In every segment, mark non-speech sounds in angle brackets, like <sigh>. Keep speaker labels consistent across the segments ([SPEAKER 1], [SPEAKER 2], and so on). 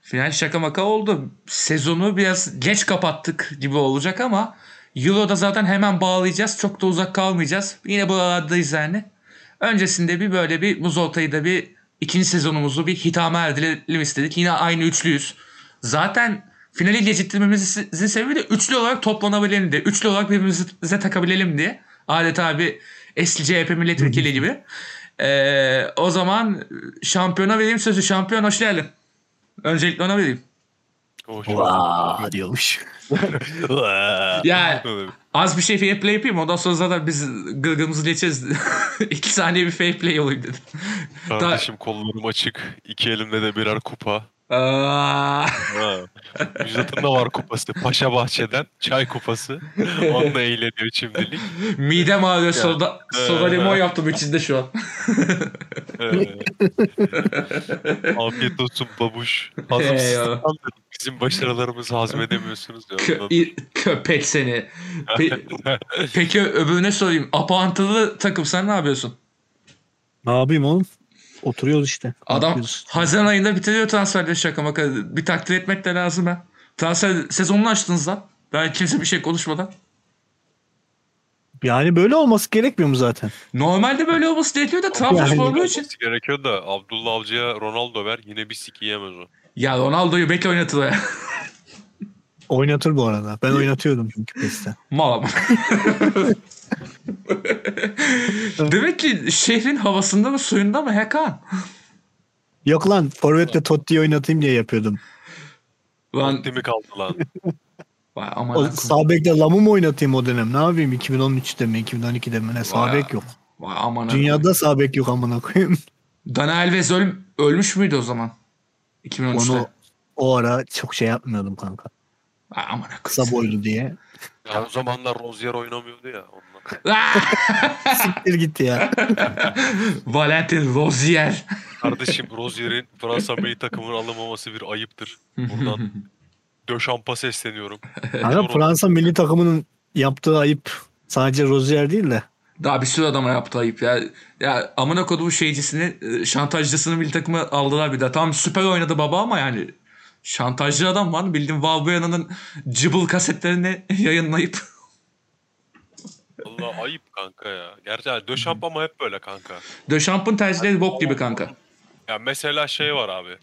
[SPEAKER 1] Final şaka maka oldu. Sezonu biraz geç kapattık gibi olacak ama Euro'da zaten hemen bağlayacağız. Çok da uzak kalmayacağız. Yine buralardayız yani. Öncesinde bir böyle bir Muzolta'yı da bir ikinci sezonumuzu bir hitama erdirelim istedik. Yine aynı üçlüyüz. Zaten finali geciktirmemizin sebebi de üçlü olarak toplanabilelim diye. Üçlü olarak birbirimize takabilelim diye. Adeta bir eski CHP milletvekili gibi. Ee, o zaman şampiyona vereyim sözü. Şampiyon hoş geldin. Öncelikle ona vereyim.
[SPEAKER 2] Hoş.
[SPEAKER 3] Vaa diyormuş. Vaa.
[SPEAKER 1] Ya
[SPEAKER 2] bulduk.
[SPEAKER 1] az bir şey fair play yapayım. Ondan sonra zaten biz gırgırımızı geçeriz. <laughs> İki saniye bir fair play olayım dedim.
[SPEAKER 2] Kardeşim kollarım açık. İki elimde de birer kupa.
[SPEAKER 1] Aa,
[SPEAKER 2] Ha. Müjdat'ın da var kupası. Paşa Bahçe'den çay kupası. Onunla eğleniyor şimdilik.
[SPEAKER 1] midem ağrıyor. Soda,
[SPEAKER 2] Ee,
[SPEAKER 1] soda limon yaptım içinde şu an.
[SPEAKER 2] Ee, Afiyet olsun babuş. Hazım siz
[SPEAKER 1] Eyvallah.
[SPEAKER 2] sandınız. Bizim başarılarımızı hazmedemiyorsunuz ya.
[SPEAKER 1] Kö-
[SPEAKER 2] ondan.
[SPEAKER 1] i- köpek seni. Pe- peki öbürüne sorayım. Apantılı takım sen ne yapıyorsun?
[SPEAKER 3] Ne yapayım oğlum? Oturuyoruz işte. Ne
[SPEAKER 1] Adam
[SPEAKER 3] yapıyoruz?
[SPEAKER 1] Haziran ayında bitiriyor transferleri şaka maka. Bir takdir etmek de lazım ha. Transfer sezonunu açtınız lan. Daha kimse bir şey konuşmadan.
[SPEAKER 3] Yani böyle olması gerekmiyor mu zaten?
[SPEAKER 1] Normalde böyle olması gerekiyor da Trabzonsporlu için.
[SPEAKER 2] Olması gerekiyor da Abdullah Avcı'ya Ronaldo ver. Yine bir sik yiyemez o.
[SPEAKER 1] Ya Ronaldo'yu bekle oynatılıyor. <laughs>
[SPEAKER 3] Oynatır bu arada. Ben oynatıyordum çünkü PES'te.
[SPEAKER 1] Malam.
[SPEAKER 3] <laughs>
[SPEAKER 1] Demek ki şehrin havasında mı suyunda mı Hakan?
[SPEAKER 3] Yok lan Forvet'le Totti'yi oynatayım diye yapıyordum.
[SPEAKER 1] Lan
[SPEAKER 2] Gitti mi kaldı lan?
[SPEAKER 1] vay
[SPEAKER 3] O
[SPEAKER 1] aman
[SPEAKER 3] sağ bekle Lam'ı mı oynatayım o dönem? Ne yapayım 2013'te mi 2012'de mi ne sağ
[SPEAKER 1] Vay.
[SPEAKER 3] bek yok.
[SPEAKER 1] vay aman
[SPEAKER 3] Dünyada sağ bek yok amına koyayım.
[SPEAKER 1] Dana Alves öl- ölmüş müydü o zaman? 2013'te.
[SPEAKER 3] Onu o ara çok şey yapmıyordum kanka.
[SPEAKER 1] Vay aman
[SPEAKER 3] Kısa boylu diye.
[SPEAKER 2] Ya o zamanlar Rozier oynamıyordu ya. Ondan.
[SPEAKER 3] Siktir gitti
[SPEAKER 1] <laughs>
[SPEAKER 3] ya.
[SPEAKER 1] Valentin Rozier.
[SPEAKER 2] Kardeşim Rozier'in Fransa milli takımını alamaması bir ayıptır. Buradan Döşamp'a sesleniyorum.
[SPEAKER 3] Kanka Fransa milli takımının yaptığı ayıp sadece Rozier değil de
[SPEAKER 1] Daha bir sürü adama yaptı ayıp ya. Ya amına kodumu şeycisini, e, şantajcısını milli takıma aldılar bir daha. Tamam süper oynadı baba ama yani şantajcı adam var. Bildiğin Valbuena'nın cıbıl kasetlerini <laughs> yayınlayıp
[SPEAKER 2] Valla ayıp kanka ya. Gerçi yani Döşamp ama hep böyle kanka.
[SPEAKER 1] Döşamp'ın tercihleri bok gibi kanka.
[SPEAKER 2] Ya mesela şey var abi.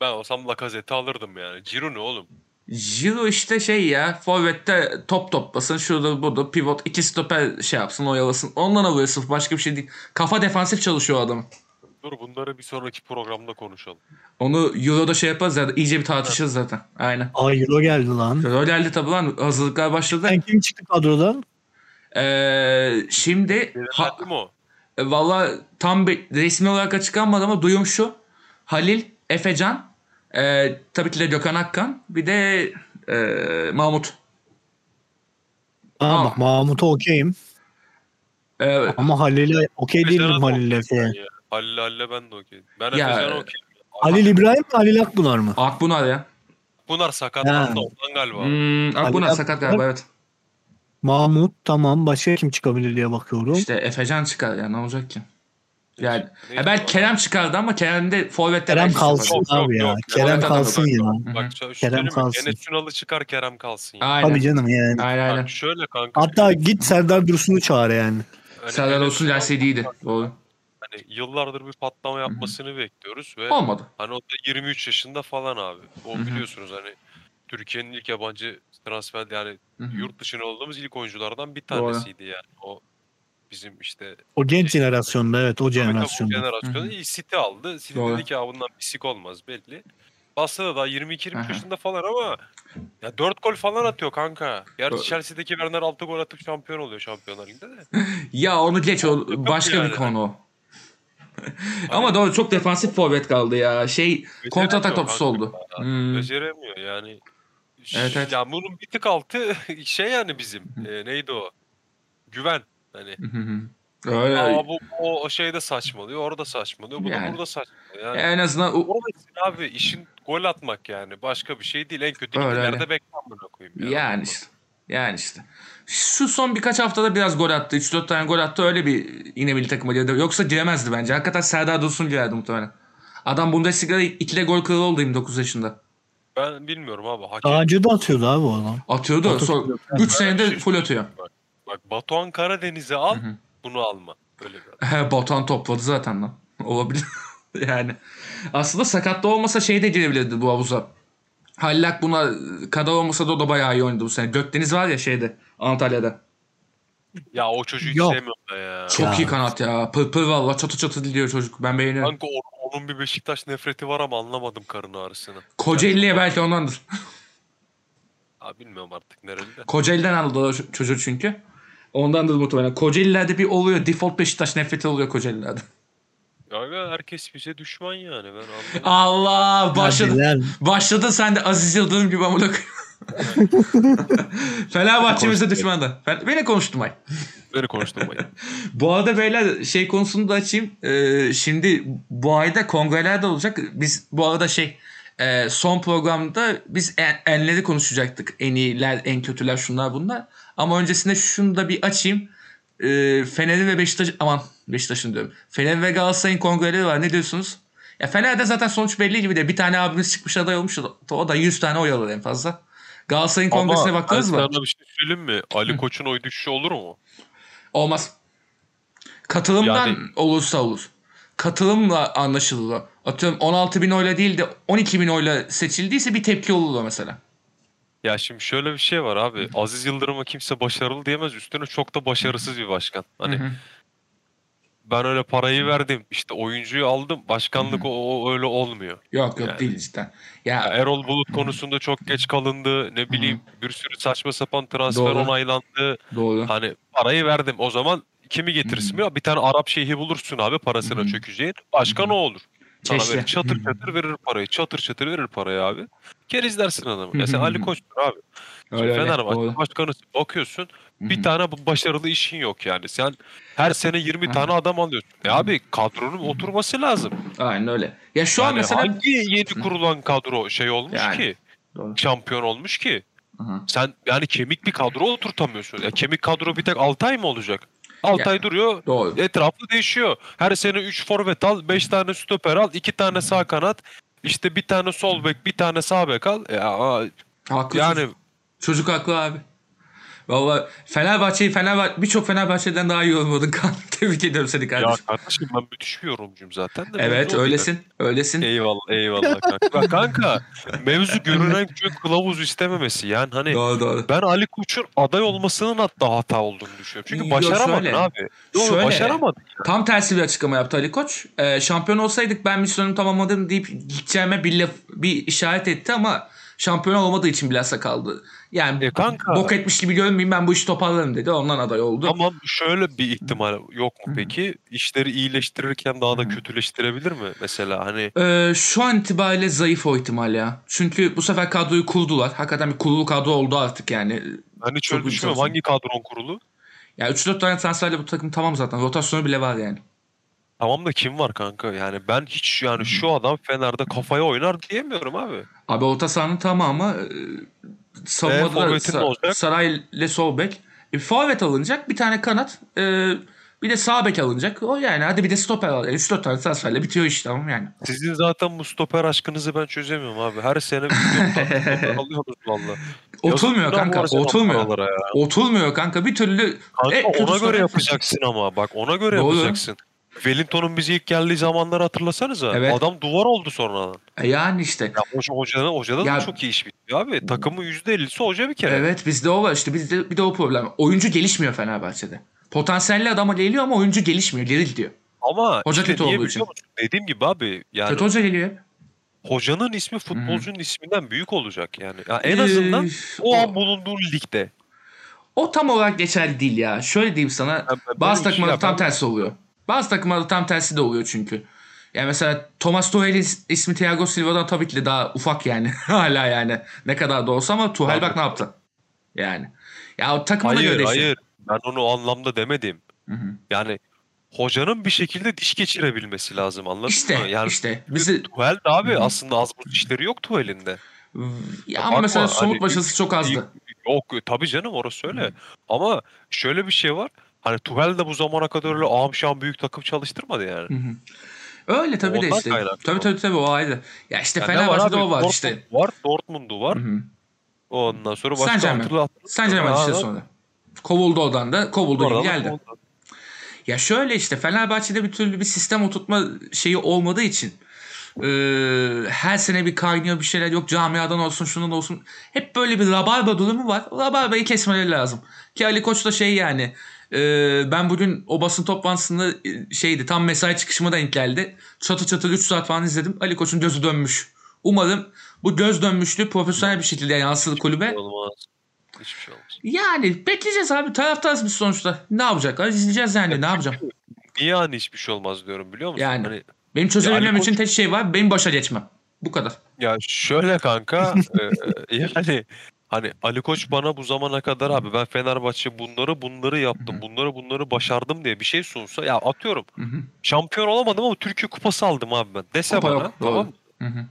[SPEAKER 2] Ben olsam Lacazette alırdım yani. Ciro ne oğlum?
[SPEAKER 1] Jiro işte şey ya forvette top toplasın şurada burada pivot iki stoper şey yapsın oyalasın ondan alıyor sırf başka bir şey değil. Kafa defansif çalışıyor o adam.
[SPEAKER 2] Dur bunları bir sonraki programda konuşalım.
[SPEAKER 1] Onu Euro'da şey yaparız zaten iyice bir tartışırız zaten aynen.
[SPEAKER 3] ay Euro geldi lan.
[SPEAKER 1] Euro geldi tabi lan hazırlıklar başladı.
[SPEAKER 3] Sen kim çıktı kadrodan?
[SPEAKER 1] Ee, şimdi ha,
[SPEAKER 2] Belirlendi mi o?
[SPEAKER 1] e, valla tam bir resmi olarak açıklanmadı ama duyum şu. Halil, Efecan, e, tabii ki de Gökhan Akkan bir de e, Mahmut.
[SPEAKER 3] Aa,
[SPEAKER 1] Aa.
[SPEAKER 3] bak Mahmut'a okeyim.
[SPEAKER 1] E,
[SPEAKER 3] Ama Halil'e okey değilim
[SPEAKER 2] Efecan'a da
[SPEAKER 3] Halil'e
[SPEAKER 2] okeyim
[SPEAKER 3] falan.
[SPEAKER 2] ben ya. Halil'e Halil'e ben de okeyim. Ben
[SPEAKER 1] Ya-
[SPEAKER 2] Efecan'a okeyim.
[SPEAKER 3] Halil İbrahim mi Halil Akbunar mı?
[SPEAKER 1] Akbunar ya.
[SPEAKER 2] Bunlar
[SPEAKER 3] Ha.
[SPEAKER 2] sakatlandı ondan galiba.
[SPEAKER 1] Hmm, Akbunar
[SPEAKER 3] Halil
[SPEAKER 1] sakat
[SPEAKER 3] Akbunar.
[SPEAKER 1] galiba evet.
[SPEAKER 3] Mahmut tamam. Başka kim çıkabilir diye bakıyorum.
[SPEAKER 1] İşte Efecan çıkar ya ne olacak ki? Yani
[SPEAKER 2] Neyse,
[SPEAKER 1] e, belki
[SPEAKER 2] bak.
[SPEAKER 1] Kerem çıkardı ama Kerem de forvette
[SPEAKER 3] Kerem
[SPEAKER 1] belki
[SPEAKER 3] kalsın
[SPEAKER 1] sıfır.
[SPEAKER 2] Yok, yok,
[SPEAKER 3] abi ya.
[SPEAKER 2] yok.
[SPEAKER 3] Kerem
[SPEAKER 1] Yok,
[SPEAKER 3] kalsın
[SPEAKER 2] Bak,
[SPEAKER 3] ya.
[SPEAKER 2] Bak
[SPEAKER 3] Kerem
[SPEAKER 2] Kerem
[SPEAKER 3] kalsın.
[SPEAKER 2] kalsın. Enes Yunalı çıkar Kerem kalsın. ya.
[SPEAKER 1] Aynen.
[SPEAKER 3] Tabii canım yani.
[SPEAKER 1] Aynen
[SPEAKER 2] Bak
[SPEAKER 1] aynen.
[SPEAKER 2] şöyle kanka.
[SPEAKER 3] Hatta git Serdar Dursun'u çağır yani.
[SPEAKER 2] hani
[SPEAKER 1] Serdar
[SPEAKER 2] Enes
[SPEAKER 1] olsun
[SPEAKER 2] Ünal
[SPEAKER 1] derse iyiydi. Doğru.
[SPEAKER 2] Hani yıllardır bir patlama yapmasını bekliyoruz ve
[SPEAKER 1] Olmadı.
[SPEAKER 2] hani o da 23 yaşında falan abi. O
[SPEAKER 1] Hı hı.
[SPEAKER 2] biliyorsunuz hani Türkiye'nin ilk yabancı transfer yani
[SPEAKER 1] Hı hı.
[SPEAKER 2] yurt dışına olduğumuz ilk oyunculardan bir
[SPEAKER 1] Doğru.
[SPEAKER 2] tanesiydi yani. O bizim işte
[SPEAKER 3] O genç jenerasyonda evet
[SPEAKER 2] Amerika
[SPEAKER 3] o
[SPEAKER 2] bu
[SPEAKER 3] jenerasyonda.
[SPEAKER 1] Hı hı.
[SPEAKER 2] jenerasyonu iyi City aldı. City
[SPEAKER 1] Doğru.
[SPEAKER 2] dedi ki "Aa, bundan bir sik olmaz belli. Bastı da 22
[SPEAKER 1] Aha.
[SPEAKER 2] 23 yaşında falan ama ya 4 gol falan atıyor kanka.
[SPEAKER 1] Doğru.
[SPEAKER 2] Gerçi Chelsea'deki Werner 6 gol atıp şampiyon oluyor Şampiyonlar Ligi'nde de.
[SPEAKER 1] Ya onu geç o
[SPEAKER 2] Yok
[SPEAKER 1] başka
[SPEAKER 2] yani.
[SPEAKER 1] bir konu. o. Ama doğru çok defansif forvet kaldı ya. Şey kontratak
[SPEAKER 2] Hani Beceremiyor
[SPEAKER 1] topçusu
[SPEAKER 2] kanka.
[SPEAKER 1] oldu. Hmm.
[SPEAKER 2] Beceremiyor yani. Ş-
[SPEAKER 1] Evet, evet.
[SPEAKER 2] Ya bunun bir tık altı <laughs> şey yani bizim. e, neydi o? Güven. Hani
[SPEAKER 1] Hı hı. <laughs> Öyle.
[SPEAKER 2] aa bu o, o şeyde saçmalıyor, orada saçmalıyor, bu
[SPEAKER 1] Yani.
[SPEAKER 2] da burada saçmalıyor.
[SPEAKER 1] Ya
[SPEAKER 2] Yani
[SPEAKER 1] en azından o-
[SPEAKER 2] Orası abi işin gol atmak yani. Başka bir şey değil. En kötü
[SPEAKER 1] Öyle,
[SPEAKER 2] gitilerde
[SPEAKER 1] öyle.
[SPEAKER 2] beklenmiyor koyayım.
[SPEAKER 1] yani işte. Yani işte. Şu son birkaç haftada biraz gol attı. 3-4 tane gol attı. Öyle bir yine milli takıma girdi. Yoksa giremezdi bence. Hakikaten Serdar Dursun girerdi muhtemelen. Adam Bundesliga'da 2'de gol kralı oldu 29 yaşında.
[SPEAKER 2] Ben bilmiyorum abi. Hakem
[SPEAKER 3] Daha önce de atıyordu abi o adam.
[SPEAKER 1] Atıyordu.
[SPEAKER 3] Atatürk
[SPEAKER 1] Son
[SPEAKER 3] yok.
[SPEAKER 1] 3
[SPEAKER 2] Ben
[SPEAKER 1] senede
[SPEAKER 2] şey-
[SPEAKER 1] full atıyor.
[SPEAKER 2] Bak Batuhan Karadeniz'i
[SPEAKER 1] Hı
[SPEAKER 2] al
[SPEAKER 1] hı.
[SPEAKER 2] bunu alma. Böyle bir
[SPEAKER 1] Batuhan topladı zaten lan. <laughs> Olabilir. yani. Aslında sakatlı olmasa şey de girebilirdi bu havuza. Hallak buna kadar olmasa da o da bayağı iyi oynadı bu sene. Gökdeniz var ya şeyde Antalya'da.
[SPEAKER 2] Ya o çocuğu hiç
[SPEAKER 3] Yok.
[SPEAKER 2] sevmiyorum ben ya.
[SPEAKER 1] Çok
[SPEAKER 3] Ya.
[SPEAKER 1] iyi kanat ya. Pır pır valla çatı çatı diliyor çocuk. Ben beğeniyorum.
[SPEAKER 2] Kanka o- onun bir Beşiktaş nefreti var ama anlamadım karın ağrısını.
[SPEAKER 1] Kocaeli'ye belki ondandır. <laughs>
[SPEAKER 2] Abi bilmiyorum artık nerede.
[SPEAKER 1] Kocaeli'den aldılar o ç- çocuğu çünkü. Ondandır muhtemelen. Kocaeli'lerde bir oluyor. Default Beşiktaş nefreti oluyor Kocaeli'lerde. <laughs>
[SPEAKER 2] Ya herkes bize düşman yani ben anlamadım.
[SPEAKER 1] Allah başladı.
[SPEAKER 3] Ya neler-
[SPEAKER 1] Başladı sen de Aziz Yıldırım gibi amına koyayım. Fenerbahçe bize düşman da. Fe- Beni konuşturmayın.
[SPEAKER 2] Beni
[SPEAKER 1] <laughs>
[SPEAKER 2] konuşturmayın.
[SPEAKER 1] Bu arada beyler şey konusunu da açayım. Ee, şimdi bu ayda kongreler de olacak. Biz bu arada şey e, son programda biz en- enleri konuşacaktık. En iyiler, en kötüler şunlar bunlar. Ama öncesinde şunu da bir açayım. Ee, Fener'in ve Beşiktaş aman Beşiktaş'ın diyorum. Fener ve Galatasaray'ın kongreleri var. Ne diyorsunuz? Ya Fener'de zaten sonuç belli gibi de bir tane abimiz çıkmış aday olmuş. O da 100 tane oy alır en fazla. Galatasaray'ın kongresine
[SPEAKER 2] Ama
[SPEAKER 1] baktınız
[SPEAKER 2] ben
[SPEAKER 1] mı?
[SPEAKER 2] Sana bir şey söyleyeyim mi? Ali Koç'un oy düşüşü olur mu?
[SPEAKER 1] Olmaz. Katılımdan
[SPEAKER 2] Yani-
[SPEAKER 1] olursa olur. Katılımla anlaşılır. o. Atıyorum 16 bin oyla değil de 12 bin oyla seçildiyse bir tepki olur o mesela.
[SPEAKER 2] Ya şimdi şöyle bir şey var abi. Aziz Yıldırım'a kimse başarılı diyemez. Üstüne çok da başarısız bir başkan. Hani
[SPEAKER 1] Hı hı.
[SPEAKER 2] ben öyle parayı verdim. işte oyuncuyu aldım. Başkanlık o, o öyle olmuyor.
[SPEAKER 1] Yok yok
[SPEAKER 2] Yani-
[SPEAKER 1] değil cidden.
[SPEAKER 2] Ya
[SPEAKER 1] Ya
[SPEAKER 2] Erol Bulut konusunda çok geç kalındı. Ne bileyim bir sürü saçma sapan transfer
[SPEAKER 1] Doğru.
[SPEAKER 2] onaylandı.
[SPEAKER 1] doğru.
[SPEAKER 2] Hani parayı verdim. O zaman kimi getirsin? Ya bir tane Arap şeyhi bulursun abi parasına
[SPEAKER 1] Hı.
[SPEAKER 2] çökeceğin. Başka
[SPEAKER 1] Hı.
[SPEAKER 2] ne olur? Sana
[SPEAKER 1] Çeşitli.
[SPEAKER 2] böyle çatır
[SPEAKER 1] Hı.
[SPEAKER 2] çatır verir parayı. Çatır çatır verir parayı abi. Kerizlersin adamı.
[SPEAKER 1] Hı
[SPEAKER 2] Ya sen
[SPEAKER 1] hı
[SPEAKER 2] Ali
[SPEAKER 1] hı.
[SPEAKER 2] Koç'tur abi. Şimdi
[SPEAKER 1] Öyle öyle.
[SPEAKER 2] Fenerbahçe
[SPEAKER 1] Doğru.
[SPEAKER 2] başkanısın. Bakıyorsun
[SPEAKER 1] Hı
[SPEAKER 2] bir
[SPEAKER 1] hı.
[SPEAKER 2] tane bu başarılı işin yok yani. Sen her sene 20
[SPEAKER 1] Hı.
[SPEAKER 2] tane adam alıyorsun. E abi kadronun oturması lazım.
[SPEAKER 1] Aynen öyle. Ya şu an
[SPEAKER 2] Yani
[SPEAKER 1] mesela
[SPEAKER 2] hangi yeni kurulan kadro şey olmuş
[SPEAKER 1] Yani.
[SPEAKER 2] ki?
[SPEAKER 1] Doğru.
[SPEAKER 2] Şampiyon olmuş ki?
[SPEAKER 1] Aha.
[SPEAKER 2] Sen yani kemik bir kadro oturtamıyorsun. Ya kemik kadro bir tek Altay mı olacak? Altay
[SPEAKER 1] Ya.
[SPEAKER 2] duruyor.
[SPEAKER 1] Doğru.
[SPEAKER 2] Etrafı değişiyor. Her sene 3 forvet al, 5 tane stoper al, 2 tane sağ kanat, işte bir tane sol bek, bir tane sağ bek al. Ya,
[SPEAKER 1] Haklı
[SPEAKER 2] yani
[SPEAKER 1] Çocuk haklı abi. Valla Fenerbahçe'yi Fenerbahçe birçok Fenerbahçe'den daha iyi yorumladın Kaan. <laughs> Tebrik ediyorum seni
[SPEAKER 2] ya
[SPEAKER 1] kardeşim.
[SPEAKER 2] kardeşim ben müthiş bir yorumcuyum zaten de.
[SPEAKER 1] evet
[SPEAKER 2] mevzu o
[SPEAKER 1] öylesin. Öylesin.
[SPEAKER 2] değil. Eyvallah eyvallah kanka.
[SPEAKER 1] <laughs>
[SPEAKER 2] Bak kanka mevzu görünen çünkü kılavuz istememesi. Yani hani
[SPEAKER 1] doğru doğru.
[SPEAKER 2] ben Ali Koç'un aday olmasının hatta hata olduğunu düşünüyorum. Çünkü
[SPEAKER 1] Yo,
[SPEAKER 2] başaramadın
[SPEAKER 1] şöyle.
[SPEAKER 2] abi. Yo,
[SPEAKER 1] Şöyle.
[SPEAKER 2] Başaramadın.
[SPEAKER 1] Tam tersi bir açıklama yaptı Ali Koç. Ee, şampiyon olsaydık ben misyonumu tamamladım deyip gideceğime bir, laf- bir işaret etti ama şampiyon olmadığı için bilhassa kaldı. Yani
[SPEAKER 2] E kanka.
[SPEAKER 1] bok etmiş gibi görünmeyeyim ben bu işi toparlarım dedi. Ondan aday oldu.
[SPEAKER 2] Ama şöyle bir ihtimal yok mu
[SPEAKER 1] Hı.
[SPEAKER 2] peki? İşleri iyileştirirken daha da kötüleştirebilir mi? Mesela hani
[SPEAKER 1] Ee, şu an itibariyle zayıf o ihtimal ya. Çünkü bu sefer kadroyu kurdular. Hakikaten bir kurulu kadro oldu artık yani.
[SPEAKER 2] hani
[SPEAKER 1] Çok
[SPEAKER 2] şöyle düşünüyorum
[SPEAKER 1] imkansız.
[SPEAKER 2] hangi kadron kurulu?
[SPEAKER 1] Ya 3-4 tane transferle bu takım tamam zaten. Rotasyonu bile var yani.
[SPEAKER 2] Tamam da kim var kanka? Yani ben hiç yani şu adam Fener'de kafaya oynar diyemiyorum abi.
[SPEAKER 1] Abi orta sahanın tamamı e, savunmada
[SPEAKER 2] E,
[SPEAKER 1] da
[SPEAKER 2] forvetin ne olacak?
[SPEAKER 1] Saray ile sol bek. E, forvet alınacak. Bir tane kanat. e, bir de sağ bek alınacak. O yani. Hadi bir de stoper al. 3-4 tane transferle bitiyor iş tamam yani.
[SPEAKER 2] Sizin zaten bu stoper aşkınızı ben çözemiyorum abi. Her sene bir stoper
[SPEAKER 1] <laughs>
[SPEAKER 2] stoper alıyoruz valla.
[SPEAKER 1] Oturmuyor kanka. Oturmuyor.
[SPEAKER 2] Kanka
[SPEAKER 1] Oturmuyor kanka. bir türlü. E, kötü
[SPEAKER 2] ona
[SPEAKER 1] stoper-
[SPEAKER 2] göre yapacaksın ama bak ona göre
[SPEAKER 1] Doğru.
[SPEAKER 2] yapacaksın. Wellington'un bize ilk geldiği zamanları hatırlasanıza.
[SPEAKER 1] Evet.
[SPEAKER 2] Adam duvar oldu sonradan.
[SPEAKER 1] E, yani işte.
[SPEAKER 2] Ya hoca, hocada, hocada
[SPEAKER 1] Ya-
[SPEAKER 2] da çok iyi iş bitti abi. Takımın %50'si hoca bir kere.
[SPEAKER 1] Evet bizde o var işte. Bizde bir de o problem. Oyuncu gelişmiyor Fenerbahçe'de. Potansiyelli adama geliyor ama oyuncu gelişmiyor. Geri gidiyor.
[SPEAKER 2] Ama
[SPEAKER 1] Hoca
[SPEAKER 2] işte
[SPEAKER 1] kötü
[SPEAKER 2] niye
[SPEAKER 1] olduğu
[SPEAKER 2] biliyor
[SPEAKER 1] için.
[SPEAKER 2] musun? Dediğim gibi abi yani
[SPEAKER 1] Kötü hoca geliyor hep.
[SPEAKER 2] hocanın ismi futbolcunun isminden büyük olacak yani. Ya
[SPEAKER 1] Ee,
[SPEAKER 2] en azından
[SPEAKER 1] Üf,
[SPEAKER 2] o an bulunduğun ligde.
[SPEAKER 1] O tam olarak geçerli değil ya. Şöyle diyeyim sana.
[SPEAKER 2] Ben- ben
[SPEAKER 1] Bazı
[SPEAKER 2] böyle şey
[SPEAKER 1] takımlarda
[SPEAKER 2] işler-
[SPEAKER 1] tam tersi oluyor. Bazı takımlarda tam tersi de oluyor çünkü. Yani mesela Thomas Tuchel'in is- ismi Thiago Silva'dan tabii ki de daha ufak yani. <laughs> Hala yani. Ne kadar da olsa ama Tuchel bak ne yaptı. Yani. Ya o takımına
[SPEAKER 2] Hayır
[SPEAKER 1] göre değişiyor.
[SPEAKER 2] hayır. Ben onu o anlamda demedim.
[SPEAKER 1] Hı hı.
[SPEAKER 2] Yani hocanın bir şekilde diş geçirebilmesi lazım anladın mı?
[SPEAKER 1] İşte
[SPEAKER 2] Yani
[SPEAKER 1] işte. Bizi
[SPEAKER 2] Tuhel de abi
[SPEAKER 1] Hı hı.
[SPEAKER 2] aslında az bu işleri yok Tuhel'inde.
[SPEAKER 1] ya ama
[SPEAKER 2] bakma,
[SPEAKER 1] mesela somut
[SPEAKER 2] hani
[SPEAKER 1] başarısı çok azdı.
[SPEAKER 2] İyi- Yok tabii canım orası öyle. Ama şöyle bir şey var. Hani Tuhel de bu zamana kadar öyle amşan büyük takım çalıştırmadı yani.
[SPEAKER 1] Hı hı. Öyle tabii de
[SPEAKER 2] Ondan
[SPEAKER 1] işte.
[SPEAKER 2] kaynak.
[SPEAKER 1] Tabii tabii tabii o ayrı. Ya işte
[SPEAKER 2] Ya ne
[SPEAKER 1] Fenerbahçe'de
[SPEAKER 2] abi?
[SPEAKER 1] o var
[SPEAKER 2] Dortmund
[SPEAKER 1] işte.
[SPEAKER 2] Var, Dortmund'u var.
[SPEAKER 1] Hı hı.
[SPEAKER 2] Ondan sonra başka
[SPEAKER 1] Saint-Germain.
[SPEAKER 2] hatırla-
[SPEAKER 1] Sence hemen
[SPEAKER 2] Ha,
[SPEAKER 1] işte
[SPEAKER 2] ha.
[SPEAKER 1] sonra. Kovuldu odan da kovuldu gibi
[SPEAKER 2] Oradan
[SPEAKER 1] geldi.
[SPEAKER 2] Dortmund.
[SPEAKER 1] Ya şöyle işte Fenerbahçe'de bir türlü bir sistem oturtma şeyi olmadığı için e, her sene bir kaynıyor bir şeyler yok camiadan olsun şundan olsun. Hep böyle bir rabarba durumu var. O Rabarbayı kesmeleri lazım. Ki Ali Koç da şey yani e, ben bugün o basın toplantısında e, şeydi tam mesai çıkışıma denk geldi. Çatı çatır 3 saat falan izledim. Ali Koç'un gözü dönmüş. Umarım bu göz dönmüşlüğü profesyonel bir şekilde yansıdı kulübe.
[SPEAKER 2] Olmaz. Hiçbir şey olmaz.
[SPEAKER 1] Yani bekleyeceğiz abi. Taraftarız biz sonuçta. Ne yapacaklar? İzleyeceğiz yani. Ne yapacağım?
[SPEAKER 2] Niye hani hiçbir şey olmaz diyorum biliyor musun?
[SPEAKER 1] Yani.
[SPEAKER 2] Hani,
[SPEAKER 1] Benim çözebilmem
[SPEAKER 2] Ya Ali Koç-
[SPEAKER 1] için tek şey var. Benim başa geçmem. Bu kadar.
[SPEAKER 2] ya şöyle kanka e, yani hani Ali Koç bana bu zamana kadar abi ben Fenerbahçe bunları bunları yaptım. Bunları bunları başardım diye bir şey sunsa ya atıyorum
[SPEAKER 1] Hı hı.
[SPEAKER 2] şampiyon olamadım ama Türkiye kupası aldım abi ben. Dese
[SPEAKER 1] Kupa
[SPEAKER 2] bana
[SPEAKER 1] yok, doğru.
[SPEAKER 2] tamam mı?
[SPEAKER 1] Hı hı.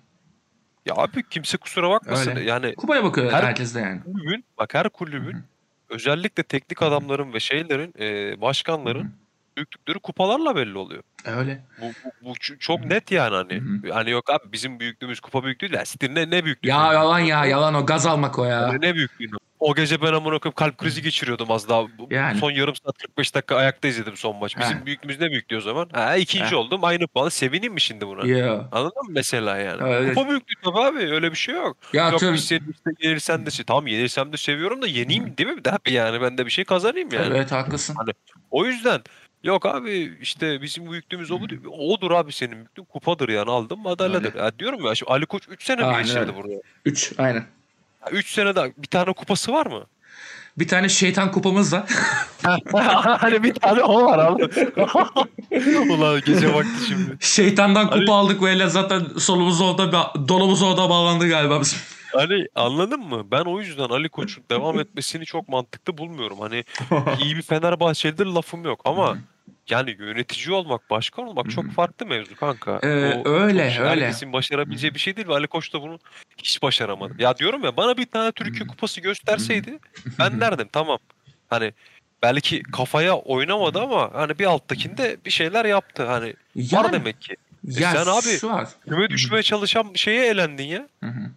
[SPEAKER 2] Ya abi kimse kusura bakmasın.
[SPEAKER 1] Öyle.
[SPEAKER 2] Yani
[SPEAKER 1] Kupaya bakıyor
[SPEAKER 2] Her-
[SPEAKER 1] herkes de yani.
[SPEAKER 2] kulübün bak her kulübün
[SPEAKER 1] Hı hı.
[SPEAKER 2] özellikle teknik adamların ve şeylerin e,
[SPEAKER 1] Hı hı.
[SPEAKER 2] başkanların büyüklükleri kupalarla belli oluyor.
[SPEAKER 1] Öyle.
[SPEAKER 2] Bu, bu, bu ç- çok
[SPEAKER 1] Hı hı.
[SPEAKER 2] net yani hani.
[SPEAKER 1] Hı
[SPEAKER 2] Hani yok abi bizim büyüklüğümüz kupa büyüklüğü değil. Sitin ne, ne büyüklüğü?
[SPEAKER 1] Ya yalan ya yalan o gaz almak o ya.
[SPEAKER 2] Hani ne büyüklüğü? O gece ben amına koyup kalp krizi geçiriyordum az daha. Bu-
[SPEAKER 1] Yani.
[SPEAKER 2] Son yarım saat 45 dakika ayakta izledim son maç. Bizim
[SPEAKER 1] Heh.
[SPEAKER 2] büyüklüğümüz ne büyüklüğü o zaman? Ha ikinci
[SPEAKER 1] Heh.
[SPEAKER 2] oldum aynı puan. Sevineyim mi şimdi buna?
[SPEAKER 1] Ya.
[SPEAKER 2] Anladın mı mesela yani?
[SPEAKER 1] Öyle.
[SPEAKER 2] Kupa büyüklüğü tabii abi öyle bir şey yok.
[SPEAKER 1] Ya
[SPEAKER 2] Yok
[SPEAKER 1] tüm,
[SPEAKER 2] biz seni işte yenilsen de şey. Tamam yenilsem de seviyorum da yeneyim değil mi? Abi yani ben de bir şey kazanayım yani.
[SPEAKER 1] evet haklısın.
[SPEAKER 2] O yüzden yok abi işte bizim büyüklüğümüz o budur. Odur abi senin büyüklüğün kupadır yani aldın madalyadır.
[SPEAKER 1] Öyle.
[SPEAKER 2] Ya diyorum ya şimdi Ali Koç 3 sene mi
[SPEAKER 1] Aynen
[SPEAKER 2] geçirdi
[SPEAKER 1] öyle.
[SPEAKER 2] burada?
[SPEAKER 1] 3 aynen.
[SPEAKER 2] 3 sene daha bir tane kupası var mı?
[SPEAKER 1] Bir tane şeytan kupamız var. <laughs>
[SPEAKER 2] hani bir tane o var abi. <laughs> Ulan gece vakti şimdi.
[SPEAKER 1] Şeytandan kupa
[SPEAKER 2] Abi-
[SPEAKER 1] aldık böyle zaten solumuz orada ba- dolumuz orada bağlandı galiba bizim.
[SPEAKER 2] Hani anladın mı? Ben o yüzden Ali Koç'un devam etmesini çok mantıklı bulmuyorum. Hani iyi bir Fenerbahçelidir lafım yok ama yani yönetici olmak, başkan olmak
[SPEAKER 1] Hı
[SPEAKER 2] çok
[SPEAKER 1] hı.
[SPEAKER 2] farklı mevzu kanka.
[SPEAKER 1] Ee,
[SPEAKER 2] O
[SPEAKER 1] öyle,
[SPEAKER 2] çok-
[SPEAKER 1] öyle.
[SPEAKER 2] Herkesin başarabileceği bir şey değil ve Ali Koç da bunu hiç başaramadı. Ya diyorum ya bana bir tane Türkiye kupası gösterseydi
[SPEAKER 1] <laughs>
[SPEAKER 2] ben derdim tamam. Hani belki kafaya oynamadı ama hani bir alttakinde bir şeyler yaptı. Hani var
[SPEAKER 1] Yani-
[SPEAKER 2] demek ki.
[SPEAKER 1] Ya
[SPEAKER 2] sen abi-
[SPEAKER 1] Şu var.
[SPEAKER 2] Küme düşmeye çalışan şeye elendin ya. E,
[SPEAKER 1] Hı hı.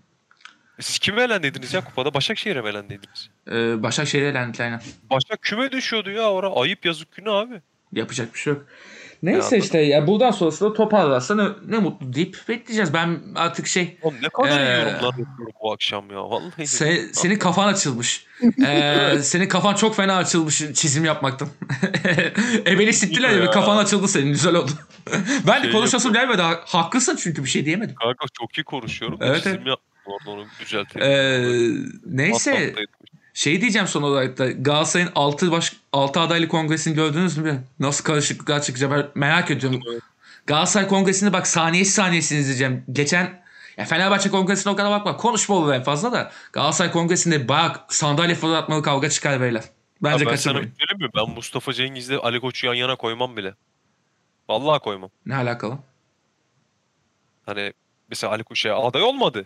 [SPEAKER 2] Siz kime elendiniz ya kupada? Başakşehir'e mi elendiydiniz?
[SPEAKER 1] Ee, Başakşehir'e elendik aynen.
[SPEAKER 2] Başak küme düşüyordu ya ora. Ayıp yazık günü abi.
[SPEAKER 1] Yapacak bir şey yok.
[SPEAKER 2] Ya
[SPEAKER 1] Neyse
[SPEAKER 2] anladım.
[SPEAKER 1] işte ya buradan sonrası da toparlarsa ne, ne mutlu deyip bekleyeceğiz. Ben artık şey
[SPEAKER 2] Oğlum ne kadar iyi
[SPEAKER 1] Ee,
[SPEAKER 2] yorumlar yapıyorum bu akşam ya. Vallahi.
[SPEAKER 1] se- senin kafan açılmış. Ee, senin kafan çok fena açılmış çizim yapmaktan. <laughs> Ebeli sittiler ya.
[SPEAKER 2] Ya.
[SPEAKER 1] kafan açıldı senin güzel oldu. <laughs> ben de
[SPEAKER 2] Şey
[SPEAKER 1] konuşasım gelmedi. Ha- Haklısın çünkü bir şey diyemedim.
[SPEAKER 2] Kanka çok iyi konuşuyorum.
[SPEAKER 1] Evet,
[SPEAKER 2] Evet. Çizim
[SPEAKER 1] evet.
[SPEAKER 2] yaptım orada onu düzeltelim.
[SPEAKER 1] Ee,
[SPEAKER 2] Whatsapp'ta
[SPEAKER 1] neyse
[SPEAKER 2] etmiş.
[SPEAKER 1] şey diyeceğim son olarak da Galatasaray'ın 6 baş 6 adaylı kongresini gördünüz mü? Nasıl karışıklıklar çıkacak ben merak ediyorum. Galatasaray Kongresi'nde bak saniyesi saniyesini izleyeceğim. Geçen ya Fenerbahçe Kongresi'ne o kadar bakma. Konuşma olur en fazla da. Galatasaray Kongresi'nde bak sandalye fırlatmalı kavga çıkar beyler. Bence
[SPEAKER 2] Ya ben sana
[SPEAKER 1] kaçırmayın.
[SPEAKER 2] bir şey söyleyeyim mi? Ben Mustafa Cengiz'le Ali Koç'u yan yana koymam bile. Vallahi koymam.
[SPEAKER 1] Ne alakalı?
[SPEAKER 2] Hani mesela Ali Koç ya aday olmadı.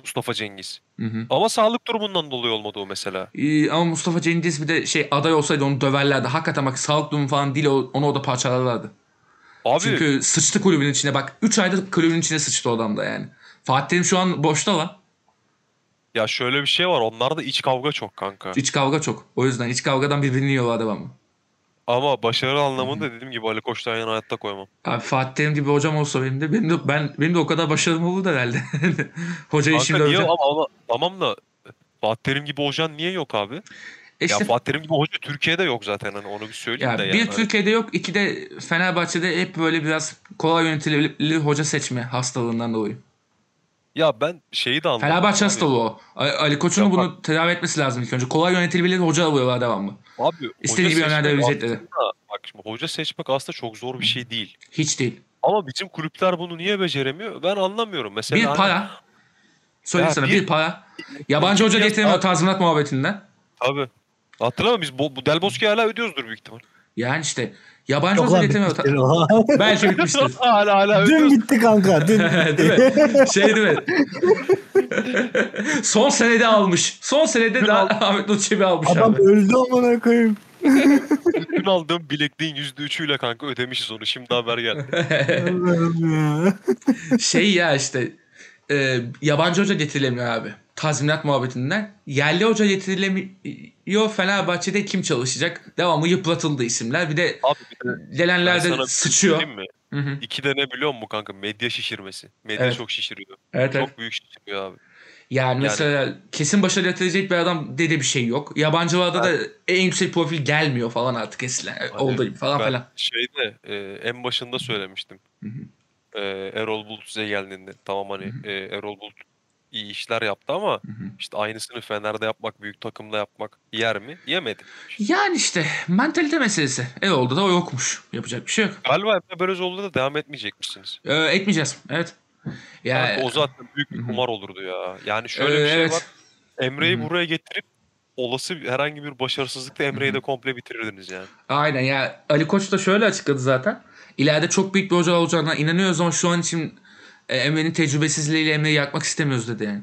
[SPEAKER 2] Mustafa Cengiz.
[SPEAKER 1] Hı hı.
[SPEAKER 2] Ama sağlık durumundan dolayı olmadı o mesela.
[SPEAKER 1] Ee, ama Mustafa Cengiz bir de şey aday olsaydı onu döverlerdi. Hakikaten bak sağlık durumu falan değil o- onu orada parçalarlardı.
[SPEAKER 2] Abi
[SPEAKER 1] Çünkü sıçtı kulübün içine bak. 3 ayda kulübün içine sıçtı o adam da yani. Fatih Terim şu an boşta lan.
[SPEAKER 2] ya şöyle bir şey var. Onlarda iç kavga çok kanka.
[SPEAKER 1] İç kavga çok. O yüzden iç kavgadan birbirini yiyorlar devamlı.
[SPEAKER 2] Ama başarı anlamında dediğim gibi Ali Koç'tan yan hayatta koymam.
[SPEAKER 1] Abi Fatih Terim gibi hocam olsa benim de benim de, ben, benim de o kadar başarım olurdu herhalde. <laughs> Hocayı şimdi
[SPEAKER 2] Kanka niye
[SPEAKER 1] öveceğim.
[SPEAKER 2] ama, ama- tamam da Fatih Terim gibi hocan niye yok abi?
[SPEAKER 1] E işte-
[SPEAKER 2] ya Fatih Terim gibi hoca Türkiye'de yok zaten hani onu bir söyleyeyim
[SPEAKER 1] ya
[SPEAKER 2] de
[SPEAKER 1] bir
[SPEAKER 2] yani.
[SPEAKER 1] Türkiye'de yok, iki de Fenerbahçe'de hep böyle biraz kolay yönetilebilir hoca seçme hastalığından dolayı.
[SPEAKER 2] Ya ben şeyi de anlamadım.
[SPEAKER 1] Fenerbahçe
[SPEAKER 2] abi.
[SPEAKER 1] hastalığı o. A- Ali Koç'un
[SPEAKER 2] Ya bak-
[SPEAKER 1] bunu tedavi etmesi lazım ilk önce. Kolay yönetilebilir hoca alıyorlar devamlı.
[SPEAKER 2] Abi
[SPEAKER 1] İstediği
[SPEAKER 2] hoca
[SPEAKER 1] gibi yönlendirebilecekleri.
[SPEAKER 2] seçmek aslında- Bak şimdi hoca seçmek aslında çok zor bir şey değil.
[SPEAKER 1] Hiç değil.
[SPEAKER 2] Ama bizim kulüpler bunu niye beceremiyor? Ben anlamıyorum. Mesela
[SPEAKER 1] Bir
[SPEAKER 2] hani-
[SPEAKER 1] para. Söyleyeyim
[SPEAKER 2] Ya
[SPEAKER 1] sana bir,
[SPEAKER 2] bir-
[SPEAKER 1] para. Yabancı hoca
[SPEAKER 2] Ya-
[SPEAKER 1] getiremiyor tazminat muhabbetinden.
[SPEAKER 2] Abi hatırlama biz bu, bu Del Bosque'yi hala ödüyoruzdur büyük ihtimal.
[SPEAKER 1] Yani işte yabancı
[SPEAKER 3] Yok
[SPEAKER 1] hoca
[SPEAKER 3] lan
[SPEAKER 1] getiremiyor.
[SPEAKER 3] <laughs> bitmiştir
[SPEAKER 1] ta-
[SPEAKER 3] o.
[SPEAKER 1] <laughs> Belki
[SPEAKER 2] <laughs>
[SPEAKER 1] bitmiştir.
[SPEAKER 2] hala hala
[SPEAKER 3] Dün
[SPEAKER 2] ödüyoruz.
[SPEAKER 3] bitti
[SPEAKER 1] <laughs>
[SPEAKER 3] kanka. Dün.
[SPEAKER 1] değil mi? Şey değil mi? <laughs> Son senede almış. Son senede daha Ahmet Nur Çebi almış
[SPEAKER 3] Adam
[SPEAKER 1] abi. <laughs>
[SPEAKER 3] öldü amına koyayım.
[SPEAKER 2] Dün aldığım bilekliğin %3'üyle kanka ödemişiz onu. Şimdi
[SPEAKER 1] <laughs>
[SPEAKER 2] haber geldi.
[SPEAKER 1] şey ya işte e, yabancı hoca getirilemiyor abi. Tazminat muhabbetinden. Yerli hoca getirilemiyor. Fenerbahçe'de kim çalışacak? Devamı yıpratıldı isimler. Bir de
[SPEAKER 2] Abi bir de ben
[SPEAKER 1] gelenler
[SPEAKER 2] sana bir
[SPEAKER 1] de
[SPEAKER 2] şey
[SPEAKER 1] sıçıyor.
[SPEAKER 2] söyleyeyim mi?
[SPEAKER 1] Hı hı.
[SPEAKER 2] İki de ne biliyor musun kanka? Medya şişirmesi. Medya
[SPEAKER 1] Evet.
[SPEAKER 2] çok şişiriyor.
[SPEAKER 1] Evet, evet.
[SPEAKER 2] Çok büyük şişiriyor abi.
[SPEAKER 1] Yani mesela kesin başarı getirecek bir adam dede bir şey yok. Yabancılarda da en yüksek profil gelmiyor falan artık eskiler.
[SPEAKER 2] Abi,
[SPEAKER 1] Oldu gibi falan
[SPEAKER 2] ben
[SPEAKER 1] filan.
[SPEAKER 2] şeyde e, en başında söylemiştim.
[SPEAKER 1] Hı hı.
[SPEAKER 2] E, Erol Bulut size geldiğinde tamam hani e, Erol Bulut iyi işler yaptı ama
[SPEAKER 1] Hı hı.
[SPEAKER 2] işte aynısını Fener'de yapmak, büyük takımda yapmak yer mi? Yemedi.
[SPEAKER 1] Yani işte mentalite meselesi. E oldu da o yokmuş. Yapacak bir şey yok.
[SPEAKER 2] Galiba Emre Belözoğlu'da da devam etmeyecekmişsiniz.
[SPEAKER 1] Ee, etmeyeceğiz. Evet. Ya,
[SPEAKER 2] Kanka o zaten büyük bir
[SPEAKER 1] Hı hı.
[SPEAKER 2] kumar olurdu ya. Yani
[SPEAKER 1] e,
[SPEAKER 2] şöyle bir şey
[SPEAKER 1] evet.
[SPEAKER 2] var. Emre'yi
[SPEAKER 1] Hı hı.
[SPEAKER 2] buraya getirip olası bir- herhangi bir başarısızlıkla Emre'yi de komple bitirirdiniz yani.
[SPEAKER 1] Aynen ya Ali Koç da şöyle açıkladı zaten. İleride çok büyük bir hoca olacağına inanıyoruz ama şu an için e, Emre'nin tecrübesizliğiyle Emre'yi yakmak istemiyoruz dedi yani.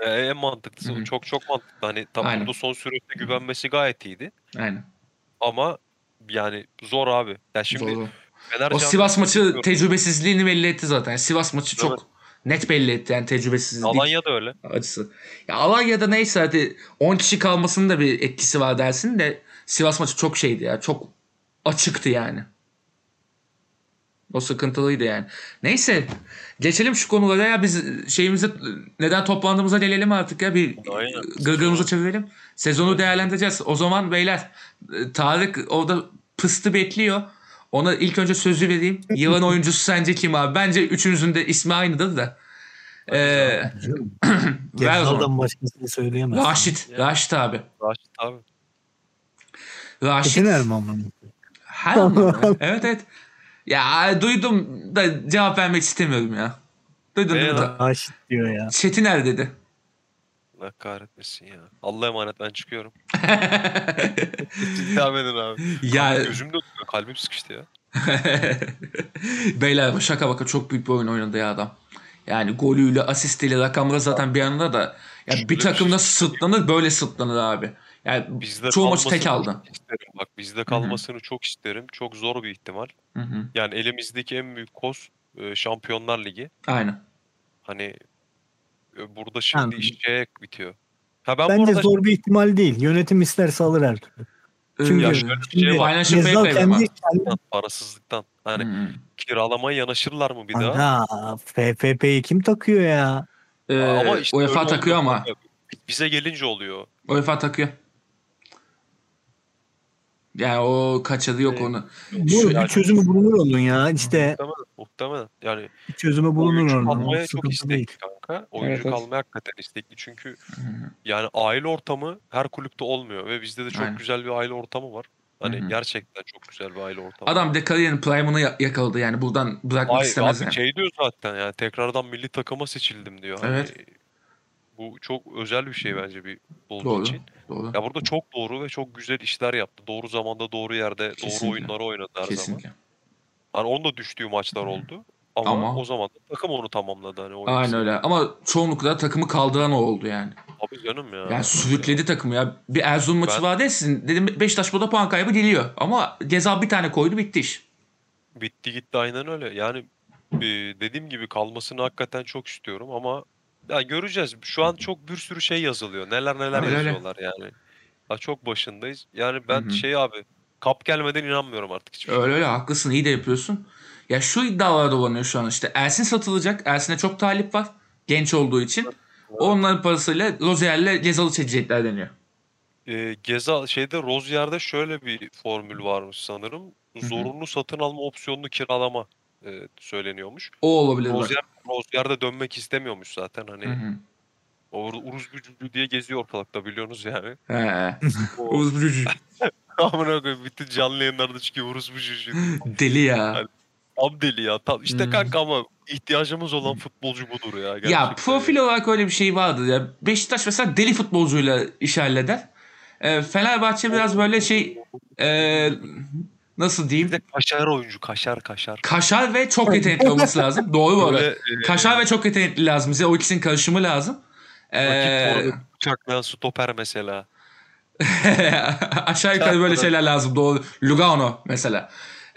[SPEAKER 2] E, en mantıklısı
[SPEAKER 1] Hı hı.
[SPEAKER 2] çok çok mantıklı. Hani tam
[SPEAKER 1] Aynen.
[SPEAKER 2] burada son süreçte güvenmesi gayet iyiydi.
[SPEAKER 1] Aynen.
[SPEAKER 2] Ama yani zor abi. Ya şimdi
[SPEAKER 1] Doğru.
[SPEAKER 2] Fener
[SPEAKER 1] O
[SPEAKER 2] Can-
[SPEAKER 1] Sivas maçı
[SPEAKER 2] bilmiyorum.
[SPEAKER 1] tecrübesizliğini belli etti zaten. Sivas maçı çok
[SPEAKER 2] Evet.
[SPEAKER 1] net belli etti yani tecrübesizlik
[SPEAKER 2] Alanya da öyle.
[SPEAKER 1] acısı. Ya Alanya'da neyse hadi 10 kişi kalmasının da bir etkisi var dersin de Sivas maçı çok şeydi ya. Çok açıktı yani. O sıkıntılıydı yani. Neyse geçelim şu konulara ya biz şeyimizi neden toplandığımıza gelelim artık ya bir
[SPEAKER 2] Aynen.
[SPEAKER 1] gırgırımızı çevirelim. Sezonu değerlendireceğiz. O zaman beyler e, Tarık orada pıstı bekliyor. Ona ilk önce sözü vereyim. Yılan oyuncusu sence kim abi? Bence üçünüzün de ismi aynıdır da. Ee, <clears throat> ver o zaman.
[SPEAKER 3] Gezal'dan başkasını söyleyemez.
[SPEAKER 1] Raşit. Raşit abi.
[SPEAKER 2] Raşit abi.
[SPEAKER 1] Raşit.
[SPEAKER 3] Çetin Erman mı?
[SPEAKER 1] Her anlamda. evet evet. Ya duydum da cevap vermek istemiyorum ya. Duydum
[SPEAKER 2] Ee,
[SPEAKER 1] duydum da.
[SPEAKER 3] Raşit diyor ya.
[SPEAKER 1] Çetiner er dedi. <laughs>
[SPEAKER 2] Allah kahretmesin ya. Allah'a emanet ben çıkıyorum. <laughs> Devam edin abi.
[SPEAKER 1] ya
[SPEAKER 2] <laughs> Gözümde tutuyor. Kalbim sıkıştı ya.
[SPEAKER 1] <laughs> Beyler bu şaka baka çok büyük bir oyun oynadı ya adam. Yani golüyle, asistiyle, rakamları zaten bir yanında da ya
[SPEAKER 2] Şöyle
[SPEAKER 1] bir
[SPEAKER 2] bir
[SPEAKER 1] takımda
[SPEAKER 2] şey-
[SPEAKER 1] sırtlanır böyle sırtlanır abi. Yani
[SPEAKER 2] Bizde
[SPEAKER 1] Çoğu maçı
[SPEAKER 2] kalmasını
[SPEAKER 1] tek aldı.
[SPEAKER 2] çok isterim. Bak bizde kalmasını çok isterim. Çok zor bir ihtimal.
[SPEAKER 1] hı hı,
[SPEAKER 2] Yani elimizdeki en büyük koz e, Şampiyonlar Ligi.
[SPEAKER 1] aynen.
[SPEAKER 2] Hani e, burada şimdi
[SPEAKER 3] Yani-
[SPEAKER 2] iş şeye bitiyor. Ha ben
[SPEAKER 3] Bence
[SPEAKER 2] burada
[SPEAKER 3] zor bir ihtimal değil. Yönetim isterse alır her türlü. Çünkü-
[SPEAKER 2] ya
[SPEAKER 1] Ee,
[SPEAKER 2] şöyle bir
[SPEAKER 3] Şimdi
[SPEAKER 2] şey var.
[SPEAKER 1] Financial
[SPEAKER 3] Gezal
[SPEAKER 1] fair play
[SPEAKER 3] kendi,
[SPEAKER 1] var.
[SPEAKER 3] kendi-
[SPEAKER 2] Parasızlıktan. Hani
[SPEAKER 1] hı hı.
[SPEAKER 2] kiralamaya yanaşırlar mı bir daha?
[SPEAKER 3] Ana, FFP'yi kim takıyor ya?
[SPEAKER 1] Ee,
[SPEAKER 2] Ama işte
[SPEAKER 1] UEFA
[SPEAKER 2] öyle
[SPEAKER 1] takıyor
[SPEAKER 2] oldu.
[SPEAKER 1] ama.
[SPEAKER 2] Bize gelince oluyor.
[SPEAKER 1] UEFA takıyor. Yani o kaçadı yok
[SPEAKER 2] Ee,
[SPEAKER 1] onu.
[SPEAKER 3] Bu bir çözümü bulunur onun ya. İşte
[SPEAKER 2] Muhtemelen, muhtemelen. Yani
[SPEAKER 3] bir çözümü bulunur
[SPEAKER 2] oyuncu
[SPEAKER 3] onun. O
[SPEAKER 2] kalmaya çok
[SPEAKER 3] Sıkıntı
[SPEAKER 2] istekli
[SPEAKER 3] değil.
[SPEAKER 2] kanka. Oyuncu
[SPEAKER 1] Evet, evet.
[SPEAKER 2] kalmaya hakikaten istekli. Çünkü yani aile ortamı her kulüpte olmuyor ve bizde de çok
[SPEAKER 1] Aynen.
[SPEAKER 2] güzel bir aile ortamı var. Hani
[SPEAKER 1] Hı hı.
[SPEAKER 2] gerçekten çok güzel bir aile ortamı.
[SPEAKER 1] Adam bir de kariyerin prime'ını ya- yakaladı yani buradan bırakmak
[SPEAKER 2] Ay,
[SPEAKER 1] istemez
[SPEAKER 2] abi
[SPEAKER 1] yani.
[SPEAKER 2] şey diyor zaten yani tekrardan milli takıma seçildim diyor. Hani
[SPEAKER 1] Evet.
[SPEAKER 2] bu çok özel bir şey bence bir futbolcu
[SPEAKER 1] Doğru.
[SPEAKER 2] için.
[SPEAKER 1] Doğru.
[SPEAKER 2] Ya burada çok doğru ve çok güzel işler yaptı. Doğru zamanda, doğru yerde,
[SPEAKER 1] Kesinlikle.
[SPEAKER 2] doğru oyunları oynadı her zaman.
[SPEAKER 1] Kesinlikle.
[SPEAKER 2] Hani onun da düştüğü maçlar oldu. Ama,
[SPEAKER 1] Ama-
[SPEAKER 2] o zaman da takım onu tamamladı hani o
[SPEAKER 1] Aynen
[SPEAKER 2] ikisi.
[SPEAKER 1] öyle. Ama çoğunlukla takımı kaldıran o oldu yani.
[SPEAKER 2] Abi canım ya.
[SPEAKER 1] Yani sürükledi takımı ya. Bir Erzurum maçı
[SPEAKER 2] Ben-
[SPEAKER 1] vardı ya sizin. Dedim Beşiktaş burada puan kaybı geliyor. Ama Gezal bir tane koydu bitti iş.
[SPEAKER 2] Bitti gitti aynen öyle. Yani e, dediğim gibi kalmasını hakikaten çok istiyorum ama ya göreceğiz. Şu an çok bir sürü şey yazılıyor. Neler neler
[SPEAKER 1] Öyle öyle.
[SPEAKER 2] yazıyorlar yani. Daha çok başındayız. Yani ben
[SPEAKER 1] Hı hı.
[SPEAKER 2] şey abi kap gelmeden inanmıyorum artık hiçbir şeye.
[SPEAKER 1] Öyle öyle haklısın iyi de yapıyorsun. Ya şu iddialar dolanıyor şu an işte. Ersin satılacak. Ersin'e çok talip var. Genç olduğu için. Onların parasıyla Rozier'le Gezal'ı çekecekler deniyor.
[SPEAKER 2] E, Geza şeyde Rozier'de şöyle bir formül varmış sanırım.
[SPEAKER 1] hı.
[SPEAKER 2] Zorunlu satın alma opsiyonlu kiralama e, söyleniyormuş.
[SPEAKER 1] O olabilir. bak.
[SPEAKER 2] Rozier, Rozier'de dönmek istemiyormuş zaten hani.
[SPEAKER 1] Hı hı.
[SPEAKER 2] Orada uruz gücü diye geziyor ortalıkta biliyorsunuz yani.
[SPEAKER 1] He.
[SPEAKER 2] <laughs> O-
[SPEAKER 1] Oğuz Bülücü.
[SPEAKER 2] <laughs> Amına koyayım bütün canlı yayınlarda çıkıyor Uruz Bucucu.
[SPEAKER 1] Deli
[SPEAKER 2] <laughs>
[SPEAKER 1] ya.
[SPEAKER 2] Tam deli ya. Tam. İşte
[SPEAKER 1] Hmm.
[SPEAKER 2] kanka ama ihtiyacımız olan futbolcu budur ya. Gerçekten.
[SPEAKER 1] Ya profil olarak öyle bir şey vardı ya. Beşiktaş mesela deli futbolcuyla iş halleder. Ee, Fenerbahçe biraz böyle şey e, nasıl
[SPEAKER 2] Bir
[SPEAKER 1] diyeyim?
[SPEAKER 2] de kaşar oyuncu. Kaşar kaşar.
[SPEAKER 1] Kaşar ve çok yetenekli olması lazım. Doğru bu arada.
[SPEAKER 2] Böyle e,
[SPEAKER 1] Kaşar ve çok yetenekli lazım. Bize o ikisinin karışımı lazım. Ee,
[SPEAKER 2] rakip forvet bıçaklayan stoper mesela.
[SPEAKER 1] <laughs> Aşağı yukarı böyle
[SPEAKER 2] Çarpmadan.
[SPEAKER 1] şeyler lazım. Doğru. Lugano mesela.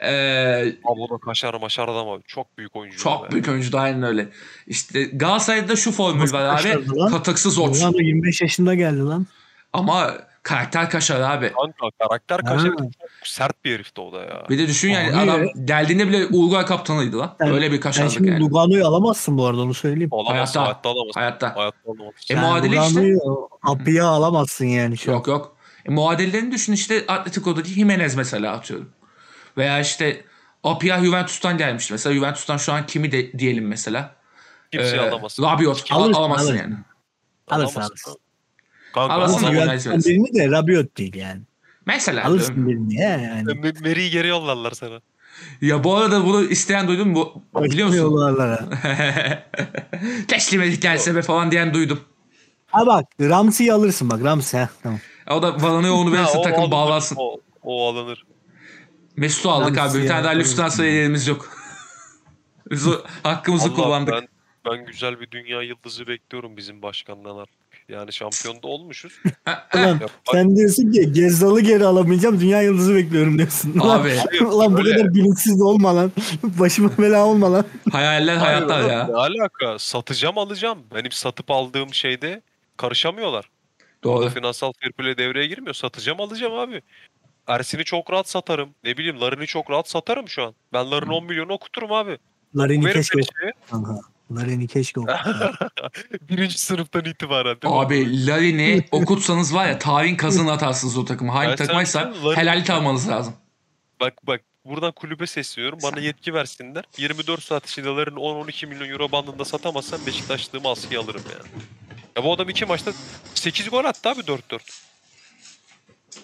[SPEAKER 1] Ee,
[SPEAKER 2] Abi o da kaşar maşar adam abi. Çok büyük oyuncu.
[SPEAKER 1] çok
[SPEAKER 2] ya.
[SPEAKER 1] büyük oyuncu da aynen öyle. İşte Galatasaray'da şu formül
[SPEAKER 3] Nasıl
[SPEAKER 1] var abi.
[SPEAKER 3] kaşardı lan?
[SPEAKER 1] Katıksız oç.
[SPEAKER 3] Ronaldo 25 yaşında geldi lan.
[SPEAKER 1] Ama karakter kaşar abi.
[SPEAKER 2] Kanka karakter kaşar.
[SPEAKER 3] Ha.
[SPEAKER 2] Çok sert bir herifti o da ya.
[SPEAKER 1] Bir de düşün yani
[SPEAKER 3] Abi-
[SPEAKER 1] adam geldiğinde bile Uruguay kaptanıydı lan.
[SPEAKER 3] Yani-
[SPEAKER 1] Öyle bir
[SPEAKER 3] Sen
[SPEAKER 1] kaşarlık
[SPEAKER 3] şimdi
[SPEAKER 1] yani.
[SPEAKER 3] Lugano'yu alamazsın bu arada onu söyleyeyim.
[SPEAKER 2] Alamaz.
[SPEAKER 1] Hayatta.
[SPEAKER 2] Hayatta, alamaz.
[SPEAKER 1] Hayatta.
[SPEAKER 2] Hayatta alamaz.
[SPEAKER 1] E, muadili işte.
[SPEAKER 3] Lugano'yu Apia alamazsın yani şu an.
[SPEAKER 1] Yok yok. E, muadillerini düşün işte Atletico'daki Jimenez mesela atıyorum. Veya işte Apia Juventus'tan gelmiş mesela. Juventus'tan şu an kimi de diyelim mesela.
[SPEAKER 2] Kimseyi
[SPEAKER 1] Ee,
[SPEAKER 2] alamaz.
[SPEAKER 1] Rabiot. Al-
[SPEAKER 3] Alırsın,
[SPEAKER 1] alamazsın
[SPEAKER 3] alırsın.
[SPEAKER 1] yani.
[SPEAKER 3] Alırsın,
[SPEAKER 2] Alamaz.
[SPEAKER 3] alırsın.
[SPEAKER 2] Kanka
[SPEAKER 1] Alırsın
[SPEAKER 2] alamaz.
[SPEAKER 1] ama-
[SPEAKER 3] Juventus'tan
[SPEAKER 1] Ronaldo.
[SPEAKER 3] birini de Rabiot değil yani.
[SPEAKER 1] Mesela. diyorum.
[SPEAKER 3] Alırsın birini ya yani.
[SPEAKER 2] Me- Meri'yi geri yollarlar sana.
[SPEAKER 1] Ya bu arada bunu isteyen duydun mu? Bu- Biliyor musun?
[SPEAKER 3] Yollarlara.
[SPEAKER 1] <laughs> Teslim edip gelse be falan diyen duydum.
[SPEAKER 3] Ha bak Ramsey'i alırsın bak Ramsey. heh, Tamam.
[SPEAKER 1] E, O da Valanıyor
[SPEAKER 2] <laughs>
[SPEAKER 1] onu
[SPEAKER 2] Ha,
[SPEAKER 1] verirse
[SPEAKER 2] o
[SPEAKER 1] takım
[SPEAKER 2] alınır,
[SPEAKER 1] bağlansın.
[SPEAKER 2] O, o alınır.
[SPEAKER 1] Mesut'u aldık
[SPEAKER 3] Ramsey
[SPEAKER 1] abi. Bir tane
[SPEAKER 3] ya,
[SPEAKER 1] daha lüks
[SPEAKER 3] evet.
[SPEAKER 1] transfer yerimiz
[SPEAKER 3] <laughs>
[SPEAKER 1] yok. Biz o hakkımızı
[SPEAKER 2] Allah,
[SPEAKER 1] kullandık.
[SPEAKER 2] Ben, ben güzel bir dünya yıldızı bekliyorum bizim başkandan artık. Yani şampiyon
[SPEAKER 1] <laughs>
[SPEAKER 2] da olmuşuz.
[SPEAKER 1] Ha, ha.
[SPEAKER 3] Ulan
[SPEAKER 2] Ya bak-
[SPEAKER 3] sen diyorsun ki Gezzal'ı geri alamayacağım dünya yıldızı bekliyorum diyorsun. Ulan-
[SPEAKER 1] Abi
[SPEAKER 3] <laughs> Ulan bu
[SPEAKER 2] Öyle.
[SPEAKER 3] kadar bilinçsiz olma lan. <laughs> Başıma bela olma lan.
[SPEAKER 1] hayaller hayatlar
[SPEAKER 2] Hayır,
[SPEAKER 1] ya.
[SPEAKER 2] Ne alaka? Satacağım alacağım. Benim satıp aldığım şeyde karışamıyorlar.
[SPEAKER 1] Doğru.
[SPEAKER 2] Orada finansal fair play devreye girmiyor. Satacağım alacağım abi. Ersin'i çok rahat satarım. Ne bileyim Larin'i çok rahat satarım şu an. Ben Larin'i 10 milyonu okuturum abi. Bu
[SPEAKER 3] Larini
[SPEAKER 2] herif
[SPEAKER 3] keşke
[SPEAKER 2] de şey,
[SPEAKER 3] okusan. Larini keşke okusan.
[SPEAKER 2] <laughs> birinci sınıftan itibaren değil mi?
[SPEAKER 1] Abi
[SPEAKER 3] <laughs>
[SPEAKER 1] Larin'i okutsanız var ya tahin kazını atarsınız o takıma. Hangi
[SPEAKER 2] Ben sana
[SPEAKER 1] takmaysa
[SPEAKER 2] söyleyeyim, Larin-
[SPEAKER 1] helali almanız lazım.
[SPEAKER 2] Bak bak buradan kulübe sesleniyorum. Bana yetki versinler. 24 saat içinde Larin'i 10-12 milyon euro bandında satamazsam Beşiktaşlığımı askıya alırım yani. Ya bu adam iki maçta 8 gol attı abi 4-4.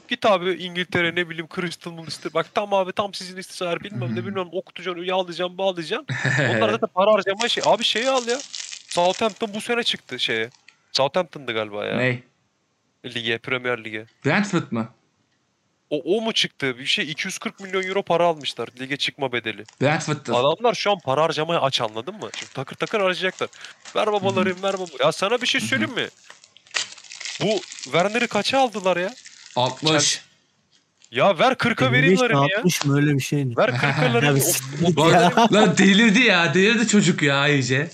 [SPEAKER 2] Git abi İngiltere ne bileyim Crystal Malister. Bak tam abi tam sizin istisar bilmem ne bilmem okutacaksın, yağlayacaksın, bağlayacaksın.
[SPEAKER 1] <laughs>
[SPEAKER 2] Onlar zaten para harcama şey. Abi şeyi al ya. Southampton bu sene çıktı şeye. Southampton'dı galiba ya.
[SPEAKER 1] Ney?
[SPEAKER 2] Lige, Premier Lig'e.
[SPEAKER 1] Brentford mı?
[SPEAKER 2] O, o mu çıktı? Bir şey 240 milyon euro para almışlar lige çıkma bedeli.
[SPEAKER 1] Brentford'da.
[SPEAKER 2] Adamlar şu an para harcamaya aç anladın mı? Şimdi takır takır harcayacaklar. Ver babalarım ver baba. Ya sana bir şey söyleyeyim mi? Bu Werner'i kaça aldılar ya?
[SPEAKER 1] 60.
[SPEAKER 2] Ya ver 40'a vereyim
[SPEAKER 3] 55 mi,
[SPEAKER 2] Larin'i ya.
[SPEAKER 3] 60 mı öyle bir şey.
[SPEAKER 1] <laughs>
[SPEAKER 2] Ver 40'a
[SPEAKER 3] <laughs> Ya bir
[SPEAKER 2] Larin'i.
[SPEAKER 3] siktir
[SPEAKER 2] O-
[SPEAKER 3] git
[SPEAKER 1] Bu
[SPEAKER 2] o-
[SPEAKER 1] arada- <laughs> Lan delirdi ya. Delirdi çocuk ya iyice.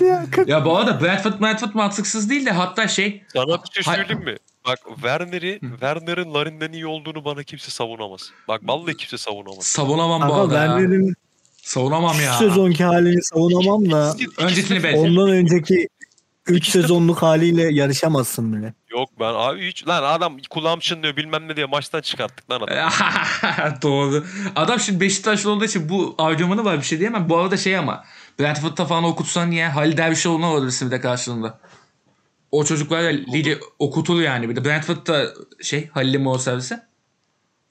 [SPEAKER 3] ya.
[SPEAKER 1] Ya bu arada Brentford Brentford mantıksız değil de hatta şey
[SPEAKER 2] Sana bir şey
[SPEAKER 1] Hay-
[SPEAKER 2] söyleyeyim mi? Bak Werner'i, Werner'in Larin'den iyi olduğunu bana kimse savunamaz. Bak vallahi kimse savunamaz.
[SPEAKER 1] savunamam bu
[SPEAKER 3] Kanka
[SPEAKER 1] arada ya.
[SPEAKER 3] Werner'in
[SPEAKER 1] Savunamam
[SPEAKER 3] şu
[SPEAKER 1] ya.
[SPEAKER 3] sezonki halini
[SPEAKER 2] <laughs>
[SPEAKER 3] savunamam da
[SPEAKER 2] İkisi-
[SPEAKER 1] Öncesini
[SPEAKER 2] ikisi-
[SPEAKER 1] ben-
[SPEAKER 3] ondan önceki 3 sezonluk haliyle yarışamazsın bile.
[SPEAKER 2] Yok ben abi hiç. Lan adam kulağım çınlıyor bilmem ne diye maçtan çıkarttık lan
[SPEAKER 1] E, <laughs>
[SPEAKER 2] adamı.
[SPEAKER 1] Doğru. Adam şimdi Beşiktaşlı olduğu için bu argümanı var bir şey diyemem. Bu arada şey ama Brentford'da falan okutsan niye? Halil Dervişoğlu'na olabilirsin bir de karşılığında. O çocuklar da ligi okutur yani. Bir de Brentford'da şey Halil'in mi o servisi?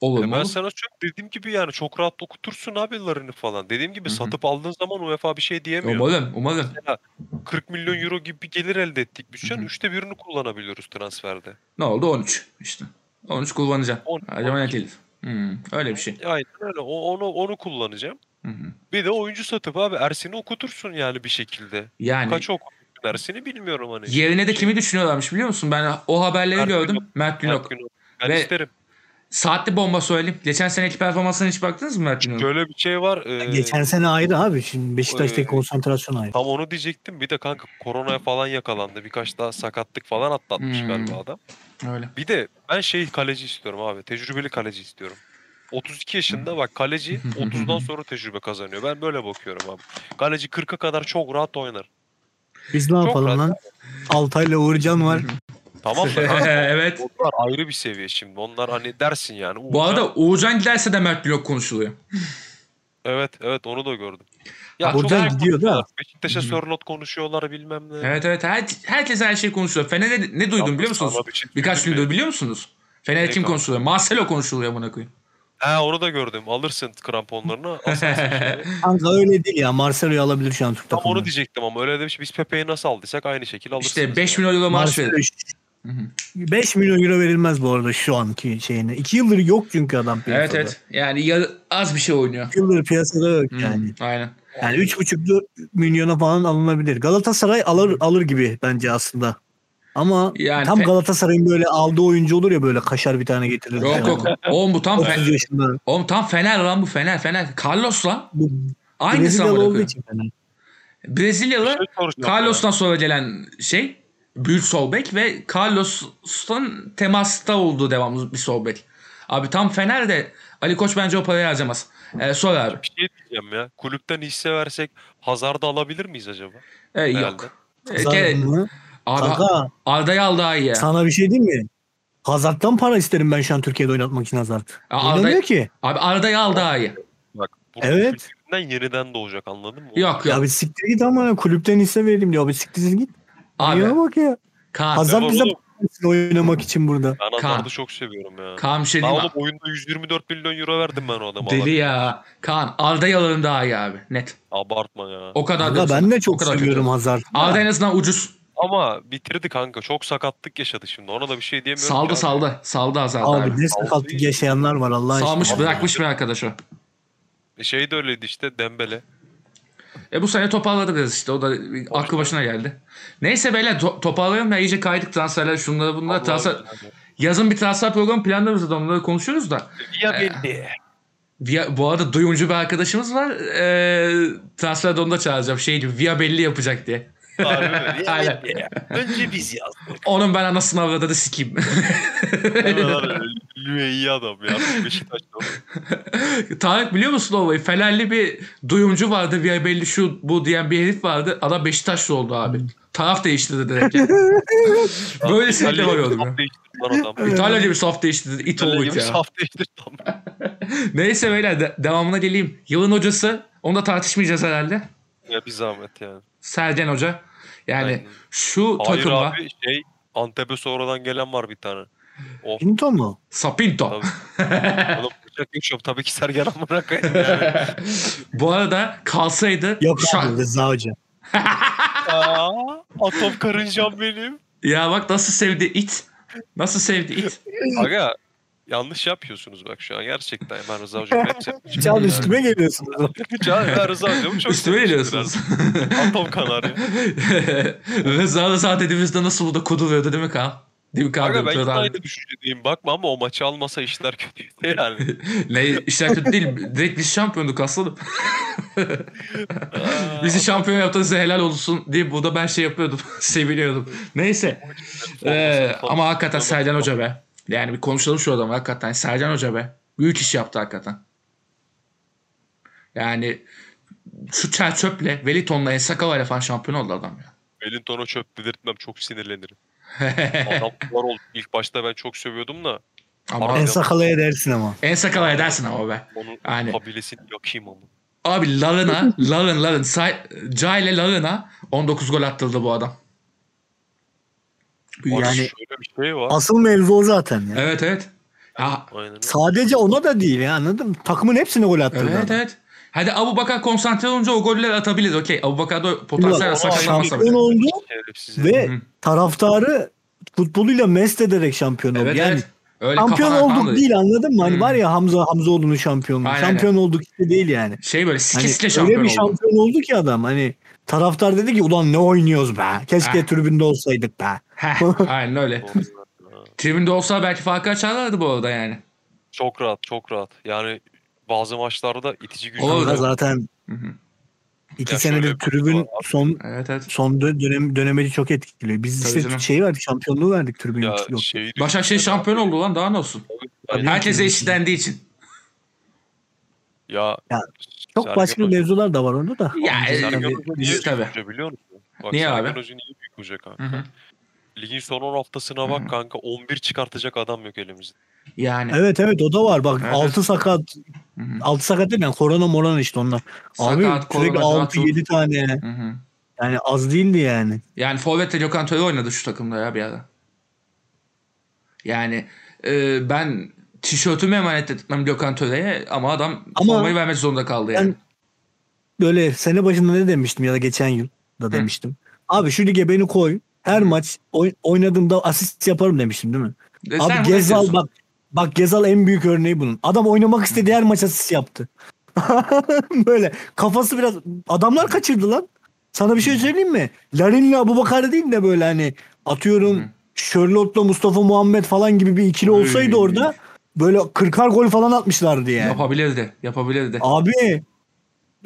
[SPEAKER 1] Olur
[SPEAKER 2] Ya
[SPEAKER 1] mu?
[SPEAKER 2] E, ben
[SPEAKER 1] olur?
[SPEAKER 2] sana çok dediğim gibi yani çok rahat okutursun abilerini falan. Dediğim gibi
[SPEAKER 1] Hı hı.
[SPEAKER 2] satıp aldığın zaman UEFA bir şey diyemiyor.
[SPEAKER 1] Umarım, umarım.
[SPEAKER 2] 40 milyon euro gibi bir gelir elde ettik biz şu an.
[SPEAKER 1] Hı hı.
[SPEAKER 2] Üçte birini kullanabiliyoruz transferde.
[SPEAKER 1] Ne oldu? 13 işte. 13 kullanacağım.
[SPEAKER 2] 10,
[SPEAKER 1] Acaba ne değil? Hmm, öyle bir şey. Hmm.
[SPEAKER 2] Aynen öyle. O- onu, onu kullanacağım.
[SPEAKER 1] Hı hı.
[SPEAKER 2] Bir de oyuncu satıp abi Ersin'i okutursun yani bir şekilde.
[SPEAKER 1] Yani
[SPEAKER 2] Kaç okutursun Ersin'i bilmiyorum hani.
[SPEAKER 1] yerine de
[SPEAKER 2] Şey,
[SPEAKER 1] kimi düşünüyorlarmış biliyor musun? Ben o haberleri
[SPEAKER 2] Mert
[SPEAKER 1] gördüm.
[SPEAKER 2] Günok.
[SPEAKER 1] Mert Günok.
[SPEAKER 2] Mert Günok. Ben
[SPEAKER 1] Ve-
[SPEAKER 2] isterim.
[SPEAKER 1] Saatli bomba söyleyeyim. Geçen seneki performansına hiç baktınız mı Mert Günok'un?
[SPEAKER 2] Şöyle bir şey var. ee,
[SPEAKER 3] Geçen sene ayrı abi. Şimdi Beşiktaş'taki
[SPEAKER 2] Ee,
[SPEAKER 3] konsantrasyon ayrı.
[SPEAKER 2] Tam onu diyecektim. Bir de kanka koronaya falan yakalandı. Birkaç daha sakatlık falan atlatmış
[SPEAKER 1] Hmm.
[SPEAKER 2] galiba adam.
[SPEAKER 1] Öyle.
[SPEAKER 2] Bir de ben şey kaleci istiyorum abi. Tecrübeli kaleci istiyorum. 32 yaşında
[SPEAKER 1] <laughs>
[SPEAKER 2] bak kaleci 30'dan sonra tecrübe kazanıyor. Ben böyle bakıyorum abi. Kaleci 40'a kadar çok rahat oynar.
[SPEAKER 3] Biz ne
[SPEAKER 2] çok
[SPEAKER 3] yapalım
[SPEAKER 2] rahat.
[SPEAKER 3] lan? Altay'la Uğurcan var.
[SPEAKER 2] Tamam da kanka,
[SPEAKER 1] Ee, <laughs> evet.
[SPEAKER 2] onlar ayrı bir seviye şimdi. Onlar hani dersin yani.
[SPEAKER 1] Bu
[SPEAKER 2] Uğurcan-
[SPEAKER 1] arada Uğurcan giderse de Mert Günok konuşuluyor.
[SPEAKER 2] Evet evet onu da gördüm.
[SPEAKER 3] Ha, Uğurcan
[SPEAKER 2] çok-
[SPEAKER 3] gidiyor da.
[SPEAKER 2] Beşiktaş'a
[SPEAKER 1] Hı hı.
[SPEAKER 2] Sörlot konuşuyorlar bilmem ne.
[SPEAKER 1] Evet evet. Her, herkes her şey konuşuluyor. Fener'e ne- ne duydum
[SPEAKER 2] Yalnız
[SPEAKER 1] biliyor musunuz?
[SPEAKER 2] sana bir şey
[SPEAKER 1] Birkaç
[SPEAKER 2] söyleyeyim mi?
[SPEAKER 1] gündür biliyor musunuz? Fener'e
[SPEAKER 2] Ne
[SPEAKER 1] kim
[SPEAKER 2] kanka?
[SPEAKER 1] konuşuluyor? Marcelo konuşuluyor amına koyayım.
[SPEAKER 2] Ha onu da gördüm. Alırsın
[SPEAKER 1] <laughs>
[SPEAKER 2] kramponlarını. şey.
[SPEAKER 3] Kanka öyle değil ya. Marcelo'yu alabilir şu an Türk
[SPEAKER 2] Tam
[SPEAKER 3] takımı.
[SPEAKER 2] onu diyecektim ama öyle demiş. Biz Pepe'yi nasıl aldıysak aynı şekilde alırsınız.
[SPEAKER 1] işte 5
[SPEAKER 2] yani.
[SPEAKER 1] milyon euro maaş
[SPEAKER 3] Marcelo
[SPEAKER 1] verir.
[SPEAKER 3] işte.
[SPEAKER 1] Hı hı.
[SPEAKER 3] 5 milyon euro verilmez bu arada şu anki şeyine. 2 yıldır yok çünkü adam piyasada.
[SPEAKER 1] Evet Hmm. evet. Yani yarı- az bir şey oynuyor.
[SPEAKER 3] 2 yıldır piyasada yok
[SPEAKER 1] Hı,
[SPEAKER 3] yani.
[SPEAKER 1] Aynen.
[SPEAKER 3] Yani 3,5 milyona falan alınabilir. Galatasaray alır alır gibi bence aslında. Ama
[SPEAKER 1] Hmm. Yani
[SPEAKER 3] tam
[SPEAKER 1] pe-
[SPEAKER 3] Galatasaray'ın böyle aldığı oyuncu olur ya böyle kaşar bir tane getirir.
[SPEAKER 1] Yok
[SPEAKER 3] falan.
[SPEAKER 1] yok. Oğlum bu tam
[SPEAKER 3] 30
[SPEAKER 1] Fener.
[SPEAKER 3] yaşında.
[SPEAKER 1] Oğlum tam Fener lan bu Fener Fener. Carlos lan.
[SPEAKER 3] Bu
[SPEAKER 1] Aynısı
[SPEAKER 3] Brezilyalı
[SPEAKER 1] amına
[SPEAKER 3] olduğu
[SPEAKER 1] koyayım.
[SPEAKER 3] için fena.
[SPEAKER 2] Bir
[SPEAKER 1] Brezilyalı
[SPEAKER 2] şey soracağım
[SPEAKER 1] Carlos'tan sonra gelen şey büyük sol bek ve Carlos'tan temasta olduğu devamlı bir sol bek. Abi tam Fener de Ali Koç bence o parayı harcamaz. Ee, sor abi.
[SPEAKER 2] ya. Bir şey diyeceğim ya. Kulüpten hisse versek Hazard'ı alabilir miyiz acaba?
[SPEAKER 1] Ee,
[SPEAKER 2] Herhalde.
[SPEAKER 1] yok. Ee, gene-
[SPEAKER 3] Hazard mı?
[SPEAKER 1] abi
[SPEAKER 3] Kanka
[SPEAKER 1] Arda'yı al daha iyi. ya.
[SPEAKER 3] sana bir şey diyeyim mi? Hazard'dan para isterim ben şu an Türkiye'de oynatmak için Hazard.
[SPEAKER 1] Aa,
[SPEAKER 3] Oynamıyor
[SPEAKER 1] Arda'yı-
[SPEAKER 3] ki.
[SPEAKER 1] Abi Arda'yı al daha iyi.
[SPEAKER 2] Bunun
[SPEAKER 3] Evet.
[SPEAKER 2] kültüründen yeniden doğacak anladın mı?
[SPEAKER 1] Yok
[SPEAKER 3] Ya
[SPEAKER 1] yok.
[SPEAKER 3] bir siktir git ama kulüpten hisse vereyim diyor. Bir siktir git.
[SPEAKER 1] Abi,
[SPEAKER 3] Yine bak ya.
[SPEAKER 1] Kaan,
[SPEAKER 3] Hazard
[SPEAKER 2] Ben
[SPEAKER 3] bize
[SPEAKER 2] oğlum-
[SPEAKER 3] para oynamak için burada.
[SPEAKER 2] Ben
[SPEAKER 1] Kaan.
[SPEAKER 2] Hazard'ı çok seviyorum ya.
[SPEAKER 1] Kaan bir şey
[SPEAKER 2] Ben
[SPEAKER 1] diyeyim mi?
[SPEAKER 2] oğlum oyunda 124 milyon euro verdim ben o adama.
[SPEAKER 1] Deli
[SPEAKER 2] Abi.
[SPEAKER 1] ya. Kaan Arda'yı alalım daha iyi abi. Net.
[SPEAKER 2] Abartma ya.
[SPEAKER 1] O kadar
[SPEAKER 3] Kanka
[SPEAKER 1] diyorum sana.
[SPEAKER 3] ben de
[SPEAKER 1] O
[SPEAKER 3] çok
[SPEAKER 1] kadar
[SPEAKER 3] seviyorum
[SPEAKER 1] diyorum.
[SPEAKER 3] Hazard.
[SPEAKER 1] Arda en azından ucuz.
[SPEAKER 2] Ama bitirdi kanka. Çok sakatlık yaşadı şimdi. Ona da bir şey diyemiyorum. ki
[SPEAKER 1] Saldı
[SPEAKER 2] abi.
[SPEAKER 1] saldı. Saldı Hazard abi.
[SPEAKER 3] Abi ne sakatlık yaşayanlar var Allah aşkına.
[SPEAKER 1] Salmış
[SPEAKER 2] Abi.
[SPEAKER 1] bırakmış bir arkadaş o.
[SPEAKER 2] E Şey de öyleydi işte Dembele.
[SPEAKER 1] E bu sene toparladı biraz işte. O da bir aklı başına geldi. Neyse beyler to- toparlayalım ya. iyice kaydık transferler şunlara bunlara.
[SPEAKER 2] Allah
[SPEAKER 1] Transfer,
[SPEAKER 2] Allah.
[SPEAKER 1] yazın bir transfer programı planlarız zaten onları konuşuyoruz da.
[SPEAKER 2] Ya
[SPEAKER 1] <laughs>
[SPEAKER 2] belli.
[SPEAKER 1] Via- bu arada duyumcu bir arkadaşımız var. Ee, transferde onu da çağıracağım. Şey gibi via belli yapacak diye.
[SPEAKER 2] Harbi mi? Ya
[SPEAKER 1] Aynen.
[SPEAKER 2] belli. Önce biz yazdık.
[SPEAKER 1] <laughs> Onun ben anasını avradı da sikeyim. <laughs>
[SPEAKER 2] Lüye iyi adam ya. Beşiktaş'ta.
[SPEAKER 1] Tarık biliyor musun olayı? Fenerli bir duyumcu vardı. Via belli şu bu diyen bir herif vardı. Adam Beşiktaşlı oldu abi.
[SPEAKER 2] Hmm.
[SPEAKER 1] Taraf değiştirdi direkt.
[SPEAKER 2] <laughs>
[SPEAKER 1] yani. Böyle şeyler var oğlum ya. <laughs> İtalya gibi saf değiştirdi. İt
[SPEAKER 2] İtalya
[SPEAKER 1] olduk
[SPEAKER 2] gibi
[SPEAKER 1] ya.
[SPEAKER 2] saf değiştirdi adam.
[SPEAKER 1] Neyse beyler de- devamına geleyim. Yılın hocası. Onu da tartışmayacağız herhalde.
[SPEAKER 2] Ya bir zahmet yani.
[SPEAKER 1] Sergen Hoca. Yani
[SPEAKER 2] Aynen.
[SPEAKER 1] şu
[SPEAKER 2] Hayır
[SPEAKER 1] takımla
[SPEAKER 2] abi şey Antep'e sonradan gelen var
[SPEAKER 1] <laughs>
[SPEAKER 2] bir tane. Of
[SPEAKER 3] Pinto mu?
[SPEAKER 1] Sapinto.
[SPEAKER 2] tabii. Oğlum bıçak geçiyorum. Tabii ki Sergen amına
[SPEAKER 1] <laughs>
[SPEAKER 2] koyayım yani.
[SPEAKER 1] Bu arada kalsaydı
[SPEAKER 3] Yok
[SPEAKER 1] şu an-
[SPEAKER 3] abi Rıza Hoca.
[SPEAKER 2] Aa, Atom karıncam benim.
[SPEAKER 1] Ya bak nasıl sevdi it. Nasıl sevdi it.
[SPEAKER 2] Aga yanlış yapıyorsunuz bak şu an gerçekten. Ben Rıza Hoca'yı
[SPEAKER 1] <laughs>
[SPEAKER 2] hep sevmişim.
[SPEAKER 3] Hiç abi üstüme geliyorsunuz.
[SPEAKER 2] Can, ben Rıza Hoca'yı <laughs> çok
[SPEAKER 1] Üstüme
[SPEAKER 2] sevmişimdir
[SPEAKER 1] geliyorsunuz.
[SPEAKER 2] abi. Atom kanarya.
[SPEAKER 1] <laughs> Rıza da zaten dibimizde nasıl burada koduluyordu değil mi Kaan? Değil mi Kaan?
[SPEAKER 2] Aga ben
[SPEAKER 1] Diyor,
[SPEAKER 2] yine
[SPEAKER 1] abi.
[SPEAKER 2] aynı düşüncedeyim. Bakma ama o maçı almasa işler kötüydü
[SPEAKER 1] <laughs>
[SPEAKER 2] yani.
[SPEAKER 1] Ne işler kötü değil. Direkt biz şampiyonduk aslanım.
[SPEAKER 2] Aa,
[SPEAKER 1] Bizi şampiyon yaptığınız için helal olsun diye burada ben şey yapıyordum. <laughs> Seviniyordum. Neyse.
[SPEAKER 2] Atom
[SPEAKER 1] Ee,
[SPEAKER 2] olmasa falan.
[SPEAKER 1] ama hakikaten Sercan Hoca be. Yani bir konuşalım şu adamı hakikaten. Sercan Hoca be. Büyük iş yaptı hakikaten. Yani şu çer çöple, Veliton'la, Ensakava'yla falan şampiyon oldu adam ya. <laughs>
[SPEAKER 2] Wellington'a çöp dedirtmem çok sinirlenirim. Adam var oldu. İlk başta ben çok sövüyordum da
[SPEAKER 1] ama
[SPEAKER 3] En sakalaya dersin ama.
[SPEAKER 1] Ensakava'ya dersin ama be.
[SPEAKER 2] onun
[SPEAKER 1] <laughs> Aynen.
[SPEAKER 2] kabilesini yakayım ama.
[SPEAKER 1] Abi Larına, Larin, Larin, Say, Ca ile Larına 19 gol attırdı bu adam.
[SPEAKER 2] Orada
[SPEAKER 1] Yani,
[SPEAKER 2] şöyle bir şey var.
[SPEAKER 3] Asıl mevzu o zaten ya.
[SPEAKER 1] evet evet. Ya,
[SPEAKER 2] Aynen.
[SPEAKER 3] Sadece ona da değil ya anladın mı? Takımın hepsine gol attırdı.
[SPEAKER 1] evet
[SPEAKER 3] adam.
[SPEAKER 1] evet. Hadi Abu Bakar konsantre olunca o golleri atabilir. Okey. Abu Bakar da potansiyel
[SPEAKER 2] Ama
[SPEAKER 1] var, sakatlanmasa bile.
[SPEAKER 3] şampiyon oldu
[SPEAKER 2] Şerefsiz herif.
[SPEAKER 3] ve
[SPEAKER 1] Hı.
[SPEAKER 3] taraftarı futboluyla mest ederek şampiyon oldu.
[SPEAKER 1] Evet
[SPEAKER 3] yani
[SPEAKER 1] evet. Öyle
[SPEAKER 3] şampiyon
[SPEAKER 1] kafadan falan
[SPEAKER 3] olduk
[SPEAKER 1] da-
[SPEAKER 3] değil anladın mı? Hani
[SPEAKER 1] Hı.
[SPEAKER 3] var ya Hamza Hamzaoğlu'nun şampiyonluğu.
[SPEAKER 1] Aynen,
[SPEAKER 3] şampiyon olduk işte değil yani.
[SPEAKER 1] Şey böyle sike
[SPEAKER 3] Hani
[SPEAKER 1] sike şampiyon oldu.
[SPEAKER 3] öyle bir <laughs> şampiyon oldu ki adam hani taraftar dedi ki ulan ne oynuyoruz be. Keşke
[SPEAKER 1] Heh.
[SPEAKER 3] tribünde olsaydık be.
[SPEAKER 1] Heh, aynen öyle.
[SPEAKER 2] Doğru. Ha.
[SPEAKER 1] Tribünde olsa belki farkı açarlardı bu arada yani.
[SPEAKER 2] Çok rahat, çok rahat. Yani bazı maçlarda itici güç.
[SPEAKER 1] Olur.
[SPEAKER 3] Kanka zaten
[SPEAKER 1] Hı hı.
[SPEAKER 3] iki
[SPEAKER 2] Ya şöyle
[SPEAKER 3] senedir
[SPEAKER 2] bir
[SPEAKER 3] tribün
[SPEAKER 2] durum var.
[SPEAKER 3] son
[SPEAKER 1] Evet evet.
[SPEAKER 3] son dö- dönem dönemeci çok etkiliyor. Biz
[SPEAKER 1] Tabii
[SPEAKER 3] işte
[SPEAKER 1] canım. şey,
[SPEAKER 3] şeyi verdik, şampiyonluğu verdik tribün
[SPEAKER 2] Ya şey
[SPEAKER 3] yok.
[SPEAKER 2] şeyi
[SPEAKER 1] Başakşehir
[SPEAKER 2] düşünsene
[SPEAKER 1] şampiyon
[SPEAKER 2] abi.
[SPEAKER 1] oldu lan daha ne olsun.
[SPEAKER 2] Yani
[SPEAKER 1] Herkese eşitlendiği için.
[SPEAKER 2] ya,
[SPEAKER 3] Ya,
[SPEAKER 2] Sergen
[SPEAKER 3] Çok başka şey
[SPEAKER 2] Hoca-
[SPEAKER 3] mevzular da var orada da.
[SPEAKER 1] Ya,
[SPEAKER 3] Biz-
[SPEAKER 1] e,
[SPEAKER 2] Sergen
[SPEAKER 3] tabii-
[SPEAKER 2] Hoca niye
[SPEAKER 1] biz-
[SPEAKER 2] büyük
[SPEAKER 1] tabii.
[SPEAKER 2] hoca biliyor musun? Bak,
[SPEAKER 1] Niye
[SPEAKER 2] Sergen
[SPEAKER 1] abi?
[SPEAKER 2] Hoca niye büyük hoca kanka?
[SPEAKER 1] Hı hı.
[SPEAKER 2] Ligin son 10 haftasına bak kanka 11 çıkartacak adam yok elimizde.
[SPEAKER 1] Yani.
[SPEAKER 3] Evet evet o da var. Bak
[SPEAKER 1] Evet.
[SPEAKER 3] 6 sakat.
[SPEAKER 1] Hı hı.
[SPEAKER 3] 6 sakat değil yani korona morana işte onlar.
[SPEAKER 1] Sakat,
[SPEAKER 3] Abi sürekli
[SPEAKER 1] korona,
[SPEAKER 3] 6
[SPEAKER 1] rahatsız.
[SPEAKER 3] 7 tane
[SPEAKER 1] Hı hı.
[SPEAKER 3] yani az değildi yani.
[SPEAKER 1] Yani Forvet'te Gökhan Töre oynadı şu takımda ya bir ara. Yani e, ben tişörtümü emanet etmem Gökhan Töre'ye ama adam
[SPEAKER 3] Ama-
[SPEAKER 1] formayı vermek zorunda kaldı yani.
[SPEAKER 3] Ben- Böyle sene başında ne demiştim ya da geçen yıl da demiştim. Abi şu lige beni koy. Her maç oy- oynadığımda asist yaparım demiştim değil mi?
[SPEAKER 1] E, sen
[SPEAKER 3] Abi
[SPEAKER 1] bunu
[SPEAKER 3] Gezal
[SPEAKER 1] istiyorsun.
[SPEAKER 3] bak bak Gezal en büyük örneği bunun. Adam oynamak istediği her maç asist yaptı. <laughs> Böyle kafası biraz adamlar kaçırdı lan. Sana bir şey söyleyeyim mi? Larin'le Abubakar değil de böyle hani Atıyorum
[SPEAKER 1] Hı.
[SPEAKER 3] Sherlock'la Mustafa Muhammed falan gibi bir ikili olsaydı
[SPEAKER 1] Oy.
[SPEAKER 3] orada böyle 40'ar gol falan atmışlardı yani.
[SPEAKER 1] Yapabilirdi. Yapabilirdi.
[SPEAKER 3] Abi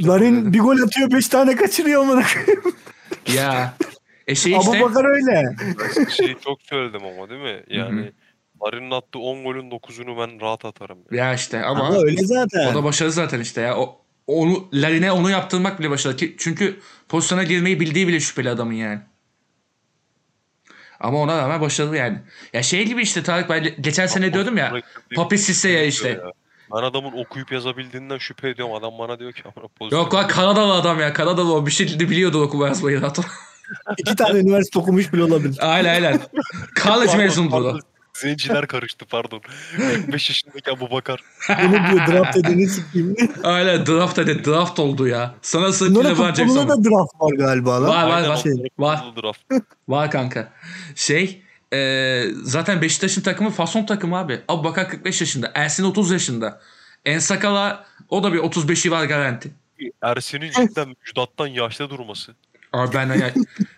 [SPEAKER 3] Larin bir gol atıyor 5 tane kaçırıyor amına koyayım.
[SPEAKER 1] ya. E şey
[SPEAKER 3] Abu
[SPEAKER 1] işte.
[SPEAKER 3] Bakar öyle.
[SPEAKER 1] <laughs>
[SPEAKER 2] Şeyi çok söyledim ama değil mi? Yani Larin'in attığı 10 golün 9'unu ben rahat atarım.
[SPEAKER 1] Ya işte ama.
[SPEAKER 3] Ama öyle zaten.
[SPEAKER 1] O da başarı zaten işte ya. O, onu, Larin'e onu yaptırmak bile başarı. Ki- Çünkü pozisyona girmeyi bildiği bile şüpheli adamın yani. Ama ona rağmen başarılı yani. Ya şey gibi işte Tarık ben geçen sene diyordum ya. Papi Sisse'ye
[SPEAKER 2] şey
[SPEAKER 1] işte.
[SPEAKER 2] Ben adamın okuyup yazabildiğinden şüphe ediyorum. Adam bana diyor ki "Amına pozisyon
[SPEAKER 1] Yok lan Kanadalı adam ya. Kanadalı o bir şekilde biliyordu okuma yazmayı zaten.
[SPEAKER 3] İki tane üniversite okumuş bile olabilir.
[SPEAKER 1] <laughs> aynen aynen. College
[SPEAKER 2] Pardon,
[SPEAKER 1] mezunudur o.
[SPEAKER 2] pardon. Zenciler karıştı pardon. 45 yaşındaki Abu Bakar.
[SPEAKER 3] Bunu diyor draft edeni sikeyim.
[SPEAKER 1] Aynen draft dedi. Draft oldu ya. Sana sırf
[SPEAKER 3] Bunlara
[SPEAKER 1] LeBron James
[SPEAKER 3] futboluna da
[SPEAKER 1] oldu.
[SPEAKER 3] draft var galiba lan.
[SPEAKER 1] Var var
[SPEAKER 2] Aynen
[SPEAKER 1] var.
[SPEAKER 2] onların
[SPEAKER 1] Var.
[SPEAKER 2] kurulu draft.
[SPEAKER 1] Var kanka. Şey e, zaten Beşiktaş'ın takımı fason takımı abi. Abu Bakar 45 yaşında. Ersin 30 yaşında. Ensakala o da bir 35'i var garanti.
[SPEAKER 2] Ersin'in cidden Müjdat'tan yaşta durması.
[SPEAKER 1] Abi benden, ya-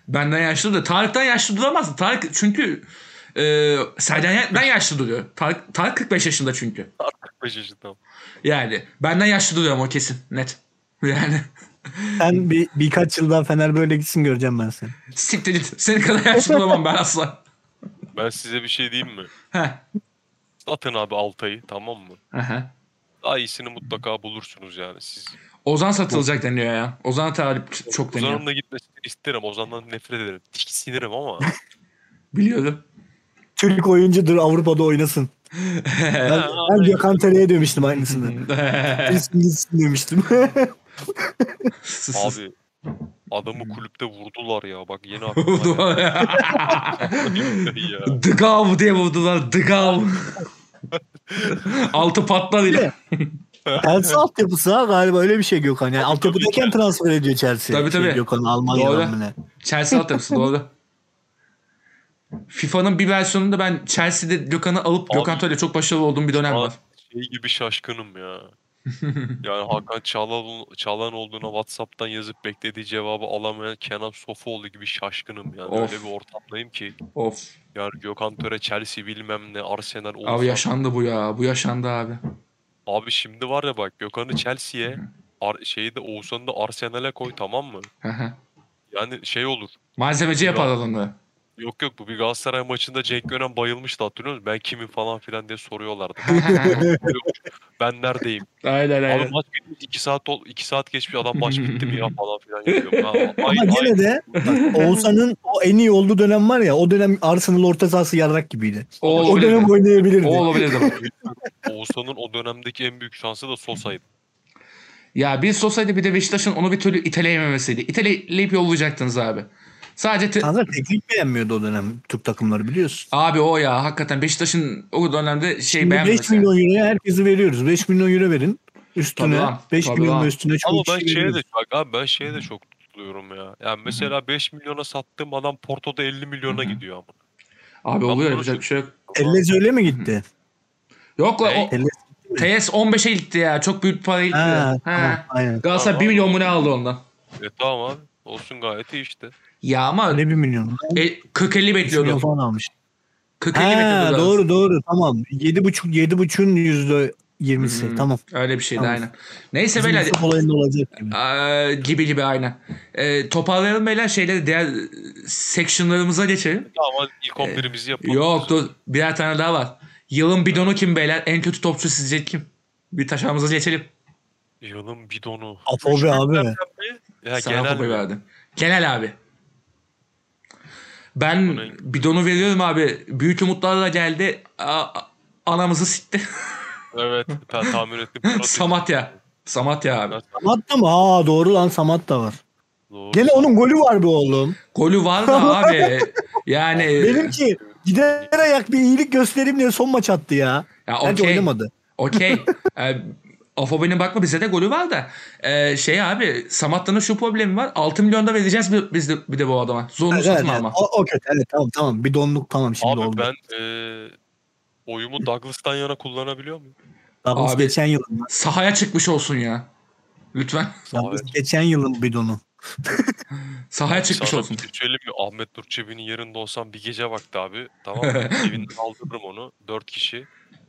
[SPEAKER 1] benden yaşlı da. Tarık'tan yaşlı duramaz. Tarık çünkü e, Serdar'dan yaşlı duruyor. Tarık, Tarık 45 yaşında çünkü.
[SPEAKER 2] 45 yaşında.
[SPEAKER 1] Yani benden yaşlı duruyor ama o kesin. Net. Yani <laughs>
[SPEAKER 3] Sen bir, birkaç yıl daha Fener böyle gitsin göreceğim ben seni.
[SPEAKER 1] siktir git. Senin kadar yaşlı duramam ben asla.
[SPEAKER 2] Ben size bir şey diyeyim mi?
[SPEAKER 1] Heh.
[SPEAKER 2] Atın abi Altay'ı tamam mı?
[SPEAKER 1] Aha.
[SPEAKER 2] Daha iyisini mutlaka bulursunuz yani siz.
[SPEAKER 1] Ozan satılacak deniyor ya. Ozan talip çok deniyor.
[SPEAKER 2] Ozan'ın da gitmesini isterim. Ozan'dan nefret ederim.
[SPEAKER 1] <laughs>
[SPEAKER 2] Tiksinirim ama.
[SPEAKER 1] Biliyorum.
[SPEAKER 3] Türk oyuncudur Avrupa'da oynasın. Ben, ben Gökhan Tere'ye demiştim aynısını. Gitsin gitsin demiştim.
[SPEAKER 2] abi adamı kulüpte vurdular ya.
[SPEAKER 1] <laughs>
[SPEAKER 2] Bak yeni aklıma
[SPEAKER 1] Vurdular ya.
[SPEAKER 2] geldi ya.
[SPEAKER 1] Dıgav diye vurdular. Dıgav. Altı patlarıyla.
[SPEAKER 3] Chelsea altyapısı ha galiba öyle bir şey Gökhan. Yani
[SPEAKER 2] Tabii,
[SPEAKER 3] altyapıdayken
[SPEAKER 2] tabii.
[SPEAKER 3] transfer ediyor Chelsea.
[SPEAKER 1] Tabii,
[SPEAKER 3] Şey,
[SPEAKER 1] tabii.
[SPEAKER 3] Gökhan Almanya'dan
[SPEAKER 1] Doğru.
[SPEAKER 3] mı ne?
[SPEAKER 1] Chelsea altyapısı doğru. FIFA'nın bir versiyonunda ben Chelsea'de Gökhan'ı alıp
[SPEAKER 2] Abi.
[SPEAKER 1] Gökhan Töre çok başarılı olduğum bir dönem
[SPEAKER 2] Aa,
[SPEAKER 1] var.
[SPEAKER 2] Şey gibi
[SPEAKER 1] <laughs>
[SPEAKER 2] şaşkınım ya. yani Hakan Çağlan, Çağlan olduğuna Whatsapp'tan yazıp beklediği cevabı alamayan Kenan Sofuoğlu gibi şaşkınım yani.
[SPEAKER 1] Of.
[SPEAKER 2] Öyle bir ortamdayım ki.
[SPEAKER 1] Of.
[SPEAKER 2] Yani Gökhan Töre, Chelsea bilmem ne, Arsenal, Oğuzhan.
[SPEAKER 1] Abi yaşandı bu ya. Bu yaşandı abi.
[SPEAKER 2] Abi şimdi var ya bak Gökhan'ı Chelsea'ye, Ar- şeyi de Oğuzhan'ı da Arsenal'e koy tamam mı?
[SPEAKER 1] Hı hı.
[SPEAKER 2] Yani şey olur.
[SPEAKER 1] Malzemeci yapar adamı.
[SPEAKER 2] Yok yok bu bir Galatasaray maçında Cenk Önem bayılmıştı hatırlıyor musun? Ben kimim falan filan diye soruyorlardı. Soruyormuş, ben neredeyim?
[SPEAKER 1] aynen
[SPEAKER 2] Abi
[SPEAKER 1] aynen.
[SPEAKER 2] maç bitmiş 2 saat ol 2 saat geçmiş
[SPEAKER 3] <laughs>
[SPEAKER 2] adam maç bitti mi ya falan filan yapıyor. Ha, ay,
[SPEAKER 3] Ama
[SPEAKER 2] ay,
[SPEAKER 3] gene de bak, Oğuzhan'ın o en iyi olduğu dönem var ya o dönem Arsenal orta sahası yarrak gibiydi.
[SPEAKER 1] O
[SPEAKER 3] o dönem
[SPEAKER 1] olabilirdi.
[SPEAKER 3] oynayabilirdi.
[SPEAKER 1] O olabilirdi. bak.
[SPEAKER 2] Oğuzhan'ın o dönemdeki en büyük şansı da Sosa'ydı.
[SPEAKER 1] Ya bir Sosa'ydı bir de Beşiktaş'ın onu bir türlü iteleyememesiydi. İteleyip yollayacaktınız abi. Sadece te-
[SPEAKER 3] Tanrı teknik beğenmiyordu o dönem Türk takımları biliyorsun.
[SPEAKER 1] Abi o ya hakikaten Beşiktaş'ın o dönemde şey
[SPEAKER 3] Şimdi 5
[SPEAKER 1] beğenmemesi.
[SPEAKER 3] milyon euroya herkesi veriyoruz. 5 milyon euro verin.
[SPEAKER 1] Tabii
[SPEAKER 3] Üstüne
[SPEAKER 1] lan,
[SPEAKER 3] 5
[SPEAKER 1] tabii
[SPEAKER 3] milyon
[SPEAKER 1] lan.
[SPEAKER 3] üstüne çok
[SPEAKER 2] Ama ben
[SPEAKER 3] kişi
[SPEAKER 2] şeye
[SPEAKER 3] veriyoruz.
[SPEAKER 2] de bak abi ben şeye de çok tutuluyorum ya. Yani mesela 5 milyona sattığım adam Porto'da 50 milyona gidiyor ama.
[SPEAKER 1] Abi
[SPEAKER 2] Ben
[SPEAKER 1] oluyor
[SPEAKER 2] bunu
[SPEAKER 1] yapacak
[SPEAKER 2] çok-
[SPEAKER 1] bir şey yok.
[SPEAKER 3] Tellez öyle mi gitti?
[SPEAKER 1] Yok lan
[SPEAKER 2] Ne?
[SPEAKER 1] o TS 15'e gitti ya. Çok büyük para <laughs> gitti.
[SPEAKER 3] Ha,
[SPEAKER 1] ya.
[SPEAKER 3] tamam,
[SPEAKER 1] Ha.
[SPEAKER 3] aynen.
[SPEAKER 1] Galatasaray
[SPEAKER 2] Tamam.
[SPEAKER 1] 1 milyon mu ne aldı ondan?
[SPEAKER 2] E tamam abi. Olsun gayet iyi işte.
[SPEAKER 1] Ya ama
[SPEAKER 3] Ne 1 milyon?
[SPEAKER 1] e, 40-50
[SPEAKER 3] 3 milyon
[SPEAKER 1] bekliyordum.
[SPEAKER 3] falan almış.
[SPEAKER 1] 40-50
[SPEAKER 3] Ha,
[SPEAKER 1] bekliyordum.
[SPEAKER 3] doğru doğru tamam. 7,5 7,5'un yüzde 20'si
[SPEAKER 1] Hmm.
[SPEAKER 3] tamam.
[SPEAKER 1] Öyle bir şeydi
[SPEAKER 3] Tamam.
[SPEAKER 1] aynen. Neyse
[SPEAKER 3] Bizim
[SPEAKER 1] beyler
[SPEAKER 3] Yusuf olayında olacak gibi.
[SPEAKER 1] aa, gibi gibi aynen. E, toparlayalım beyler şeyleri diğer e, sectionlarımıza geçelim.
[SPEAKER 2] Tamam hadi ilk
[SPEAKER 3] E,
[SPEAKER 2] 11'imizi yapalım.
[SPEAKER 1] Yok dur birer tane daha var. Yılın bidonu kim beyler? En kötü topçu sizce kim? Bir taşağımıza geçelim.
[SPEAKER 2] Yılın bidonu.
[SPEAKER 3] Apo be abi.
[SPEAKER 2] Ya
[SPEAKER 1] Sana
[SPEAKER 2] genel
[SPEAKER 1] kupayı verdim. Genel abi. Ben
[SPEAKER 2] Bunu-
[SPEAKER 1] bidonu veriyorum abi. Büyük umutlarla geldi. A- a- anamızı sikti.
[SPEAKER 3] <laughs>
[SPEAKER 2] Evet ben tahmin ettim. Murat
[SPEAKER 1] Samatya. Samatya abi.
[SPEAKER 2] Ben-
[SPEAKER 3] Samat da mı? Ha doğru lan Samat da var.
[SPEAKER 2] Doğru.
[SPEAKER 3] Gene onun golü var be oğlum.
[SPEAKER 1] Golü var da
[SPEAKER 3] <laughs>
[SPEAKER 1] abi. Yani
[SPEAKER 3] Benimki gider ayak bir iyilik göstereyim diye son maç attı ya.
[SPEAKER 1] ya
[SPEAKER 3] Bence
[SPEAKER 1] okey.
[SPEAKER 3] oynamadı. <laughs>
[SPEAKER 1] Okey. Ee, Afobe'nin bakma bize de golü var da. Ee, şey abi Samatta'nın şu problemi var. 6 milyonda vereceğiz bir- biz de, bir de bu adama. Zorunlu
[SPEAKER 3] Evet,
[SPEAKER 1] satın
[SPEAKER 3] evet.
[SPEAKER 1] alma.
[SPEAKER 3] O, o kötü. Evet, tamam tamam. Bir donluk tamam şimdi
[SPEAKER 2] Abi
[SPEAKER 3] oldu.
[SPEAKER 2] ben e, oyumu Douglas'tan yana kullanabiliyor muyum?
[SPEAKER 3] Douglas
[SPEAKER 1] Abi-
[SPEAKER 3] geçen yıl.
[SPEAKER 1] Sahaya çıkmış olsun ya. Lütfen.
[SPEAKER 3] Douglas
[SPEAKER 2] Abi,
[SPEAKER 3] geçen yılın bidonu.
[SPEAKER 1] Sahaya çıkmış
[SPEAKER 2] Sana
[SPEAKER 1] olsun.
[SPEAKER 2] bir şey söyleyeyim mi? Ahmet Nur Çebi'nin yerinde olsam bir gece vakti abi.
[SPEAKER 1] <laughs>
[SPEAKER 2] Tamam mı? Evinden aldırırım onu. Dört kişi.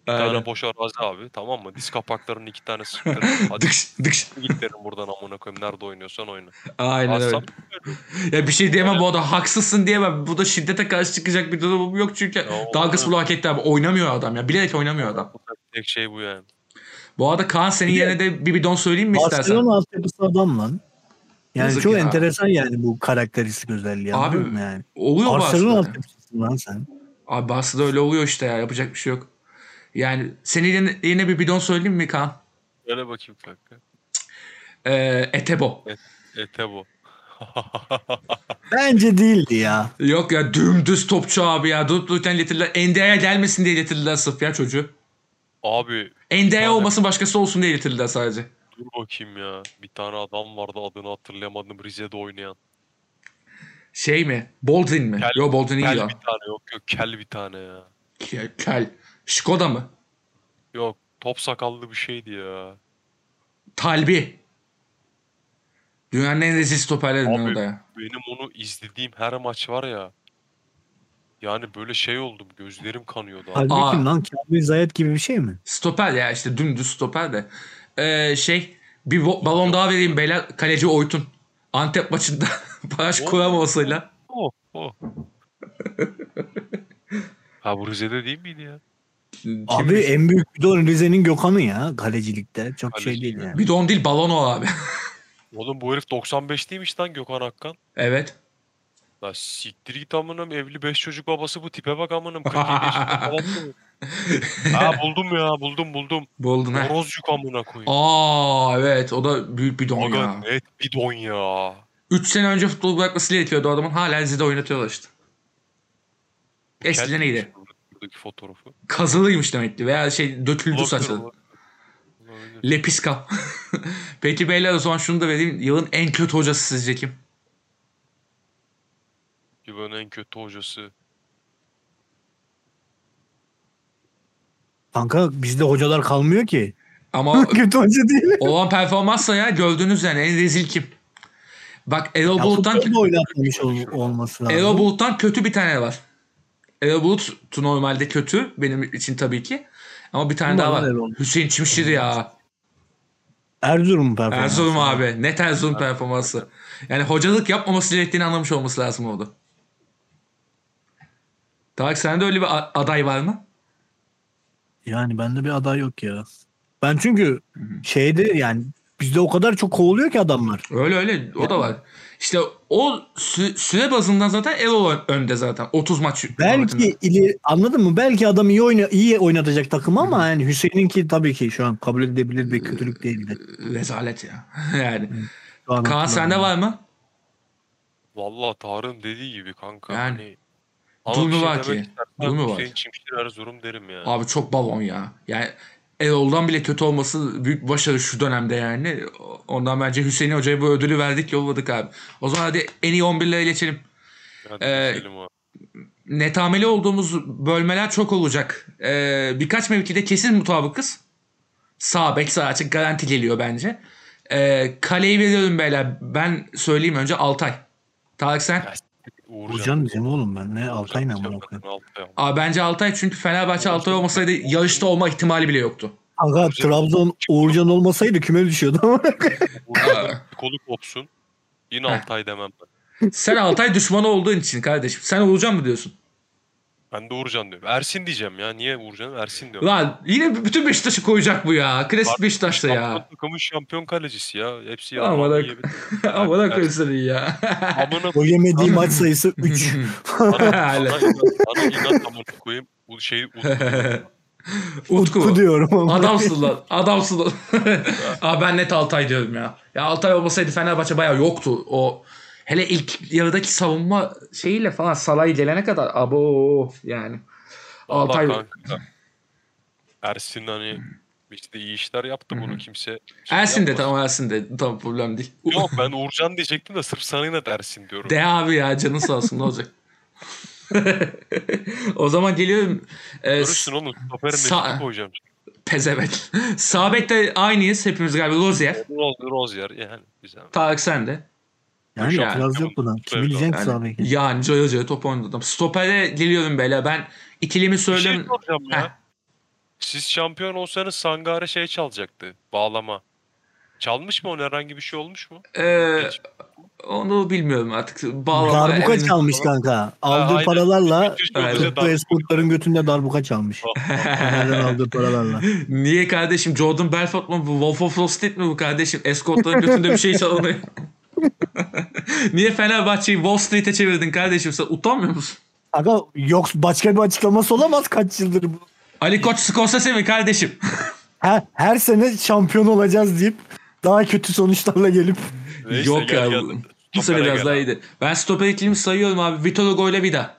[SPEAKER 2] Bir
[SPEAKER 1] Aynen.
[SPEAKER 2] tane boş arazi abi. Tamam mı? Diz kapaklarının iki
[SPEAKER 1] <laughs>
[SPEAKER 2] tane sıktırırım. Hadi
[SPEAKER 1] Dıkş dıkş.
[SPEAKER 2] git derim buradan amına koyayım. Nerede oynuyorsan oyna.
[SPEAKER 1] Aynen öyle.
[SPEAKER 2] Assam
[SPEAKER 1] Ya bir şey diyemem bu arada haksızsın diyemem. Bu da şiddete karşı çıkacak bir durumum yok çünkü.
[SPEAKER 2] Ya,
[SPEAKER 1] Dalgas bunu hak etti abi. Oynamıyor adam ya. Bilerek oynamıyor adam.
[SPEAKER 2] tek şey bu yani.
[SPEAKER 1] Bu arada Kaan senin
[SPEAKER 3] Bir de-
[SPEAKER 1] yerine de bir bidon söyleyeyim mi istersen?
[SPEAKER 3] Barcelona altyapısı adam lan. Yani
[SPEAKER 1] Yazık
[SPEAKER 3] çok
[SPEAKER 1] ya.
[SPEAKER 3] enteresan yani bu karakteristik özelliği.
[SPEAKER 1] Abi,
[SPEAKER 3] anladın mı yani.
[SPEAKER 1] Oluyor
[SPEAKER 3] Barcelona
[SPEAKER 1] Barcelona.
[SPEAKER 3] altyapısı lan sen.
[SPEAKER 1] Abi Barcelona öyle oluyor işte ya. Yapacak bir şey yok. Yani senin yerine, yerine bir bidon söyleyeyim mi Kaan?
[SPEAKER 2] Öyle bakayım kanka.
[SPEAKER 1] Ee, Etebo.
[SPEAKER 2] Ete bu.
[SPEAKER 3] Bence değildi ya.
[SPEAKER 1] Yok ya dümdüz topçu abi ya. Durup dururken getirdiler. NDA'ya gelmesin diye getirdiler sırf ya çocuğu.
[SPEAKER 2] Abi Aynen.
[SPEAKER 1] NDA olmasın başkası olsun diye getirdiler sadece.
[SPEAKER 2] dur bakayım ya. Bir tane adam vardı adını hatırlayamadım Rize'de oynayan.
[SPEAKER 1] Şey mi? Boldrin mi?
[SPEAKER 2] Kel-
[SPEAKER 1] Yok Boldrin iyi
[SPEAKER 2] Kel
[SPEAKER 1] lan.
[SPEAKER 2] bir tane yok yok kel bir tane ya.
[SPEAKER 1] Kel. Kel. Skoda mı?
[SPEAKER 2] Yok top sakallı bir şeydi ya.
[SPEAKER 1] Talbi. Dünyanın en rezil stoperlerinden
[SPEAKER 2] Abi.
[SPEAKER 1] o da ya.
[SPEAKER 2] Benim onu izlediğim her maç var ya. Yani böyle şey oldum gözlerim kanıyordu. abi.
[SPEAKER 3] Halbuki
[SPEAKER 1] Aa.
[SPEAKER 3] lan Kamil Zayet gibi bir şey mi?
[SPEAKER 1] Stoper ya işte dümdüz stoper de. Ee, şey bir bo- balon daha vereyim beyler. Kaleci Oytun. Antep maçında <laughs> baraj
[SPEAKER 2] Oy.
[SPEAKER 1] kuramamasıyla.
[SPEAKER 2] Oh, oh. ha bu Rize'de değil miydi ya?
[SPEAKER 3] Abi en büyük bidon Rize'nin Gökhan'ı ya kalecilikte. Çok şey
[SPEAKER 2] Kaleci
[SPEAKER 3] değil
[SPEAKER 2] mi?
[SPEAKER 3] yani.
[SPEAKER 1] Bir don değil balon o abi. <laughs>
[SPEAKER 2] Oğlum bu herif 95 değilmiş lan Gökhan Akkan.
[SPEAKER 1] evet.
[SPEAKER 2] La siktir git amınım evli 5 çocuk babası bu tipe bak amınım. 47
[SPEAKER 1] <laughs>
[SPEAKER 2] yaşında falan mı? ha buldum ya buldum buldum.
[SPEAKER 1] Boldun ha.
[SPEAKER 2] Horozcuk amına koyayım.
[SPEAKER 1] Aa evet o da büyük bir don
[SPEAKER 2] Aga
[SPEAKER 1] ya.
[SPEAKER 2] net bidon ya.
[SPEAKER 1] 3 sene önce futbol bırakmasıyla yetiyordu o adamın. Hala Rize'de oynatıyorlar işte. Eskiden
[SPEAKER 2] Kel
[SPEAKER 1] iyiydi.
[SPEAKER 2] demiş Buradaki fotoğrafı.
[SPEAKER 1] Kazılıymış demek ki veya şey döküldü
[SPEAKER 2] Olabilir,
[SPEAKER 1] saçları.
[SPEAKER 2] olabilir. Olabilir.
[SPEAKER 1] Lepiska. <laughs> Peki beyler o zaman şunu da vereyim. Yılın en kötü hocası sizce kim?
[SPEAKER 2] Yılın en kötü hocası.
[SPEAKER 3] Kanka bizde hocalar kalmıyor ki.
[SPEAKER 1] Ama
[SPEAKER 3] <laughs> Kötü hoca değil.
[SPEAKER 1] olan performansla ya gördünüz yani en rezil kim? Bak Erol
[SPEAKER 3] Ya
[SPEAKER 1] Bulut'tan,
[SPEAKER 3] futbolda oynatmamış ol- olması lazım.
[SPEAKER 1] Erol Bulut'tan kötü bir tane var. Erol Bulut normalde kötü benim için tabii ki. Ama bir tane
[SPEAKER 3] Kim
[SPEAKER 1] daha
[SPEAKER 3] var
[SPEAKER 1] var.
[SPEAKER 3] lan Erol?
[SPEAKER 1] Hüseyin Çimşir ya.
[SPEAKER 3] Erzurum performansı.
[SPEAKER 1] Erzurum abi. Net Erzurum performansı. Yani hocalık yapmaması gerektiğini anlamış olması lazım orada. Tarık sende öyle bir a- aday var mı?
[SPEAKER 3] Yani bende bir aday yok ya. Ben çünkü şeyde yani bizde o kadar çok kovuluyor ki adamlar.
[SPEAKER 1] Öyle öyle o da var. İşte o sü- süre bazından zaten Erol ön- önde zaten. 30 maç.
[SPEAKER 3] Belki ili, anladın mı? Belki adam iyi oyna, iyi oynatacak takım ama yani Hüseyin'inki tabii ki şu an kabul edilebilir bir kötülük değil. de.
[SPEAKER 1] Rezalet ya. <laughs> yani.
[SPEAKER 3] Şu an
[SPEAKER 1] Kaan
[SPEAKER 3] hatırlamıyorum.
[SPEAKER 1] sende var mı?
[SPEAKER 2] Vallahi Tarık'ın dediği gibi kanka.
[SPEAKER 1] Yani.
[SPEAKER 2] Hani,
[SPEAKER 1] Durumu
[SPEAKER 2] bir şey
[SPEAKER 1] var
[SPEAKER 2] demek
[SPEAKER 1] ki.
[SPEAKER 2] istersen
[SPEAKER 1] Durumu var.
[SPEAKER 2] Hüseyin Çimşir Erzurum derim ya.
[SPEAKER 1] Abi çok balon ya. Yani Erol'dan bile kötü olması büyük başarı şu dönemde yani. Ondan bence Hüseyin Hoca'ya bu ödülü verdik yolladık abi. O zaman hadi en iyi 11'lere geçelim.
[SPEAKER 2] Hadi
[SPEAKER 1] Ee,
[SPEAKER 2] geçelim abi.
[SPEAKER 1] netameli olduğumuz bölmeler çok olacak. Ee, birkaç mevkide kesin mutabıkız. Sağ bek sağ açık garanti geliyor bence. Ee, kaleyi veriyorum beyler. Ben söyleyeyim önce Altay. Tarık sen?
[SPEAKER 3] Uğurcan bizim oğlum ben. Ne Altay ne
[SPEAKER 2] Uğurcan
[SPEAKER 3] amına
[SPEAKER 2] diyeceğim
[SPEAKER 3] koyayım.
[SPEAKER 2] ben, Altay amına.
[SPEAKER 1] Aa, bence Altay çünkü Fenerbahçe Altay olmasaydı yarışta olma ihtimali bile yoktu.
[SPEAKER 3] Aga
[SPEAKER 2] Uğurcan-
[SPEAKER 3] Trabzon Uğurcan olmasaydı küme düşüyordu ama. <laughs>
[SPEAKER 1] <laughs>
[SPEAKER 2] Uğurcan'ın Kolu kopsun. Yine
[SPEAKER 1] Heh.
[SPEAKER 2] Altay demem ben.
[SPEAKER 1] Sen Altay düşmanı olduğun için kardeşim. Sen olacağım mı diyorsun?
[SPEAKER 2] Ben de Uğurcan diyorum. Ersin diyeceğim ya. Niye Uğurcan'ım? Ersin diyorum.
[SPEAKER 1] Lan yine bütün Beşiktaş'ı koyacak bu ya. Klasik
[SPEAKER 2] Bak,
[SPEAKER 1] Beşiktaş'ta ya.
[SPEAKER 2] Şampiyon takımın şampiyon kalecisi ya. Hepsi yalan.
[SPEAKER 1] Amına
[SPEAKER 2] yiyebilir.
[SPEAKER 1] <laughs> Ama da koysun ya.
[SPEAKER 2] Amına
[SPEAKER 3] o yemediği maç sayısı 3.
[SPEAKER 2] Bana
[SPEAKER 1] Helal.
[SPEAKER 2] inat, bana inat amına koyayım. Bu
[SPEAKER 1] <laughs>
[SPEAKER 2] şey
[SPEAKER 1] <laughs> Utku.
[SPEAKER 3] Utku diyorum ama.
[SPEAKER 1] Adamsın lan. Adamsın <laughs> lan. Abi ben net Altay diyorum ya. Ya Altay olmasaydı Fenerbahçe bayağı yoktu. O hele ilk yarıdaki savunma şeyiyle falan Salah'ı gelene kadar abo yani. Altay
[SPEAKER 2] Altay kanka. Ersin hani işte iyi işler yaptı bunu kimse. şey
[SPEAKER 1] Ersin de
[SPEAKER 2] yapmasın.
[SPEAKER 1] tamam Ersin de tamam problem değil. <laughs>
[SPEAKER 2] Yok ben Uğurcan diyecektim de sırf sana inat Ersin diyorum.
[SPEAKER 1] De abi ya canın sağ olsun ne olacak? <laughs> o zaman geliyorum. Ee,
[SPEAKER 2] Görürsün oğlum. Stoperin
[SPEAKER 1] Sa-
[SPEAKER 2] Sa- koyacağım.
[SPEAKER 1] Pezevenk. <laughs> Sabek de aynıyız hepimiz galiba Lozier.
[SPEAKER 2] Roz, Rozier yani güzel.
[SPEAKER 1] Tarık sen de. Yani,
[SPEAKER 3] Yani itiraz
[SPEAKER 2] tamam.
[SPEAKER 3] yok buna. Kim
[SPEAKER 2] Evet,
[SPEAKER 3] bileceksin ki
[SPEAKER 1] Yani,
[SPEAKER 3] sağ beki?
[SPEAKER 1] yani cayır cayır top oynadım. Stopere geliyorum beyler. Ben ikilimi
[SPEAKER 2] Bir şey
[SPEAKER 1] söyleyeyim.
[SPEAKER 2] soracağım
[SPEAKER 1] Heh.
[SPEAKER 2] ya. Siz şampiyon olsanız Sangare şey çalacaktı. Bağlama. Çalmış mı onu herhangi bir şey olmuş mu?
[SPEAKER 1] Ee,
[SPEAKER 2] Hiç.
[SPEAKER 1] onu bilmiyorum artık. Bağlama.
[SPEAKER 3] Darbuka
[SPEAKER 1] emin- <laughs>
[SPEAKER 3] çalmış kanka. Aldığı
[SPEAKER 2] aynen.
[SPEAKER 3] paralarla
[SPEAKER 2] Bütün
[SPEAKER 1] Evet.
[SPEAKER 2] yolcu
[SPEAKER 3] bu
[SPEAKER 2] da-
[SPEAKER 3] esportların götünde darbuka çalmış. Onlardan aldığı paralarla.
[SPEAKER 1] Niye kardeşim? Jordan Belfort mu bu? Wolf of Wall Street mi bu kardeşim? Escortların götünde bir şey çalınıyor. <laughs> Niye Fenerbahçe'yi Wall Street'e çevirdin kardeşim? Sen utanmıyor musun?
[SPEAKER 3] Aga yok başka bir açıklaması olamaz kaç yıldır bu.
[SPEAKER 1] Ali Koç Scorsese mi kardeşim?
[SPEAKER 3] Her, her sene şampiyon olacağız deyip daha kötü sonuçlarla gelip
[SPEAKER 2] Neyse,
[SPEAKER 1] Yok
[SPEAKER 2] gel
[SPEAKER 1] ya.
[SPEAKER 2] gel.
[SPEAKER 1] bu- Bu sene
[SPEAKER 2] Stopere
[SPEAKER 1] biraz
[SPEAKER 2] gel
[SPEAKER 1] daha
[SPEAKER 2] abi.
[SPEAKER 1] iyiydi. Ben stoper ikilimi sayıyorum abi. Vitor Hugo ile Vida.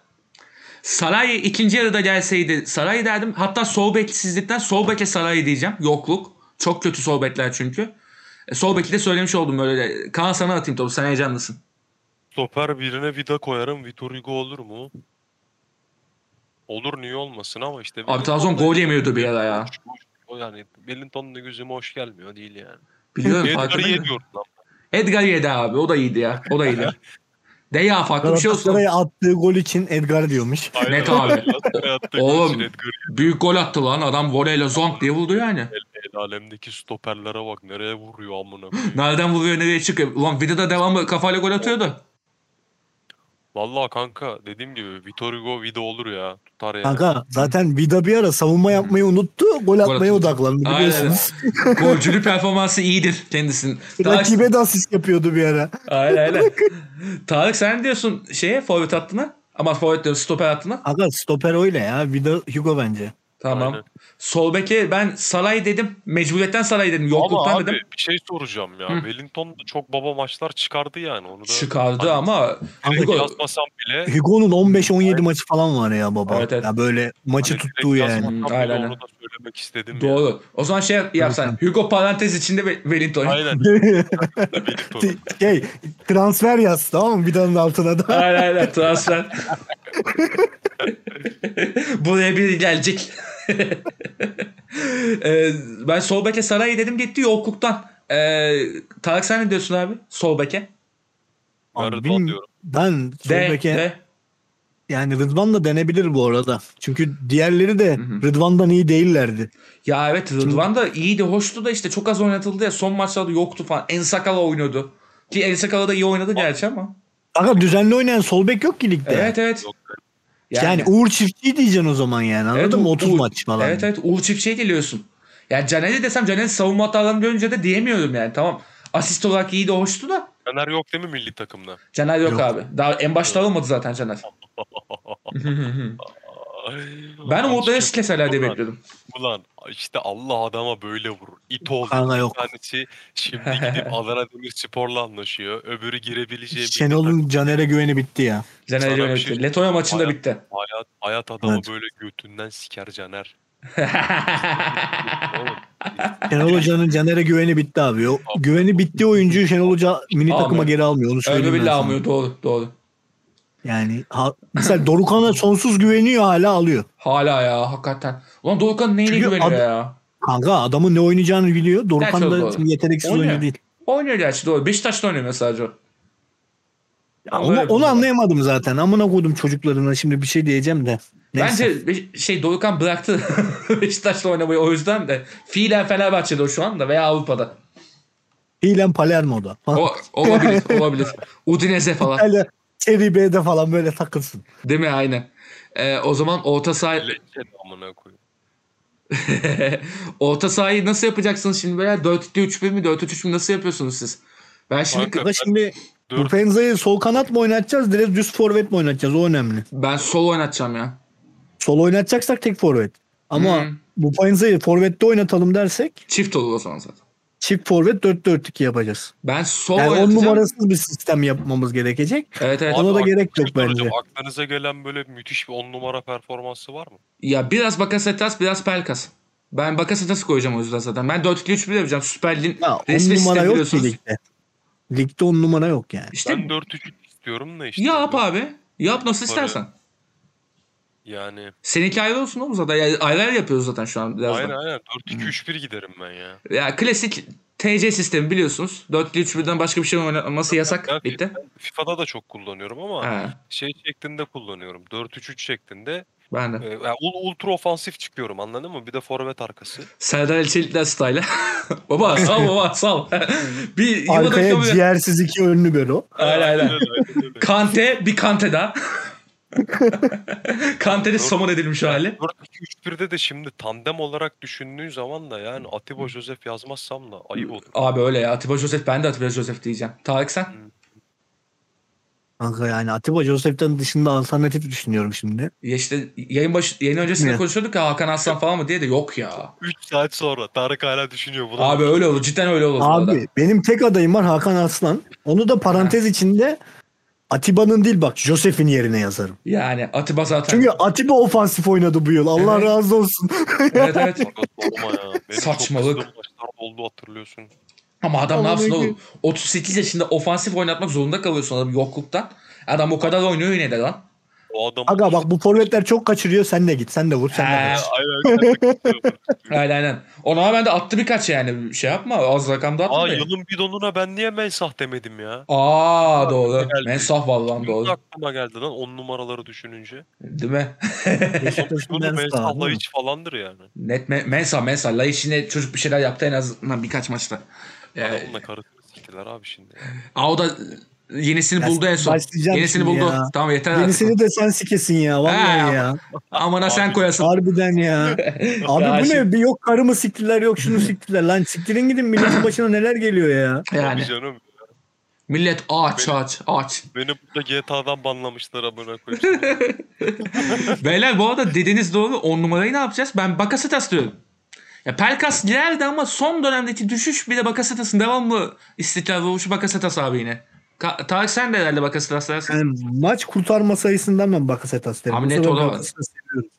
[SPEAKER 1] Saray ikinci yarıda gelseydi Saray derdim. Hatta sol beksizlikten sol beke Saray diyeceğim. Yokluk. Çok kötü sol bekler çünkü. E, sol beki de söylemiş oldum böyle. de. Kaan sana atayım topu. Sen heyecanlısın.
[SPEAKER 2] Stoper birine vida koyarım. Vitor Hugo olur mu? Olur niye olmasın ama işte.
[SPEAKER 1] Abi Trabzon gol yemiyordu bir ara ya.
[SPEAKER 2] O yani Wellington'un da gözüme hoş gelmiyor değil yani.
[SPEAKER 1] Biliyorum
[SPEAKER 2] Edgar'ı
[SPEAKER 1] farkındayım.
[SPEAKER 2] yemiyor lan.
[SPEAKER 1] Edgar yedi abi. O da iyiydi ya. O da iyiydi. Deya farklı bir şey olsun.
[SPEAKER 3] Galatasaray'a attığı gol için Edgar diyormuş.
[SPEAKER 2] Aynen
[SPEAKER 1] Net abi. <laughs>
[SPEAKER 2] Galatasaray'a attığı gol
[SPEAKER 1] Oğlum.
[SPEAKER 2] için Edgar'ı
[SPEAKER 1] Büyük gol attı lan. Adam voleyle zonk diye vurdu yani.
[SPEAKER 2] El alemdeki stoperlere bak nereye vuruyor
[SPEAKER 1] <laughs>
[SPEAKER 2] amına koyayım.
[SPEAKER 1] Nereden vuruyor nereye çıkıyor. Ulan Vida da devamlı kafayla gol atıyordu.
[SPEAKER 2] Vallahi kanka dediğim gibi Vitor Hugo vida olur ya. Tutar ya.
[SPEAKER 3] Kanka zaten Vida bir ara savunma yapmayı unuttu. Gol atmaya
[SPEAKER 1] atıyor.
[SPEAKER 3] odaklandı
[SPEAKER 1] Aynen.
[SPEAKER 3] biliyorsunuz.
[SPEAKER 1] <laughs> Golcülü performansı iyidir kendisinin. Tarık,
[SPEAKER 3] <laughs> Rakibe de asist yapıyordu bir ara.
[SPEAKER 1] aynen, aynen. Tarık sen ne diyorsun şeye forvet hattına? Ama forvet diyorum stoper hattına.
[SPEAKER 3] Aga stoper öyle ya. Vida Hugo bence.
[SPEAKER 1] Tamam.
[SPEAKER 2] Aynen.
[SPEAKER 1] Sol beke ben Salay dedim. Mecburiyetten Salay dedim. Yokluktan
[SPEAKER 2] ama abi
[SPEAKER 1] dedim.
[SPEAKER 2] bir şey soracağım ya.
[SPEAKER 1] Hı.
[SPEAKER 2] Wellington da çok baba maçlar çıkardı yani. Onu da
[SPEAKER 1] Çıkardı
[SPEAKER 2] Hani
[SPEAKER 1] ama
[SPEAKER 2] direkt
[SPEAKER 1] Hugo-
[SPEAKER 2] yazmasam bile
[SPEAKER 3] Hugo'nun 15-17 maçı falan var ya baba.
[SPEAKER 1] Evet, evet.
[SPEAKER 3] Ya böyle maçı
[SPEAKER 2] Hani direkt
[SPEAKER 3] tuttuğu yani.
[SPEAKER 2] yazmasam
[SPEAKER 1] Hı,
[SPEAKER 2] bile
[SPEAKER 1] aynen, aynen.
[SPEAKER 2] Onu da söylemek istedim ya.
[SPEAKER 1] doğru. O zaman şey yap- yapsan. Hugo parantez içinde ve- Wellington. Aynen.
[SPEAKER 2] Aynen.
[SPEAKER 3] <laughs>
[SPEAKER 2] Wellington. <laughs>
[SPEAKER 3] şey transfer yaz tamam mı? Vida'nın altına da.
[SPEAKER 1] aynen transfer. Buraya biri gelecek. Ee, ben sol beke Saray'ı dedim gitti yokluktan. Ee, Tarık sen ne diyorsun abi? Sol beke.
[SPEAKER 2] Ben
[SPEAKER 3] Abi,
[SPEAKER 2] Rıdvan
[SPEAKER 3] bilmiyorum.
[SPEAKER 2] diyorum.
[SPEAKER 3] Ben
[SPEAKER 1] De,
[SPEAKER 3] Solbek'e
[SPEAKER 1] de.
[SPEAKER 3] yani Rıdvan da denebilir bu arada. Çünkü diğerleri de Rıdvan'dan iyi değillerdi.
[SPEAKER 1] Ya evet Rıdvan da iyiydi hoştu da işte çok az oynatıldı ya son maçlarda yoktu falan. En sakala oynuyordu. Ki En Sakala da iyi oynadı gerçi ama.
[SPEAKER 3] Aga düzenli oynayan sol bek yok ki ligde.
[SPEAKER 1] Evet evet.
[SPEAKER 2] Yok.
[SPEAKER 3] Yani, Uğur Çiftçi diyeceksin o zaman yani. Anladın
[SPEAKER 1] Evet,
[SPEAKER 3] mı?
[SPEAKER 1] Uğur-
[SPEAKER 3] 30
[SPEAKER 1] Uğur-
[SPEAKER 3] maç falan.
[SPEAKER 1] Evet evet Uğur Çiftçi'ye geliyorsun. Yani Caner'i desem Caner'in savunma hatalarını görünce de diyemiyorum yani tamam. Asist olarak iyi de hoştu da
[SPEAKER 2] Caner yok değil mi milli takımda?
[SPEAKER 1] Caner yok,
[SPEAKER 3] Yok.
[SPEAKER 1] abi. Daha en başta alınmadı zaten
[SPEAKER 2] <laughs>
[SPEAKER 1] Caner. ben Umut
[SPEAKER 2] Ulan,
[SPEAKER 1] Özkeş herhalde
[SPEAKER 2] Ulan.
[SPEAKER 1] bekliyordum.
[SPEAKER 2] Ulan işte Allah adama böyle vurur. İt oldu.
[SPEAKER 3] Kanka yok.
[SPEAKER 2] Bir tanesi şimdi <laughs> gidip Adana Demirspor'la anlaşıyor. Öbürü girebileceği milli
[SPEAKER 3] Şenol'un Caner'e güveni bitti ya.
[SPEAKER 1] Caner
[SPEAKER 2] Sana
[SPEAKER 1] ile
[SPEAKER 2] bir
[SPEAKER 1] bitti.
[SPEAKER 2] şey-
[SPEAKER 1] Letonya maçında
[SPEAKER 2] Bayağı-
[SPEAKER 1] bitti. <laughs>
[SPEAKER 2] takım. hayat, hayat adamı
[SPEAKER 3] Evet.
[SPEAKER 2] böyle götünden siker <laughs> Caner.
[SPEAKER 3] Şenol Hoca'nın Caner'e güveni bitti abi. O güveni bittiği oyuncuyu Şenol Hoca milli
[SPEAKER 1] Almıyor.
[SPEAKER 3] takıma geri almıyor. Onu söyleyeyim
[SPEAKER 1] Öyle
[SPEAKER 3] ben
[SPEAKER 1] bile
[SPEAKER 3] sana.
[SPEAKER 1] almıyor doğru doğru.
[SPEAKER 3] Yani ha, mesela Dorukan'a sonsuz güveniyor hala alıyor.
[SPEAKER 1] Hala ya hakikaten. Ulan Dorukhan neyine
[SPEAKER 3] Çünkü
[SPEAKER 1] güveniyor
[SPEAKER 3] ad-
[SPEAKER 1] ya?
[SPEAKER 3] Kanka adamın ne oynayacağını biliyor. Dorukan
[SPEAKER 1] Gerçi o
[SPEAKER 3] da
[SPEAKER 1] doğru.
[SPEAKER 3] şimdi yeteneksiz
[SPEAKER 1] Oynuyor.
[SPEAKER 3] oyuncu değil.
[SPEAKER 1] Oynuyor gerçi doğru. Beşiktaş'ta oynuyor mesela sadece. o.
[SPEAKER 3] Ya onu,
[SPEAKER 1] Öyle bir
[SPEAKER 3] onu
[SPEAKER 1] durum var.
[SPEAKER 3] anlayamadım zaten. Amına koydum çocuklarına şimdi bir şey diyeceğim de. Neyse.
[SPEAKER 1] Bence Be- şey Dorukhan bıraktı <laughs> Beşiktaş'ta oynamayı o yüzden de. Fiilen Fenerbahçe'de o şu anda veya Avrupa'da.
[SPEAKER 3] Hilen Palermo'da. falan.
[SPEAKER 1] O, olabilir olabilir. Udinese
[SPEAKER 3] <laughs>
[SPEAKER 1] falan.
[SPEAKER 3] Öyle Seri B'de falan böyle takılsın.
[SPEAKER 1] Değil mi? Aynen. Ee, o zaman orta saha <laughs>
[SPEAKER 2] Lezzet amına koyayım.
[SPEAKER 1] orta sahayı nasıl yapacaksınız şimdi böyle 4-2-3-1 mi 4-3-3 mü nasıl yapıyorsunuz siz? Ben şimdi
[SPEAKER 2] Kanka-
[SPEAKER 3] Ama şimdi
[SPEAKER 2] Dur.
[SPEAKER 3] bu Penza'yı sol kanat mı oynatacağız direkt düz forvet mi oynatacağız o önemli.
[SPEAKER 1] ben sol oynatacağım ya.
[SPEAKER 3] Sol oynatacaksak tek forvet. Ama
[SPEAKER 1] Hmm.
[SPEAKER 3] bu Penza'yı forvette oynatalım dersek
[SPEAKER 1] Çift olur o zaman zaten.
[SPEAKER 3] çift forvet 4-4-2 yapacağız.
[SPEAKER 1] Ben sol
[SPEAKER 3] Yani 10
[SPEAKER 1] oynatacağım.
[SPEAKER 3] numarasız bir sistem yapmamız gerekecek.
[SPEAKER 1] Evet evet.
[SPEAKER 3] Ona da
[SPEAKER 2] aklınıza
[SPEAKER 3] gerek yok
[SPEAKER 2] soracağım.
[SPEAKER 3] bence.
[SPEAKER 2] Aklınıza gelen böyle müthiş bir 10 numara performansı var mı?
[SPEAKER 1] Ya biraz Bakasetas biraz Pelkas. Ben Bakasetas'ı koyacağım o yüzden zaten. Ben 4-2-3-1 yapacağım. Süper Lig'in
[SPEAKER 3] Ya 10
[SPEAKER 1] resmi
[SPEAKER 3] numara
[SPEAKER 1] sistemi
[SPEAKER 3] yok ki
[SPEAKER 1] biliyorsunuz.
[SPEAKER 3] ligde. Ligde 10 numara yok yani.
[SPEAKER 1] İşte
[SPEAKER 2] Ben 4-3 istiyorum da işte.
[SPEAKER 1] yap abi. Yap nasıl
[SPEAKER 2] Para-
[SPEAKER 1] istersen.
[SPEAKER 2] Yani
[SPEAKER 1] Seninki ayrı olsun oğlum zaten. Yani ayrı ayrı yapıyoruz zaten şu an birazdan.
[SPEAKER 2] aynen aynen 4-2-3-1 giderim ben ya.
[SPEAKER 1] Ya klasik TC sistemi biliyorsunuz. 4-3-1'den başka bir şey oynanması yasak
[SPEAKER 2] Ya,
[SPEAKER 1] ligde.
[SPEAKER 2] FIFA'da da çok kullanıyorum ama
[SPEAKER 1] Ha,
[SPEAKER 2] şey şeklinde kullanıyorum. 4-3-3 şeklinde.
[SPEAKER 1] ben de.
[SPEAKER 2] Ee, yani ul- ultra ofansif çıkıyorum anladın mı? Bir de forvet arkası.
[SPEAKER 1] Serdar Elçelikler style. <laughs> baba sal baba sal. <laughs> bir Yılmaz
[SPEAKER 3] Arkaya
[SPEAKER 1] Akdemir-
[SPEAKER 3] ciğersiz iki önlü belo.
[SPEAKER 1] <laughs> Aynen, aynen. <laughs> Kante bir Kante
[SPEAKER 3] <laughs>
[SPEAKER 1] daha. Kante'nin somon edilmiş hali.
[SPEAKER 2] 4-2-3-1'de de şimdi tandem olarak düşündüğün zaman da yani Atiba Josef yazmazsam da ayıp olur.
[SPEAKER 1] Abi öyle ya Atiba Josef ben de Atiba Josef diyeceğim. Tarık sen?
[SPEAKER 3] Kanka yani Atiba Joseph'ten dışında alternatif düşünüyorum şimdi.
[SPEAKER 1] Ya işte yayın baş yayın öncesinde
[SPEAKER 3] Ne?
[SPEAKER 1] konuşuyorduk ya Hakan Aslan falan mı diye de yok ya.
[SPEAKER 2] 3 saat sonra Tarık hala düşünüyor bunu. <laughs>
[SPEAKER 1] Abi öyle olur cidden öyle olur. bu arada.
[SPEAKER 3] Abi benim tek adayım var Hakan Arslan. Onu da parantez içinde Atiba'nın değil bak Joseph'in yerine yazarım.
[SPEAKER 1] Yani Atiba zaten.
[SPEAKER 3] Çünkü Atiba ofansif oynadı bu yıl. Allah
[SPEAKER 1] Evet.
[SPEAKER 3] razı olsun.
[SPEAKER 1] Evet evet.
[SPEAKER 2] Sarı dolma ya. Benim çok
[SPEAKER 1] Saçmalık.
[SPEAKER 2] kızdığım maçlar oldu hatırlıyorsun.
[SPEAKER 1] Ama adam ne yapsın
[SPEAKER 3] Vallahi
[SPEAKER 1] oğlum? 38 yaşında ofansif oynatmak zorunda kalıyorsun adam yokluktan. Adam o kadar oynuyor yine de lan.
[SPEAKER 2] O adam
[SPEAKER 3] Aga bak bu forvetler çok kaçırıyor. Sen de git. Sen de vur. Sen de
[SPEAKER 1] He.
[SPEAKER 3] kaç.
[SPEAKER 2] <laughs> Aynen. gerçekten.
[SPEAKER 1] <laughs> Aynen aynen. Ona rağmen de attı birkaç yani. Şey yapma az rakamda attı.
[SPEAKER 2] Aa
[SPEAKER 1] da.
[SPEAKER 2] yılın bidonuna ben niye mensah demedim ya?
[SPEAKER 1] Aa doğru.
[SPEAKER 2] geldi.
[SPEAKER 1] Mensah vallahi
[SPEAKER 2] Doğru.
[SPEAKER 1] doğru.
[SPEAKER 2] aklıma geldi lan on numaraları düşününce.
[SPEAKER 1] Değil mi?
[SPEAKER 3] Beşiktaş'ın
[SPEAKER 2] Bunu
[SPEAKER 3] Lens daha,
[SPEAKER 2] mensahla
[SPEAKER 3] değil mi?
[SPEAKER 2] hiç falandır yani.
[SPEAKER 1] Net me- Mensa Mensa. Laiş yine çocuk bir şeyler yaptı en azından birkaç maçta. Ee,
[SPEAKER 2] Onunla karısını siktiler abi şimdi.
[SPEAKER 1] Aa o da yenisini
[SPEAKER 3] Ya
[SPEAKER 1] buldu en son.
[SPEAKER 3] başlayacağım
[SPEAKER 1] Yenisini
[SPEAKER 3] şimdi
[SPEAKER 1] buldu.
[SPEAKER 3] ya.
[SPEAKER 1] Tamam yeter artık.
[SPEAKER 3] Yenisini de sen sikesin ya. Vallahi
[SPEAKER 1] He,
[SPEAKER 3] ya.
[SPEAKER 1] <laughs> Amına sen
[SPEAKER 2] Abi.
[SPEAKER 1] koyasın.
[SPEAKER 3] Harbiden ya. Abi bu ne? Bir yok karımı siktiler yok şunu siktiler. Lan siktirin gidin milletin başına neler geliyor ya.
[SPEAKER 1] Yani
[SPEAKER 2] Abi
[SPEAKER 1] <laughs>
[SPEAKER 2] canım
[SPEAKER 1] millet aç aç aç.
[SPEAKER 2] beni burada GTA'dan banlamışlar abone
[SPEAKER 1] <laughs>
[SPEAKER 2] koyayım.
[SPEAKER 1] Beyler bu arada dediğiniz doğru 10 numarayı ne yapacağız? Ben Bakasetas diyorum. Ya Pelkas geldi ama son dönemdeki düşüş bile Bakasetas'ın devamlı istikrar vuruşu Bakasetas abi yine. Ka- Tarık sen de herhalde Bakasetas dersin.
[SPEAKER 3] Yani maç kurtarma sayısından ben Bakasetas derim.
[SPEAKER 1] Abi
[SPEAKER 3] Bu
[SPEAKER 1] net
[SPEAKER 3] sefer
[SPEAKER 1] olamaz.
[SPEAKER 3] Bakasetas'ı seviyorum.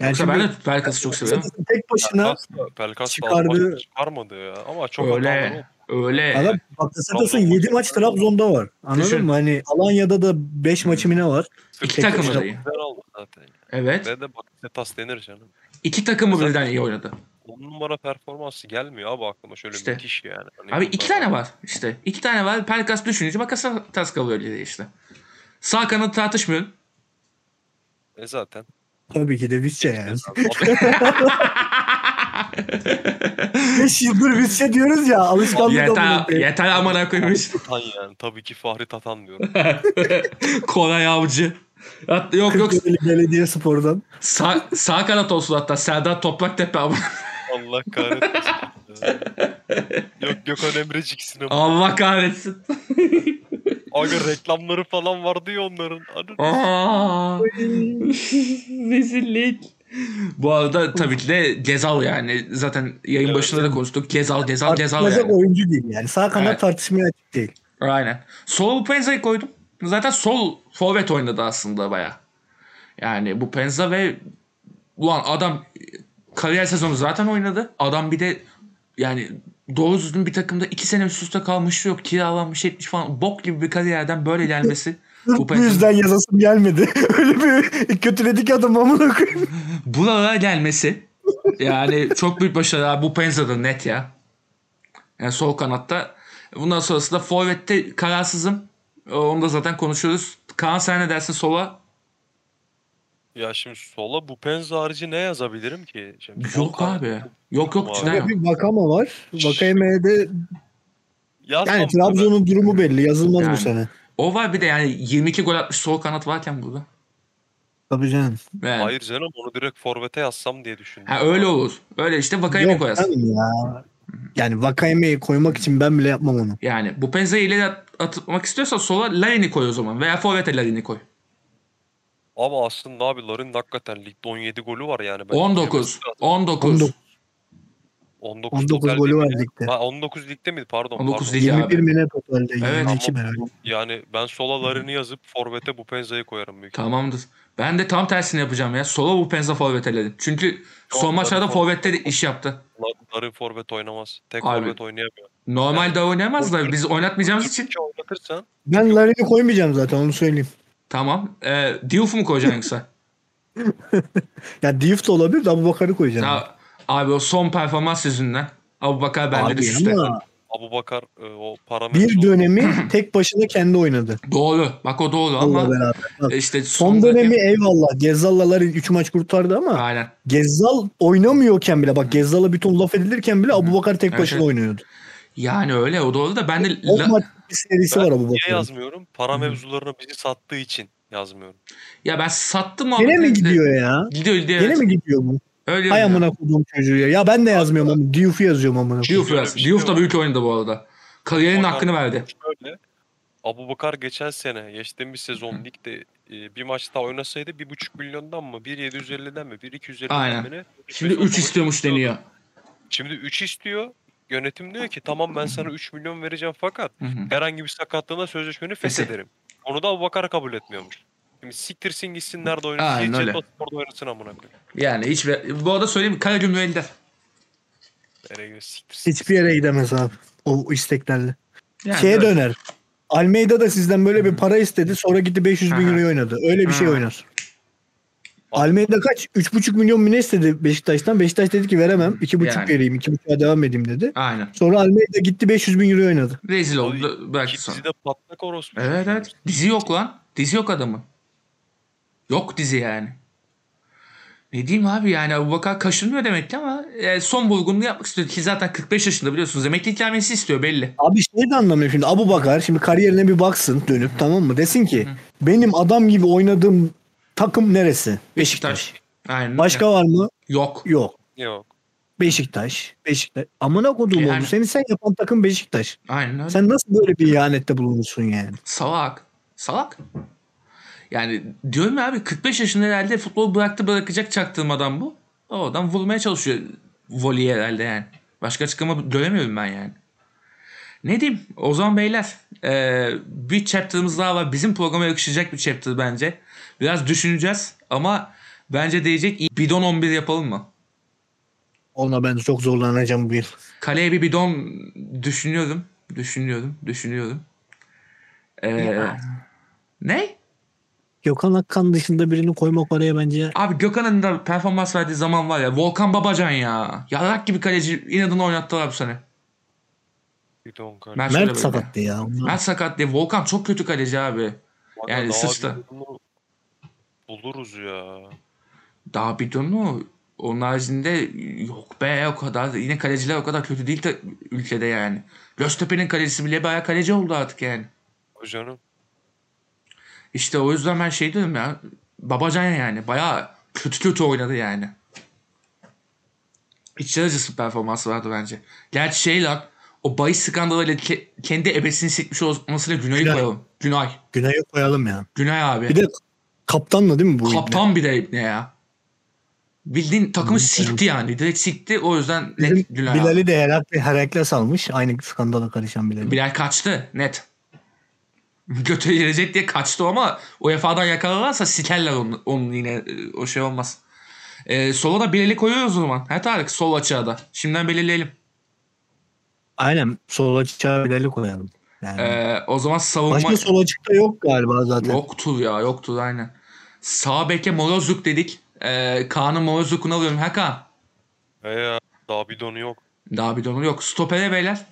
[SPEAKER 3] Yani
[SPEAKER 1] Yoksa
[SPEAKER 3] şimdi
[SPEAKER 1] ben de Pelkas'ı çok seviyorum.
[SPEAKER 3] Bakasetas'ın tek başına
[SPEAKER 2] Pelkas da- Pelkas da
[SPEAKER 3] Çıkardı.
[SPEAKER 2] Almanya'da çıkarmadı ya. Ama çok hatalı oldu.
[SPEAKER 1] Öyle. Öyle.
[SPEAKER 3] Adam Bakasetas'ın
[SPEAKER 2] Trabzon
[SPEAKER 3] 7 maç Trabzon'da var. Anladın
[SPEAKER 1] Düşün.
[SPEAKER 3] mı? Hani Alanya'da da 5 maçı mı ne var?
[SPEAKER 1] İki
[SPEAKER 3] Tek
[SPEAKER 1] takımı
[SPEAKER 3] başına-
[SPEAKER 1] da iyi.
[SPEAKER 2] Güzel oldu zaten.
[SPEAKER 1] Evet.
[SPEAKER 2] Ne de Bakasetas denir canım.
[SPEAKER 1] İki takımı birden iyi oynadı.
[SPEAKER 2] On numara performansı gelmiyor abi aklıma şöyle
[SPEAKER 1] İşte.
[SPEAKER 2] müthiş yani. Hani
[SPEAKER 1] Abi iki
[SPEAKER 2] bunlar-
[SPEAKER 1] tane var işte. İki tane var. Pelkas düşününce makasa tas kalıyor öyle işte. Sağ kanat tartışmıyorum.
[SPEAKER 2] E zaten.
[SPEAKER 3] Tabii ki de
[SPEAKER 1] <laughs>
[SPEAKER 3] Visca yani.
[SPEAKER 2] Abi,
[SPEAKER 3] 5 yıldır Visca diyoruz ya alışkanlık
[SPEAKER 1] Yeter,
[SPEAKER 3] olmuyor.
[SPEAKER 1] yeter amına koymuş. <laughs>
[SPEAKER 2] Tatan <laughs> yani. Tabii ki Fahri Tatan diyorum.
[SPEAKER 1] Koray Avcı. Hatta Yok yok
[SPEAKER 3] Kırklareli Belediye Spor'dan.
[SPEAKER 1] sağ, sağ kanat olsun hatta Serdar Topraktepe abi.
[SPEAKER 2] Allah kahretmesin.
[SPEAKER 3] <laughs>
[SPEAKER 2] ya. Yok Gökhan Emrecik sinema.
[SPEAKER 1] Allah kahretsin.
[SPEAKER 2] Aga reklamları falan vardı ya onların. Anı-
[SPEAKER 1] Aa, rezillik. Bu arada tabii ki de Gezal yani. Zaten yayın
[SPEAKER 2] Evet.
[SPEAKER 1] başında da konuştuk. Gezal, Gezal, Gezal
[SPEAKER 3] Tartışılacak
[SPEAKER 1] yani.
[SPEAKER 3] oyuncu değil yani. Sağ kanat
[SPEAKER 1] Evet.
[SPEAKER 3] tartışmaya açık değil.
[SPEAKER 1] Aynen. Sol Penza'yı koydum. Zaten sol forvet oynadı aslında baya. Yani bu Penza ve ulan adam kariyer sezonu zaten oynadı. Adam bir de yani doğru düzgün bir takımda iki sene üst üste kalmışlığı yok. Kiralanmış etmiş falan. Bok gibi bir kariyerden böyle gelmesi.
[SPEAKER 3] Sırf
[SPEAKER 1] Bu
[SPEAKER 3] bu,
[SPEAKER 1] Penza'nın-
[SPEAKER 3] yüzden yazasım gelmedi. <laughs> Öyle bir kötüledik adam amına koyayım.
[SPEAKER 1] Buralara gelmesi. Yani çok büyük başarı abi. Bu Penza'da net ya. Yani sol kanatta. Bundan sonrası da forvette kararsızım. Ee, Onu da zaten konuşuyoruz. Kaan sen ne dersin sola?
[SPEAKER 2] Ya şimdi sola bu penza harici ne yazabilirim ki? Şimdi sol
[SPEAKER 1] Yok
[SPEAKER 2] kanat-
[SPEAKER 1] abi. Yok yok
[SPEAKER 2] Abi.
[SPEAKER 1] cidden
[SPEAKER 3] Böyle
[SPEAKER 1] yok.
[SPEAKER 3] bir Vakama var. Vakame'ye de
[SPEAKER 2] Yazmam
[SPEAKER 3] yani
[SPEAKER 2] yani
[SPEAKER 3] Trabzon'un durumu belli. Yazılmaz
[SPEAKER 1] Yani.
[SPEAKER 3] bu sene.
[SPEAKER 1] O var bir de yani 22 gol atmış sol kanat varken burada.
[SPEAKER 3] Tabii canım.
[SPEAKER 1] Yani.
[SPEAKER 2] Hayır canım onu direkt forvete yazsam diye düşündüm.
[SPEAKER 1] Ha, öyle olur. Öyle işte Vakayemi
[SPEAKER 3] Yok
[SPEAKER 1] koyarsın.
[SPEAKER 3] canım ya. Yani Vakame'yi koymak için ben bile yapmam onu.
[SPEAKER 1] Yani bu Penza'yı ileri at- atmak istiyorsa sola Larin'i koy o zaman. Veya Forvet'e Larin'i koy.
[SPEAKER 2] Ama aslında abi Larin hakikaten ligde 17 golü var yani. Ben
[SPEAKER 1] 19. 19.
[SPEAKER 3] 19.
[SPEAKER 2] 19,
[SPEAKER 3] 19
[SPEAKER 2] total
[SPEAKER 3] golü
[SPEAKER 2] değil
[SPEAKER 3] var
[SPEAKER 2] mi?
[SPEAKER 3] ligde.
[SPEAKER 2] Ha, 19 ligde miydi? Pardon.
[SPEAKER 1] 19
[SPEAKER 2] pardon.
[SPEAKER 1] değil abi.
[SPEAKER 3] 21 mi ne totalde? 22 mi?
[SPEAKER 2] Tamam.
[SPEAKER 3] öyle?
[SPEAKER 2] Yani ben sola Larin'i yazıp forvete bu penzayı koyarım büyük.
[SPEAKER 1] Tamamdır. Ben de tam tersini yapacağım ya. Sola bu Penza Forvet'e Larin. Çünkü son
[SPEAKER 2] Yok,
[SPEAKER 1] maçlarda
[SPEAKER 2] Larin
[SPEAKER 1] Forvet'te de iş yaptı.
[SPEAKER 2] ihtimalle. Larin forvet oynamaz. Tek
[SPEAKER 1] Abi.
[SPEAKER 2] forvet oynayamıyor.
[SPEAKER 1] Normalde oynayamaz da biz oynatmayacağımız için.
[SPEAKER 2] Çünkü oynatırsan
[SPEAKER 3] Ben Larin'i koymayacağım zaten onu söyleyeyim.
[SPEAKER 1] Tamam. Ee, Diouf'u mu koyacaksın
[SPEAKER 3] <laughs>
[SPEAKER 1] yoksa?
[SPEAKER 3] Ya Diouf da olabilir de Abubakar'ı koyacağım.
[SPEAKER 1] Ya, abi o son performans yüzünden. Abu Bakar bence
[SPEAKER 3] Abi
[SPEAKER 1] düşüşte.
[SPEAKER 3] ama
[SPEAKER 2] Abubakar e, o parametre.
[SPEAKER 3] Bir dönemi tek başına kendi oynadı.
[SPEAKER 1] Doğru. Bak o doğru
[SPEAKER 3] Allah
[SPEAKER 1] ama e,
[SPEAKER 3] beraber. Bak,
[SPEAKER 1] işte
[SPEAKER 3] Son dönemi eyvallah. Gezzal'lalar 3 maç kurtardı ama
[SPEAKER 1] Aynen.
[SPEAKER 3] Gezzal oynamıyorken bile bak Gezzal'a bütün laf edilirken bile Abubakar tek
[SPEAKER 1] Evet,
[SPEAKER 3] başına
[SPEAKER 1] evet.
[SPEAKER 3] oynuyordu.
[SPEAKER 1] Yani öyle o doğru da ben de
[SPEAKER 3] O
[SPEAKER 1] la-
[SPEAKER 3] maç bir serisi
[SPEAKER 2] Ben
[SPEAKER 3] var
[SPEAKER 2] Niye
[SPEAKER 3] Abubakar'ın.
[SPEAKER 2] yazmıyorum? Para
[SPEAKER 1] Hı.
[SPEAKER 2] mevzularına bizi sattığı için yazmıyorum.
[SPEAKER 1] ya ben sattım
[SPEAKER 3] Gene mi
[SPEAKER 1] muhabbetini de-
[SPEAKER 3] gidiyor ya?
[SPEAKER 1] Gidiyor gidiyor.
[SPEAKER 3] Gene mi gidiyor bu?
[SPEAKER 1] Öyle
[SPEAKER 3] Hay
[SPEAKER 1] mi?
[SPEAKER 3] amına koyduğum çocuğu ya. Ya ben de yazmıyorum ama Diouf'u yazıyorum amına koyduğum.
[SPEAKER 1] Diouf
[SPEAKER 2] Öyle
[SPEAKER 1] biraz.
[SPEAKER 2] bir şey
[SPEAKER 1] Diouf da
[SPEAKER 2] var.
[SPEAKER 1] büyük oynadı bu arada. Kariyerinin
[SPEAKER 2] Bakar-
[SPEAKER 1] hakkını verdi.
[SPEAKER 2] Şöyle. Abubakar geçen sene geçtiğimiz sezon ligde e, bir maç daha oynasaydı 1.5 milyondan mı 1.750'den mi 1.250'den
[SPEAKER 1] Aynen.
[SPEAKER 2] mi ne?
[SPEAKER 3] şey
[SPEAKER 1] Şimdi
[SPEAKER 2] Beş on
[SPEAKER 1] 3
[SPEAKER 2] maç
[SPEAKER 1] istiyormuş
[SPEAKER 2] istiyordu.
[SPEAKER 1] deniyor.
[SPEAKER 2] Şimdi 3 istiyor. Yönetim diyor ki tamam ben sana 3 milyon vereceğim fakat
[SPEAKER 1] Hı hı.
[SPEAKER 2] herhangi bir sakatlığına sözleşmeni feshederim. Onu da Abubakar kabul etmiyormuş. Şimdi siktirsin gitsin nerede oynasın.
[SPEAKER 1] Aynen
[SPEAKER 2] Aynen
[SPEAKER 1] öyle.
[SPEAKER 2] öyle. Sporda oynasın amına koyayım.
[SPEAKER 1] Yani hiç bu arada söyleyeyim Karagümrük'te.
[SPEAKER 2] Nereye gidiyor? siktirsin.
[SPEAKER 3] Hiçbir yere gidemez abi. O isteklerle.
[SPEAKER 1] Yani
[SPEAKER 3] Şeye
[SPEAKER 1] öyle.
[SPEAKER 3] döner. Almeida da sizden böyle bir para istedi. Sonra gitti 500 bin
[SPEAKER 1] Aha.
[SPEAKER 3] euro oynadı. Öyle bir şey
[SPEAKER 1] Hı.
[SPEAKER 3] oynar. Almeida kaç? 3,5 milyon mu ne istedi Beşiktaş'tan? Beşiktaş dedi ki veremem. 2,5
[SPEAKER 1] Yani.
[SPEAKER 3] vereyim. 2,5'a devam edeyim dedi.
[SPEAKER 1] Aynen.
[SPEAKER 3] Sonra Almeida gitti 500 bin euro oynadı.
[SPEAKER 1] Rezil
[SPEAKER 2] Abi,
[SPEAKER 1] oldu bıraktı
[SPEAKER 2] Ki
[SPEAKER 1] sonra.
[SPEAKER 2] dizide patlak orospu.
[SPEAKER 1] Evet evet. Dizi yok lan. Dizi yok adamın. Yok dizi yani. Ne diyeyim abi yani Abubakar kaşınmıyor demek ki ama e, son bulgununu yapmak istiyor ki zaten 45 yaşında biliyorsunuz emekli ikramiyesi istiyor belli.
[SPEAKER 3] Abi şey de anlamıyorum şimdi. Abu Bakar şimdi kariyerine bir baksın dönüp tamam mı? Desin ki benim adam gibi oynadığım takım neresi? Beşiktaş.
[SPEAKER 1] Aynen.
[SPEAKER 3] Başka var mı?
[SPEAKER 1] Yok.
[SPEAKER 3] Yok.
[SPEAKER 2] Yok.
[SPEAKER 3] Beşiktaş. Beşiktaş. Amına koduğum
[SPEAKER 1] Yani-
[SPEAKER 3] oğlum. Seni sen yapan takım Beşiktaş.
[SPEAKER 1] Aynen öyle.
[SPEAKER 3] Sen nasıl böyle bir ihanette bulunursun yani?
[SPEAKER 1] Salak. Salak. Yani diyorum ya abi 45 yaşında herhalde futbol bıraktı bırakacak çaktığım adam bu. O adam vurmaya çalışıyor voleyi herhalde yani. Başka açıklama göremiyorum ben yani. Ne diyeyim? O zaman beyler eee, bir chapter'ımız daha var. Bizim programa yakışacak bir chapter bence. Biraz düşüneceğiz ama bence değecek. Bidon 11 yapalım mı?
[SPEAKER 3] Ona ben çok zorlanacağım bu yıl.
[SPEAKER 1] Kaleye bir bidon düşünüyorum. Düşünüyorum. Düşünüyorum. Eee, ne?
[SPEAKER 3] Gökhan Akkan dışında birini koymak oraya bence
[SPEAKER 1] Abi Gökhan'ın da performans verdiği zaman var ya Volkan Babacan ya. Yarrak gibi kaleci inadına oynattılar bu sene.
[SPEAKER 2] Bir de on kare.
[SPEAKER 1] Mert,
[SPEAKER 3] Mert
[SPEAKER 1] Mert sakat.
[SPEAKER 3] sakattı ya. Onlar-
[SPEAKER 1] Mert sakat diye. Volkan çok kötü kaleci abi.
[SPEAKER 2] Bana
[SPEAKER 1] yani
[SPEAKER 2] daha
[SPEAKER 1] sıçtı.
[SPEAKER 2] bir bunu Buluruz ya.
[SPEAKER 1] Daha bidonu onun haricinde yok be o kadar. Yine kaleciler o kadar kötü değil de ülkede yani. Göztepe'nin kalecisi bile bayağı kaleci oldu artık yani.
[SPEAKER 2] Hocanın
[SPEAKER 1] İşte o yüzden ben şey diyorum ya. Babacan yani bayağı kötü kötü oynadı yani. İçler acısı performansı vardı bence. Gerçi şey lan o bahis skandalıyla ke- kendi ebesini sikmiş olmasıyla Günay'ı
[SPEAKER 3] Günay.
[SPEAKER 1] koyalım. Günay.
[SPEAKER 3] Günay'ı koyalım ya.
[SPEAKER 1] Günay abi.
[SPEAKER 3] Bir de kaptanla değil mi bu?
[SPEAKER 1] Kaptan bir de ne ya. Bildiğin takımı
[SPEAKER 3] Hı,
[SPEAKER 1] sikti yani. Direkt sikti o yüzden
[SPEAKER 3] ibne? Bizim
[SPEAKER 1] net Günay abi.
[SPEAKER 3] Bilal'i de Herakle, Herakle salmış. Aynı skandala karışan Bilal'i.
[SPEAKER 1] Bilal kaçtı net. Götü gelecek diye kaçtı ama UEFA'dan yakalarlarsa sikerler onu, onun yine e, o şey olmaz. E, sola da Bilal'i koyuyoruz o zaman. He Tarık sol açığa da. Şimdiden belirleyelim.
[SPEAKER 3] Aynen. Sol açığa Bilal'i koyalım. Yani.
[SPEAKER 1] E, o zaman savunma
[SPEAKER 3] Başka sol açıkta yok galiba zaten.
[SPEAKER 1] yoktur ya yoktur aynen. Sağ beke Morozuk dedik. E, Kaan'ın Morozuk'unu alıyorum. Ha Kaan.
[SPEAKER 2] E ya daha bir donu yok.
[SPEAKER 1] Daha bir donu yok. Stopere beyler.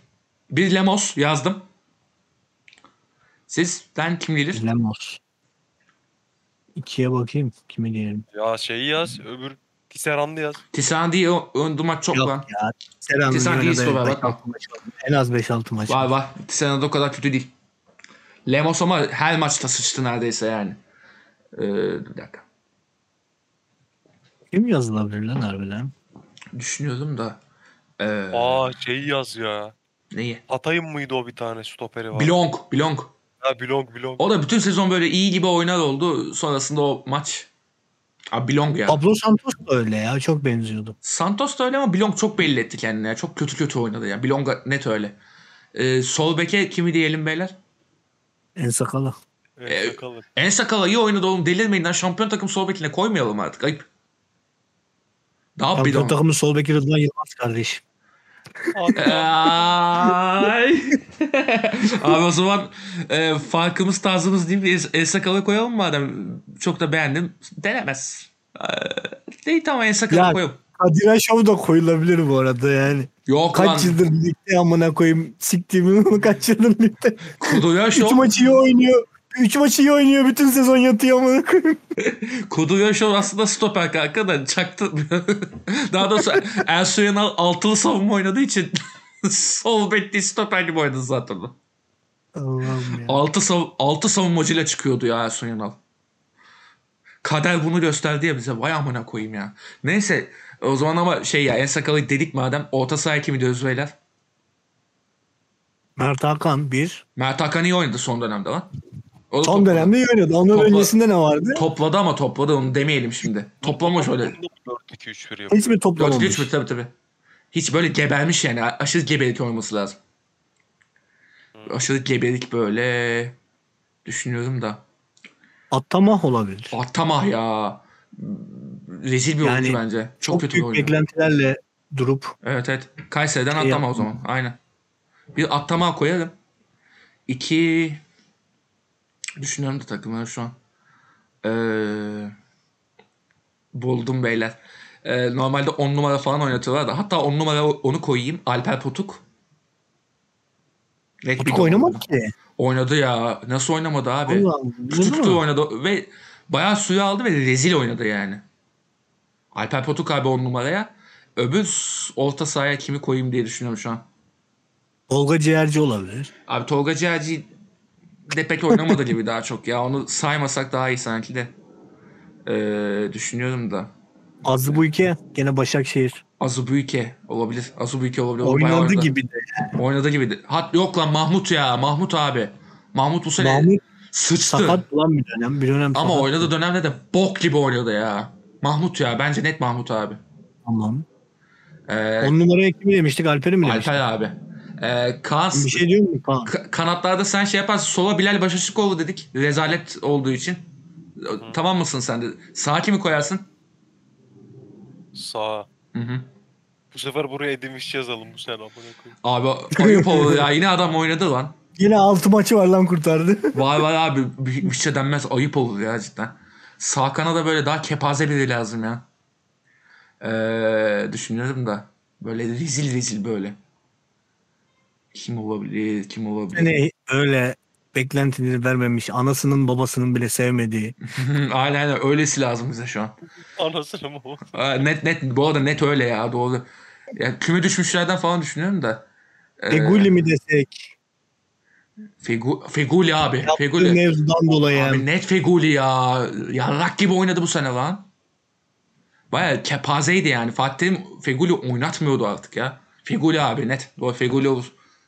[SPEAKER 1] Bir Lemos yazdım. Sizden kim gelir?
[SPEAKER 3] Lemos. İkiye bakayım. Kime diyelim?
[SPEAKER 2] Ya şeyi yaz öbür Tisserand'ı yaz.
[SPEAKER 1] Tisan diye ön duman çok
[SPEAKER 3] Yok
[SPEAKER 1] lan.
[SPEAKER 3] ya. Selam'ın
[SPEAKER 1] Tisserand iyi
[SPEAKER 3] oynadığı
[SPEAKER 1] stoper,
[SPEAKER 3] 5-6
[SPEAKER 1] bakma.
[SPEAKER 3] maç var. En az 5-6 maç.
[SPEAKER 1] Var
[SPEAKER 3] var.
[SPEAKER 1] var. Sen o kadar kötü değil. Lemos ama her maçta sıçtı neredeyse yani. Ee, bir dakika.
[SPEAKER 3] Kim yazılabilir lan harbiden?
[SPEAKER 1] Düşünüyordum da. Ee,
[SPEAKER 2] Aa şeyi yaz ya.
[SPEAKER 1] neyi?
[SPEAKER 2] Hatay'ın mıydı o bir tane stoperi var?
[SPEAKER 1] Blonk. Blonk.
[SPEAKER 2] Ha Blong Blong.
[SPEAKER 1] O da bütün sezon böyle iyi gibi oynar oldu. Sonrasında o maç. Abi Blonk ya.
[SPEAKER 3] Pablo Santos da öyle ya. Çok benziyordu.
[SPEAKER 1] Santos da öyle ama Blonk çok belli etti kendini. ya. Çok kötü kötü oynadı ya. Blonk net öyle. Ee, sol beke kimi diyelim beyler?
[SPEAKER 3] En sakala.
[SPEAKER 2] Evet,
[SPEAKER 1] e,
[SPEAKER 2] sakalı.
[SPEAKER 1] En sakala iyi oynadı oğlum. Delirmeyin lan. Şampiyon takım sol bekine koymayalım artık. Ayıp. Daha
[SPEAKER 3] Şampiyon
[SPEAKER 1] bidon.
[SPEAKER 3] takımın sol beki Rıdvan Yılmaz kardeş.
[SPEAKER 1] e- Ay. <laughs> Abi o zaman e, farkımız tarzımız değil mi? El sakalı koyalım madem. Çok da beğendim. Denemez. E, değil tamam el sakalı
[SPEAKER 3] Ya-
[SPEAKER 1] koyalım.
[SPEAKER 3] Kadir Aşov da koyulabilir bu arada yani.
[SPEAKER 1] Yok
[SPEAKER 3] Kaç
[SPEAKER 1] lan.
[SPEAKER 3] yıldır ligde amına koyayım. Siktiğimi <laughs> onu kaç yıldır ligde. <laughs>
[SPEAKER 1] Kuduyoşov,
[SPEAKER 3] Üç maçı iyi oynuyor. Üç maçı iyi oynuyor. Bütün sezon yatıyor amına koyayım.
[SPEAKER 1] Kuduyoşov aslında stoper kanka da çaktı. <laughs> Daha doğrusu Ersun Yanal altılı savunma oynadığı için <laughs> sol bek değil stoper gibi oynadı zaten. o.
[SPEAKER 3] Allah'ım ya.
[SPEAKER 1] Altı, sav altı savunmacıyla çıkıyordu ya Ersun Yanal. Kader bunu gösterdi ya bize. Vay amına koyayım ya. Neyse o zaman ama şey ya en sakalı dedik madem. Orta saha kimi diyoruz beyler?
[SPEAKER 3] Mert Hakan bir.
[SPEAKER 1] Mert Hakan iyi oynadı son dönemde lan. O da
[SPEAKER 3] Son
[SPEAKER 1] topladı.
[SPEAKER 3] dönemde iyi oynadı. Ondan
[SPEAKER 1] Topla-
[SPEAKER 3] öncesinde ne vardı?
[SPEAKER 1] Topladı ama topladı onu demeyelim şimdi. Toplama şöyle.
[SPEAKER 2] 4-2-3 veriyor.
[SPEAKER 3] Hiç mi
[SPEAKER 1] Yok
[SPEAKER 3] toplamamış?
[SPEAKER 1] hiç mi? Tabii tabii. Hiç böyle gebermiş yani. A- Aşırı gebelik olması lazım. Aşırı gebelik böyle. Düşünüyorum da.
[SPEAKER 3] Attamah olabilir.
[SPEAKER 1] Atamah ya. Rezil bir
[SPEAKER 3] Yani
[SPEAKER 1] oyuncu bence. Çok,
[SPEAKER 3] Çok,
[SPEAKER 1] kötü bir
[SPEAKER 3] büyük
[SPEAKER 1] oyuncu.
[SPEAKER 3] beklentilerle durup
[SPEAKER 1] Evet evet. Kayseri'den
[SPEAKER 3] Şey
[SPEAKER 1] atlama o zaman. Aynen. Bir atlama koyalım. İki düşünüyorum da takımları şu an. Ee, buldum beyler. Ee, normalde 10 numara falan oynatıyorlar da. Hatta 10 numara onu koyayım. Alper Potuk. Net bir
[SPEAKER 3] Potuk
[SPEAKER 1] gol
[SPEAKER 3] oynamadı
[SPEAKER 1] oldu.
[SPEAKER 3] ki.
[SPEAKER 1] Oynadı ya. Nasıl oynamadı abi?
[SPEAKER 3] Allah'ım.
[SPEAKER 1] Küçüktü
[SPEAKER 3] anladın mı?
[SPEAKER 1] oynadı ve bayağı suyu aldı ve rezil oynadı yani. Alper Potuk abi on numaraya. Öbür s- orta sahaya kimi koyayım diye düşünüyorum şu an.
[SPEAKER 3] Tolga Ciğerci olabilir.
[SPEAKER 1] Abi Tolga Ciğerci de pek oynamadı gibi daha çok ya. Onu saymasak daha iyi sanki de. Ee, düşünüyorum da.
[SPEAKER 3] Azı bu iki gene Başakşehir.
[SPEAKER 1] Azubüke olabilir. Azubüke olabilir. O bayağı
[SPEAKER 3] Oynadı gibi de.
[SPEAKER 1] Oynadı gibi. de. Hat yok lan Mahmut ya. Mahmut abi. Mahmut bu sene
[SPEAKER 3] Mahmut
[SPEAKER 1] sıçtı.
[SPEAKER 3] sakat olan bir dönem. Bir dönem
[SPEAKER 1] Şey, Ama
[SPEAKER 3] sakat.
[SPEAKER 1] oynadığı dönemde de bok gibi oynadı ya. Mahmut ya. Bence net Mahmut abi.
[SPEAKER 3] Tamam.
[SPEAKER 1] Ee,
[SPEAKER 3] On numaraya kimi demiştik? Alper'i mi demiştik?
[SPEAKER 1] Alper abi. Ee, Kaan,
[SPEAKER 3] Bir şey diyor mu? Kaan.
[SPEAKER 1] Ka- kanatlarda sen şey yaparsın. Sola Bilal Başaşıkoğlu dedik. Rezalet olduğu için. Tamam mısın sen de? Sağa kimi koyarsın?
[SPEAKER 2] Sağ.
[SPEAKER 1] Hı hı.
[SPEAKER 2] Bu sefer buraya edinmiş yazalım bu sene amına koyayım.
[SPEAKER 1] Abi ayıp oldu ya. Yine adam oynadı lan.
[SPEAKER 3] Yine altı maçı var lan kurtardı.
[SPEAKER 1] Vay vay abi. Bir, bir şey denmez. Ayıp olur ya cidden. Sağ kanada böyle daha kepaze biri lazım ya. Ee, düşünüyorum da. Böyle rezil rezil böyle. Kim olabilir? Kim olabilir?
[SPEAKER 3] Yani öyle beklentileri vermemiş. Anasının babasının bile sevmediği.
[SPEAKER 1] aynen <laughs> aynen. Öylesi lazım bize şu an.
[SPEAKER 2] Anasını mı? o?
[SPEAKER 1] Aa, net net bu arada net öyle ya doğru. Ya küme düşmüşlerden falan düşünüyorum da. Ee,
[SPEAKER 3] Feguli mi desek?
[SPEAKER 1] Fegu- Feguli abi.
[SPEAKER 3] Yaptığı
[SPEAKER 1] Feguli.
[SPEAKER 3] mevzudan dolayı.
[SPEAKER 1] Abi
[SPEAKER 3] yani.
[SPEAKER 1] net Feguli ya. Yarrak gibi oynadı bu sene lan. Baya kepazeydi yani. Fatih Terim Feguli oynatmıyordu artık ya. Feguli abi net. Doğru Feguli olur.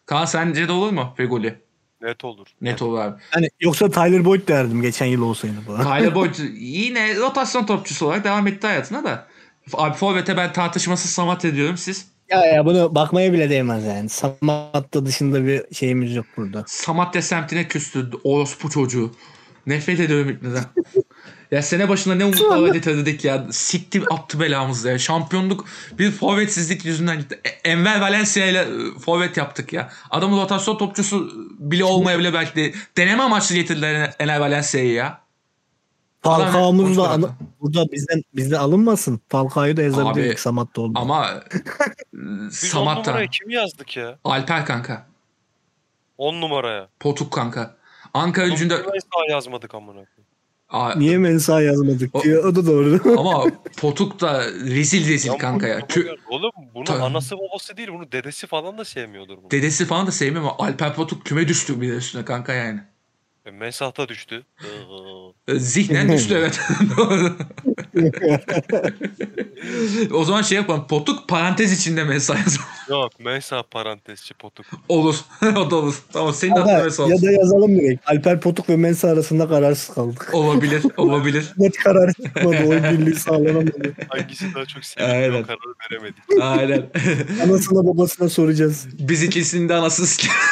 [SPEAKER 1] Kaan sence de olur mu Feguli?
[SPEAKER 2] Net olur.
[SPEAKER 1] Net olur
[SPEAKER 3] <laughs>
[SPEAKER 1] abi.
[SPEAKER 3] Yani Hani yoksa Tyler Boyd derdim geçen yıl olsaydı falan.
[SPEAKER 1] Tyler Boyd yine rotasyon topçusu olarak devam etti hayatına da. Abi Forvet'e ben tartışmasız samat ediyorum siz.
[SPEAKER 3] Ya ya bunu bakmaya bile değmez yani. Samat'ta dışında bir şeyimiz yok burada.
[SPEAKER 1] Samatya semtine küstü orospu çocuğu. Nefret ediyorum
[SPEAKER 2] <laughs>
[SPEAKER 1] İbni'den. ya sene başında ne umutlarla getirdik ya. Sikti attı belamızı ya. Şampiyonluk bir forvetsizlik yüzünden gitti. E- Enver Valencia ile e, forvet yaptık ya. Adamın rotasyon topçusu bile olmaya bile belki de- deneme amaçlı getirdiler En- Enver Valencia'yı ya.
[SPEAKER 3] Falcao'muz da
[SPEAKER 1] Adam-
[SPEAKER 3] anı- burada bizden bizden alınmasın. Falcao'yu da
[SPEAKER 1] Abi,
[SPEAKER 3] yazabilirdik Samat'ta oldu.
[SPEAKER 1] Ama e,
[SPEAKER 2] <laughs> Biz on
[SPEAKER 1] Samat'tan.
[SPEAKER 2] numaraya kim yazdık ya?
[SPEAKER 1] Alper kanka.
[SPEAKER 2] 10 numaraya.
[SPEAKER 1] Potuk kanka. Ankara gücünde...
[SPEAKER 2] Biz daha yazmadık amına koyayım.
[SPEAKER 1] Aa,
[SPEAKER 3] Niye Mensa yazmadık
[SPEAKER 1] O-
[SPEAKER 3] diyor. O da doğru.
[SPEAKER 1] ama Potuk da rezil rezil
[SPEAKER 2] Lan
[SPEAKER 1] kanka
[SPEAKER 2] bu-
[SPEAKER 1] ya.
[SPEAKER 2] bu-
[SPEAKER 1] Kö-
[SPEAKER 2] Oğlum bunu
[SPEAKER 1] Tabii.
[SPEAKER 2] anası babası değil bunu dedesi falan da sevmiyordur bunu.
[SPEAKER 1] Dedesi falan da sevmiyor ama Alper Potuk küme düştü bir de üstüne kanka yani.
[SPEAKER 2] E, Mensahta düştü. Ee,
[SPEAKER 1] E, Zihnen düştü evet. Doğru. o zaman şey yapalım. Potuk parantez içinde mesaj yazalım.
[SPEAKER 2] Yok Mensah parantezçi potuk.
[SPEAKER 1] <laughs> olur. o da olur. Tamam senin
[SPEAKER 3] ya, da,
[SPEAKER 1] adın öyle
[SPEAKER 3] <laughs> ya
[SPEAKER 1] <laughs> olsun.
[SPEAKER 3] da yazalım direkt. Alper Potuk ve Mensa arasında kararsız kaldık.
[SPEAKER 1] Olabilir.
[SPEAKER 3] <laughs>
[SPEAKER 1] Olabilir.
[SPEAKER 3] Net karar çıkmadı. Oy birliği sağlanamadı.
[SPEAKER 2] Hangisi
[SPEAKER 1] <laughs>
[SPEAKER 2] daha çok sevdiği
[SPEAKER 1] Aynen.
[SPEAKER 2] o kararı veremedik.
[SPEAKER 1] Aynen.
[SPEAKER 3] Anasına babasına soracağız.
[SPEAKER 1] Biz ikisinin de anasını sik- <laughs>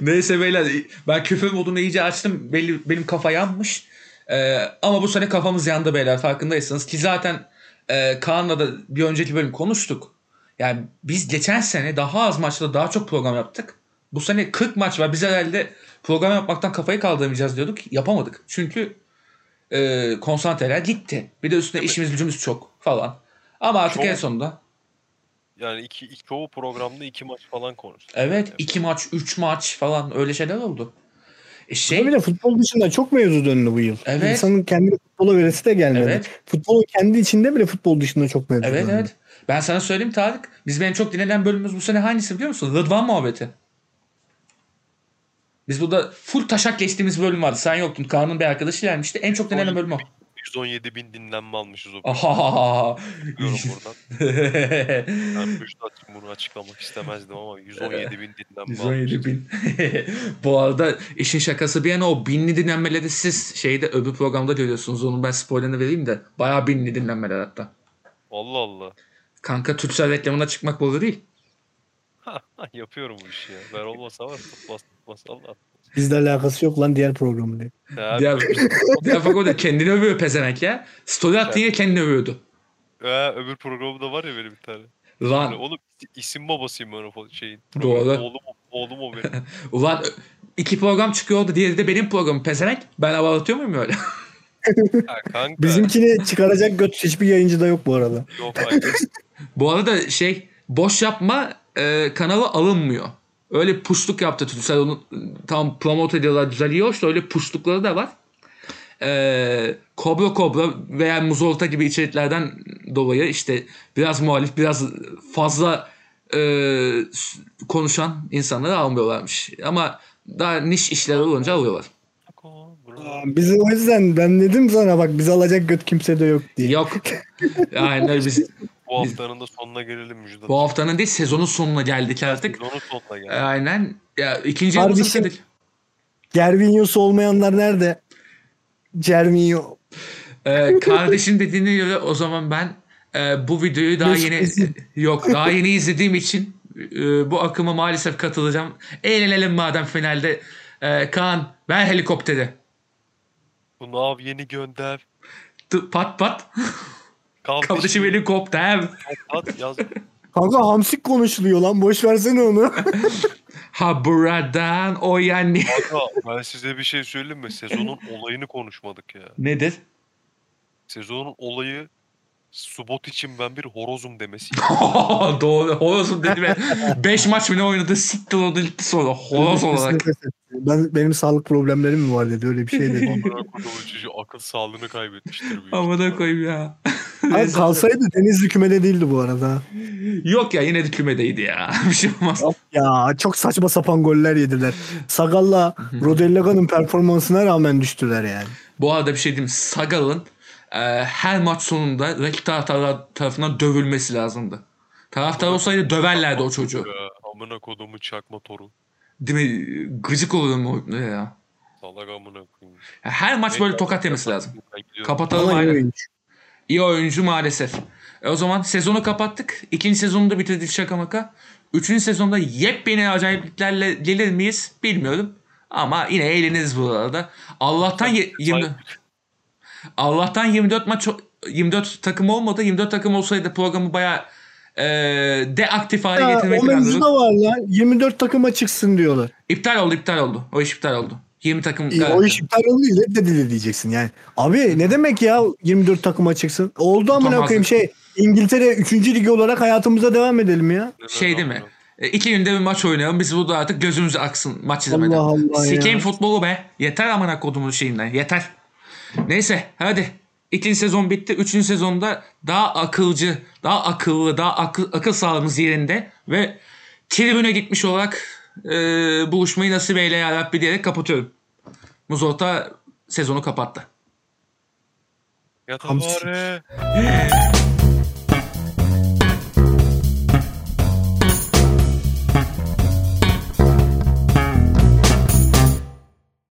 [SPEAKER 1] Neyse beyler ben küfür modunu iyice açtım. Belli, benim kafa yanmış. Ee, ama bu sene kafamız yandı beyler farkındaysanız. Ki zaten e, Kaan'la da bir önceki bölüm konuştuk. Yani biz geçen sene daha az maçla daha çok program yaptık. Bu sene 40 maç var. Biz herhalde program yapmaktan kafayı kaldıramayacağız diyorduk. Yapamadık. Çünkü e, konsantreler gitti. Bir de üstüne işimiz gücümüz çok falan. Ama artık
[SPEAKER 2] Çok.
[SPEAKER 1] en sonunda
[SPEAKER 2] yani iki, iki çoğu programda iki maç falan konuştuk.
[SPEAKER 1] Evet
[SPEAKER 2] Yani
[SPEAKER 1] iki maç, üç maç falan öyle şeyler oldu. E şey
[SPEAKER 3] Tabii de futbol dışında çok mevzu döndü bu yıl.
[SPEAKER 1] Evet.
[SPEAKER 3] İnsanın kendini futbola veresi de gelmedi.
[SPEAKER 1] Evet.
[SPEAKER 3] Futbol kendi içinde bile futbol dışında çok mevzu
[SPEAKER 1] evet
[SPEAKER 3] döndü.
[SPEAKER 1] evet. Ben sana söyleyeyim Tarık. Biz benim çok dinlenen bölümümüz bu sene hangisi biliyor musun? Rıdvan muhabbeti. Biz burada full taşak geçtiğimiz bölüm vardı. Sen yoktun. Kaan'ın bir arkadaşı gelmişti. En çok dinlenen bölüm o.
[SPEAKER 2] 117 bin dinlenme almışız o bölüm.
[SPEAKER 1] Aha. <laughs>
[SPEAKER 2] Biliyorum buradan. Ben Müjdat için bunu açıklamak istemezdim ama 117 bin
[SPEAKER 1] Ee,
[SPEAKER 2] dinlenme almışız.
[SPEAKER 1] 117 bin. <laughs> Bu arada işin şakası bir yana o binli dinlenmeleri siz şeyde öbür programda görüyorsunuz. Onun ben spoilerını vereyim de. Bayağı binli dinlenmeler hatta.
[SPEAKER 2] Allah Allah.
[SPEAKER 1] Kanka Türksel reklamına çıkmak bu olur değil.
[SPEAKER 2] <laughs> Yapıyorum bu işi ya. Ben olmasa var tutmaz tutmaz
[SPEAKER 1] <laughs>
[SPEAKER 2] Allah.
[SPEAKER 3] Bizle alakası yok lan diğer programın. diye.
[SPEAKER 2] Ya,
[SPEAKER 1] Diğer, diğer fakat kendini övüyor pezevenk ya. Story attı yine kendini övüyordu.
[SPEAKER 2] Ee, öbür programda var ya benim bir tane. Yani
[SPEAKER 1] Lan
[SPEAKER 2] Hani oğlum isim babasıyım ben o fo- şeyin.
[SPEAKER 1] Doğru.
[SPEAKER 2] programın. Oğlum, oğlum
[SPEAKER 1] <laughs>
[SPEAKER 2] o benim.
[SPEAKER 1] ulan iki program çıkıyordu. Diğeri de benim programım pezevenk. Ben havalatıyor muyum öyle?
[SPEAKER 2] Ha, kanka.
[SPEAKER 3] Bizimkini çıkaracak göt hiçbir yayıncı da yok bu arada.
[SPEAKER 2] Yok hayır.
[SPEAKER 1] bu arada şey boş yapma e, kanala alınmıyor. Öyle puşluk yaptı Türksel onu e, tam promote ediyorlar düzeliyor işte öyle puşlukları da var. E, kobra kobra veya muzolta gibi içeriklerden dolayı işte biraz muhalif biraz fazla e, s- konuşan insanları almıyorlarmış. Ama daha niş işler olunca alıyorlar.
[SPEAKER 3] Aa, Bizi o yüzden ben dedim sana bak bizi alacak göt kimse de yok diye. <laughs>
[SPEAKER 1] Yok. Aynen biz
[SPEAKER 2] Bu haftanın da sonuna gelelim Müjdat.
[SPEAKER 1] bu haftanın değil sezonun sonuna geldik artık.
[SPEAKER 2] Sezonun sonuna geldik.
[SPEAKER 1] Aynen. Ya ikinci
[SPEAKER 3] Harbi
[SPEAKER 1] yılımızı
[SPEAKER 3] şey-
[SPEAKER 1] bitirdik.
[SPEAKER 3] Gervinho'su olmayanlar nerede? Gervinho.
[SPEAKER 1] Ee, kardeşin dediğine göre o zaman ben e, bu videoyu daha
[SPEAKER 3] Mesut
[SPEAKER 1] yeni e,
[SPEAKER 3] Özil.
[SPEAKER 1] yok daha yeni izlediğim için e, bu akıma maalesef katılacağım. Eğlenelim madem finalde. E, Kaan ben helikopteri.
[SPEAKER 2] Bunu av yeni gönder.
[SPEAKER 1] Tı- pat pat. Kardeşim
[SPEAKER 2] Kardeşim
[SPEAKER 1] helikopter.
[SPEAKER 2] at yaz.
[SPEAKER 3] Kanka hamsik konuşuluyor lan boş versene onu.
[SPEAKER 1] Ha buradan o yani.
[SPEAKER 2] Aga, ben size bir şey söyleyeyim mi? Sezonun olayını konuşmadık ya.
[SPEAKER 1] Nedir?
[SPEAKER 2] Sezonun olayı Subot için ben bir horozum demesi.
[SPEAKER 1] <laughs> Doğru. Horozum dedi ve 5 maç mı ne oynadı? Siktir onu gitti sonra. Horoz
[SPEAKER 3] <laughs>
[SPEAKER 1] olarak.
[SPEAKER 3] Ben benim sağlık problemlerim mi var dedi öyle bir
[SPEAKER 1] <laughs>
[SPEAKER 3] şey dedi.
[SPEAKER 2] Amına koyduğum çocuğu akıl sağlığını kaybetmiştir. büyük
[SPEAKER 1] Amına
[SPEAKER 2] ihtimalle.
[SPEAKER 1] koyayım ya.
[SPEAKER 3] Hayır, kalsaydı Denizli kümede değildi bu arada.
[SPEAKER 1] Yok ya yine de kümedeydi ya. <laughs> Bir şey olmaz.
[SPEAKER 3] Ya çok saçma sapan goller yediler. Sagalla Rodellaga'nın performansına rağmen düştüler yani.
[SPEAKER 1] Bu arada bir şey diyeyim. Sagal'ın e, her maç sonunda rakip taraftarlar tarafından dövülmesi lazımdı. Taraftar olsaydı döverlerdi o çocuğu.
[SPEAKER 2] Ya, amına kodumu çakma toru.
[SPEAKER 1] Değil mi? Gıcık olurum o ne ya.
[SPEAKER 2] Salak amına koyayım.
[SPEAKER 1] Her maç böyle tokat yemesi lazım.
[SPEAKER 2] Ben gidiyorum.
[SPEAKER 1] Kapatalım
[SPEAKER 3] Ama iyi
[SPEAKER 1] aynen.
[SPEAKER 3] oyuncu.
[SPEAKER 1] İyi oyuncu maalesef. E, o zaman sezonu kapattık. İkinci sezonu da bitirdik şaka maka. Üçüncü sezonda yepyeni acayipliklerle gelir miyiz bilmiyorum. Ama yine eğleniriz bu arada. Allah'tan ye- yirmi- Allah'tan 24 maç 24 takım olmadı. 24 takım olsaydı programı bayağı e, deaktif hale
[SPEAKER 3] Ya,
[SPEAKER 1] getirmek
[SPEAKER 3] o mevzu
[SPEAKER 1] lazım.
[SPEAKER 3] da var lan. 24 takıma çıksın diyorlar.
[SPEAKER 1] İptal oldu, iptal oldu. O iş iptal oldu. 20 takım.
[SPEAKER 3] İyi, o
[SPEAKER 1] garanti.
[SPEAKER 3] iş iptal oldu reddedildi diyeceksin yani. Abi ne demek ya 24 takıma çıksın? Oldu amına
[SPEAKER 1] Utanmazlık.
[SPEAKER 3] koyayım şey İngiltere 3. ligi olarak hayatımıza devam edelim ya.
[SPEAKER 1] Şey değil mi? E, iki günde bir maç oynayalım. Biz burada artık gözümüz aksın maç izlemeden.
[SPEAKER 3] Allah Allah ya.
[SPEAKER 1] Sikeyim futbolu be. Yeter amına kodumun şeyinden. Yeter. Neyse hadi. İkinci sezon bitti. Üçüncü sezonda daha akılcı, daha akıllı, daha akıl, akıl sağlığımız yerinde ve tribüne gitmiş olarak e, buluşmayı nasip eyle ya Rabbi diyerek kapatıyorum. Muzorta sezonu kapattı.
[SPEAKER 2] Yatavare.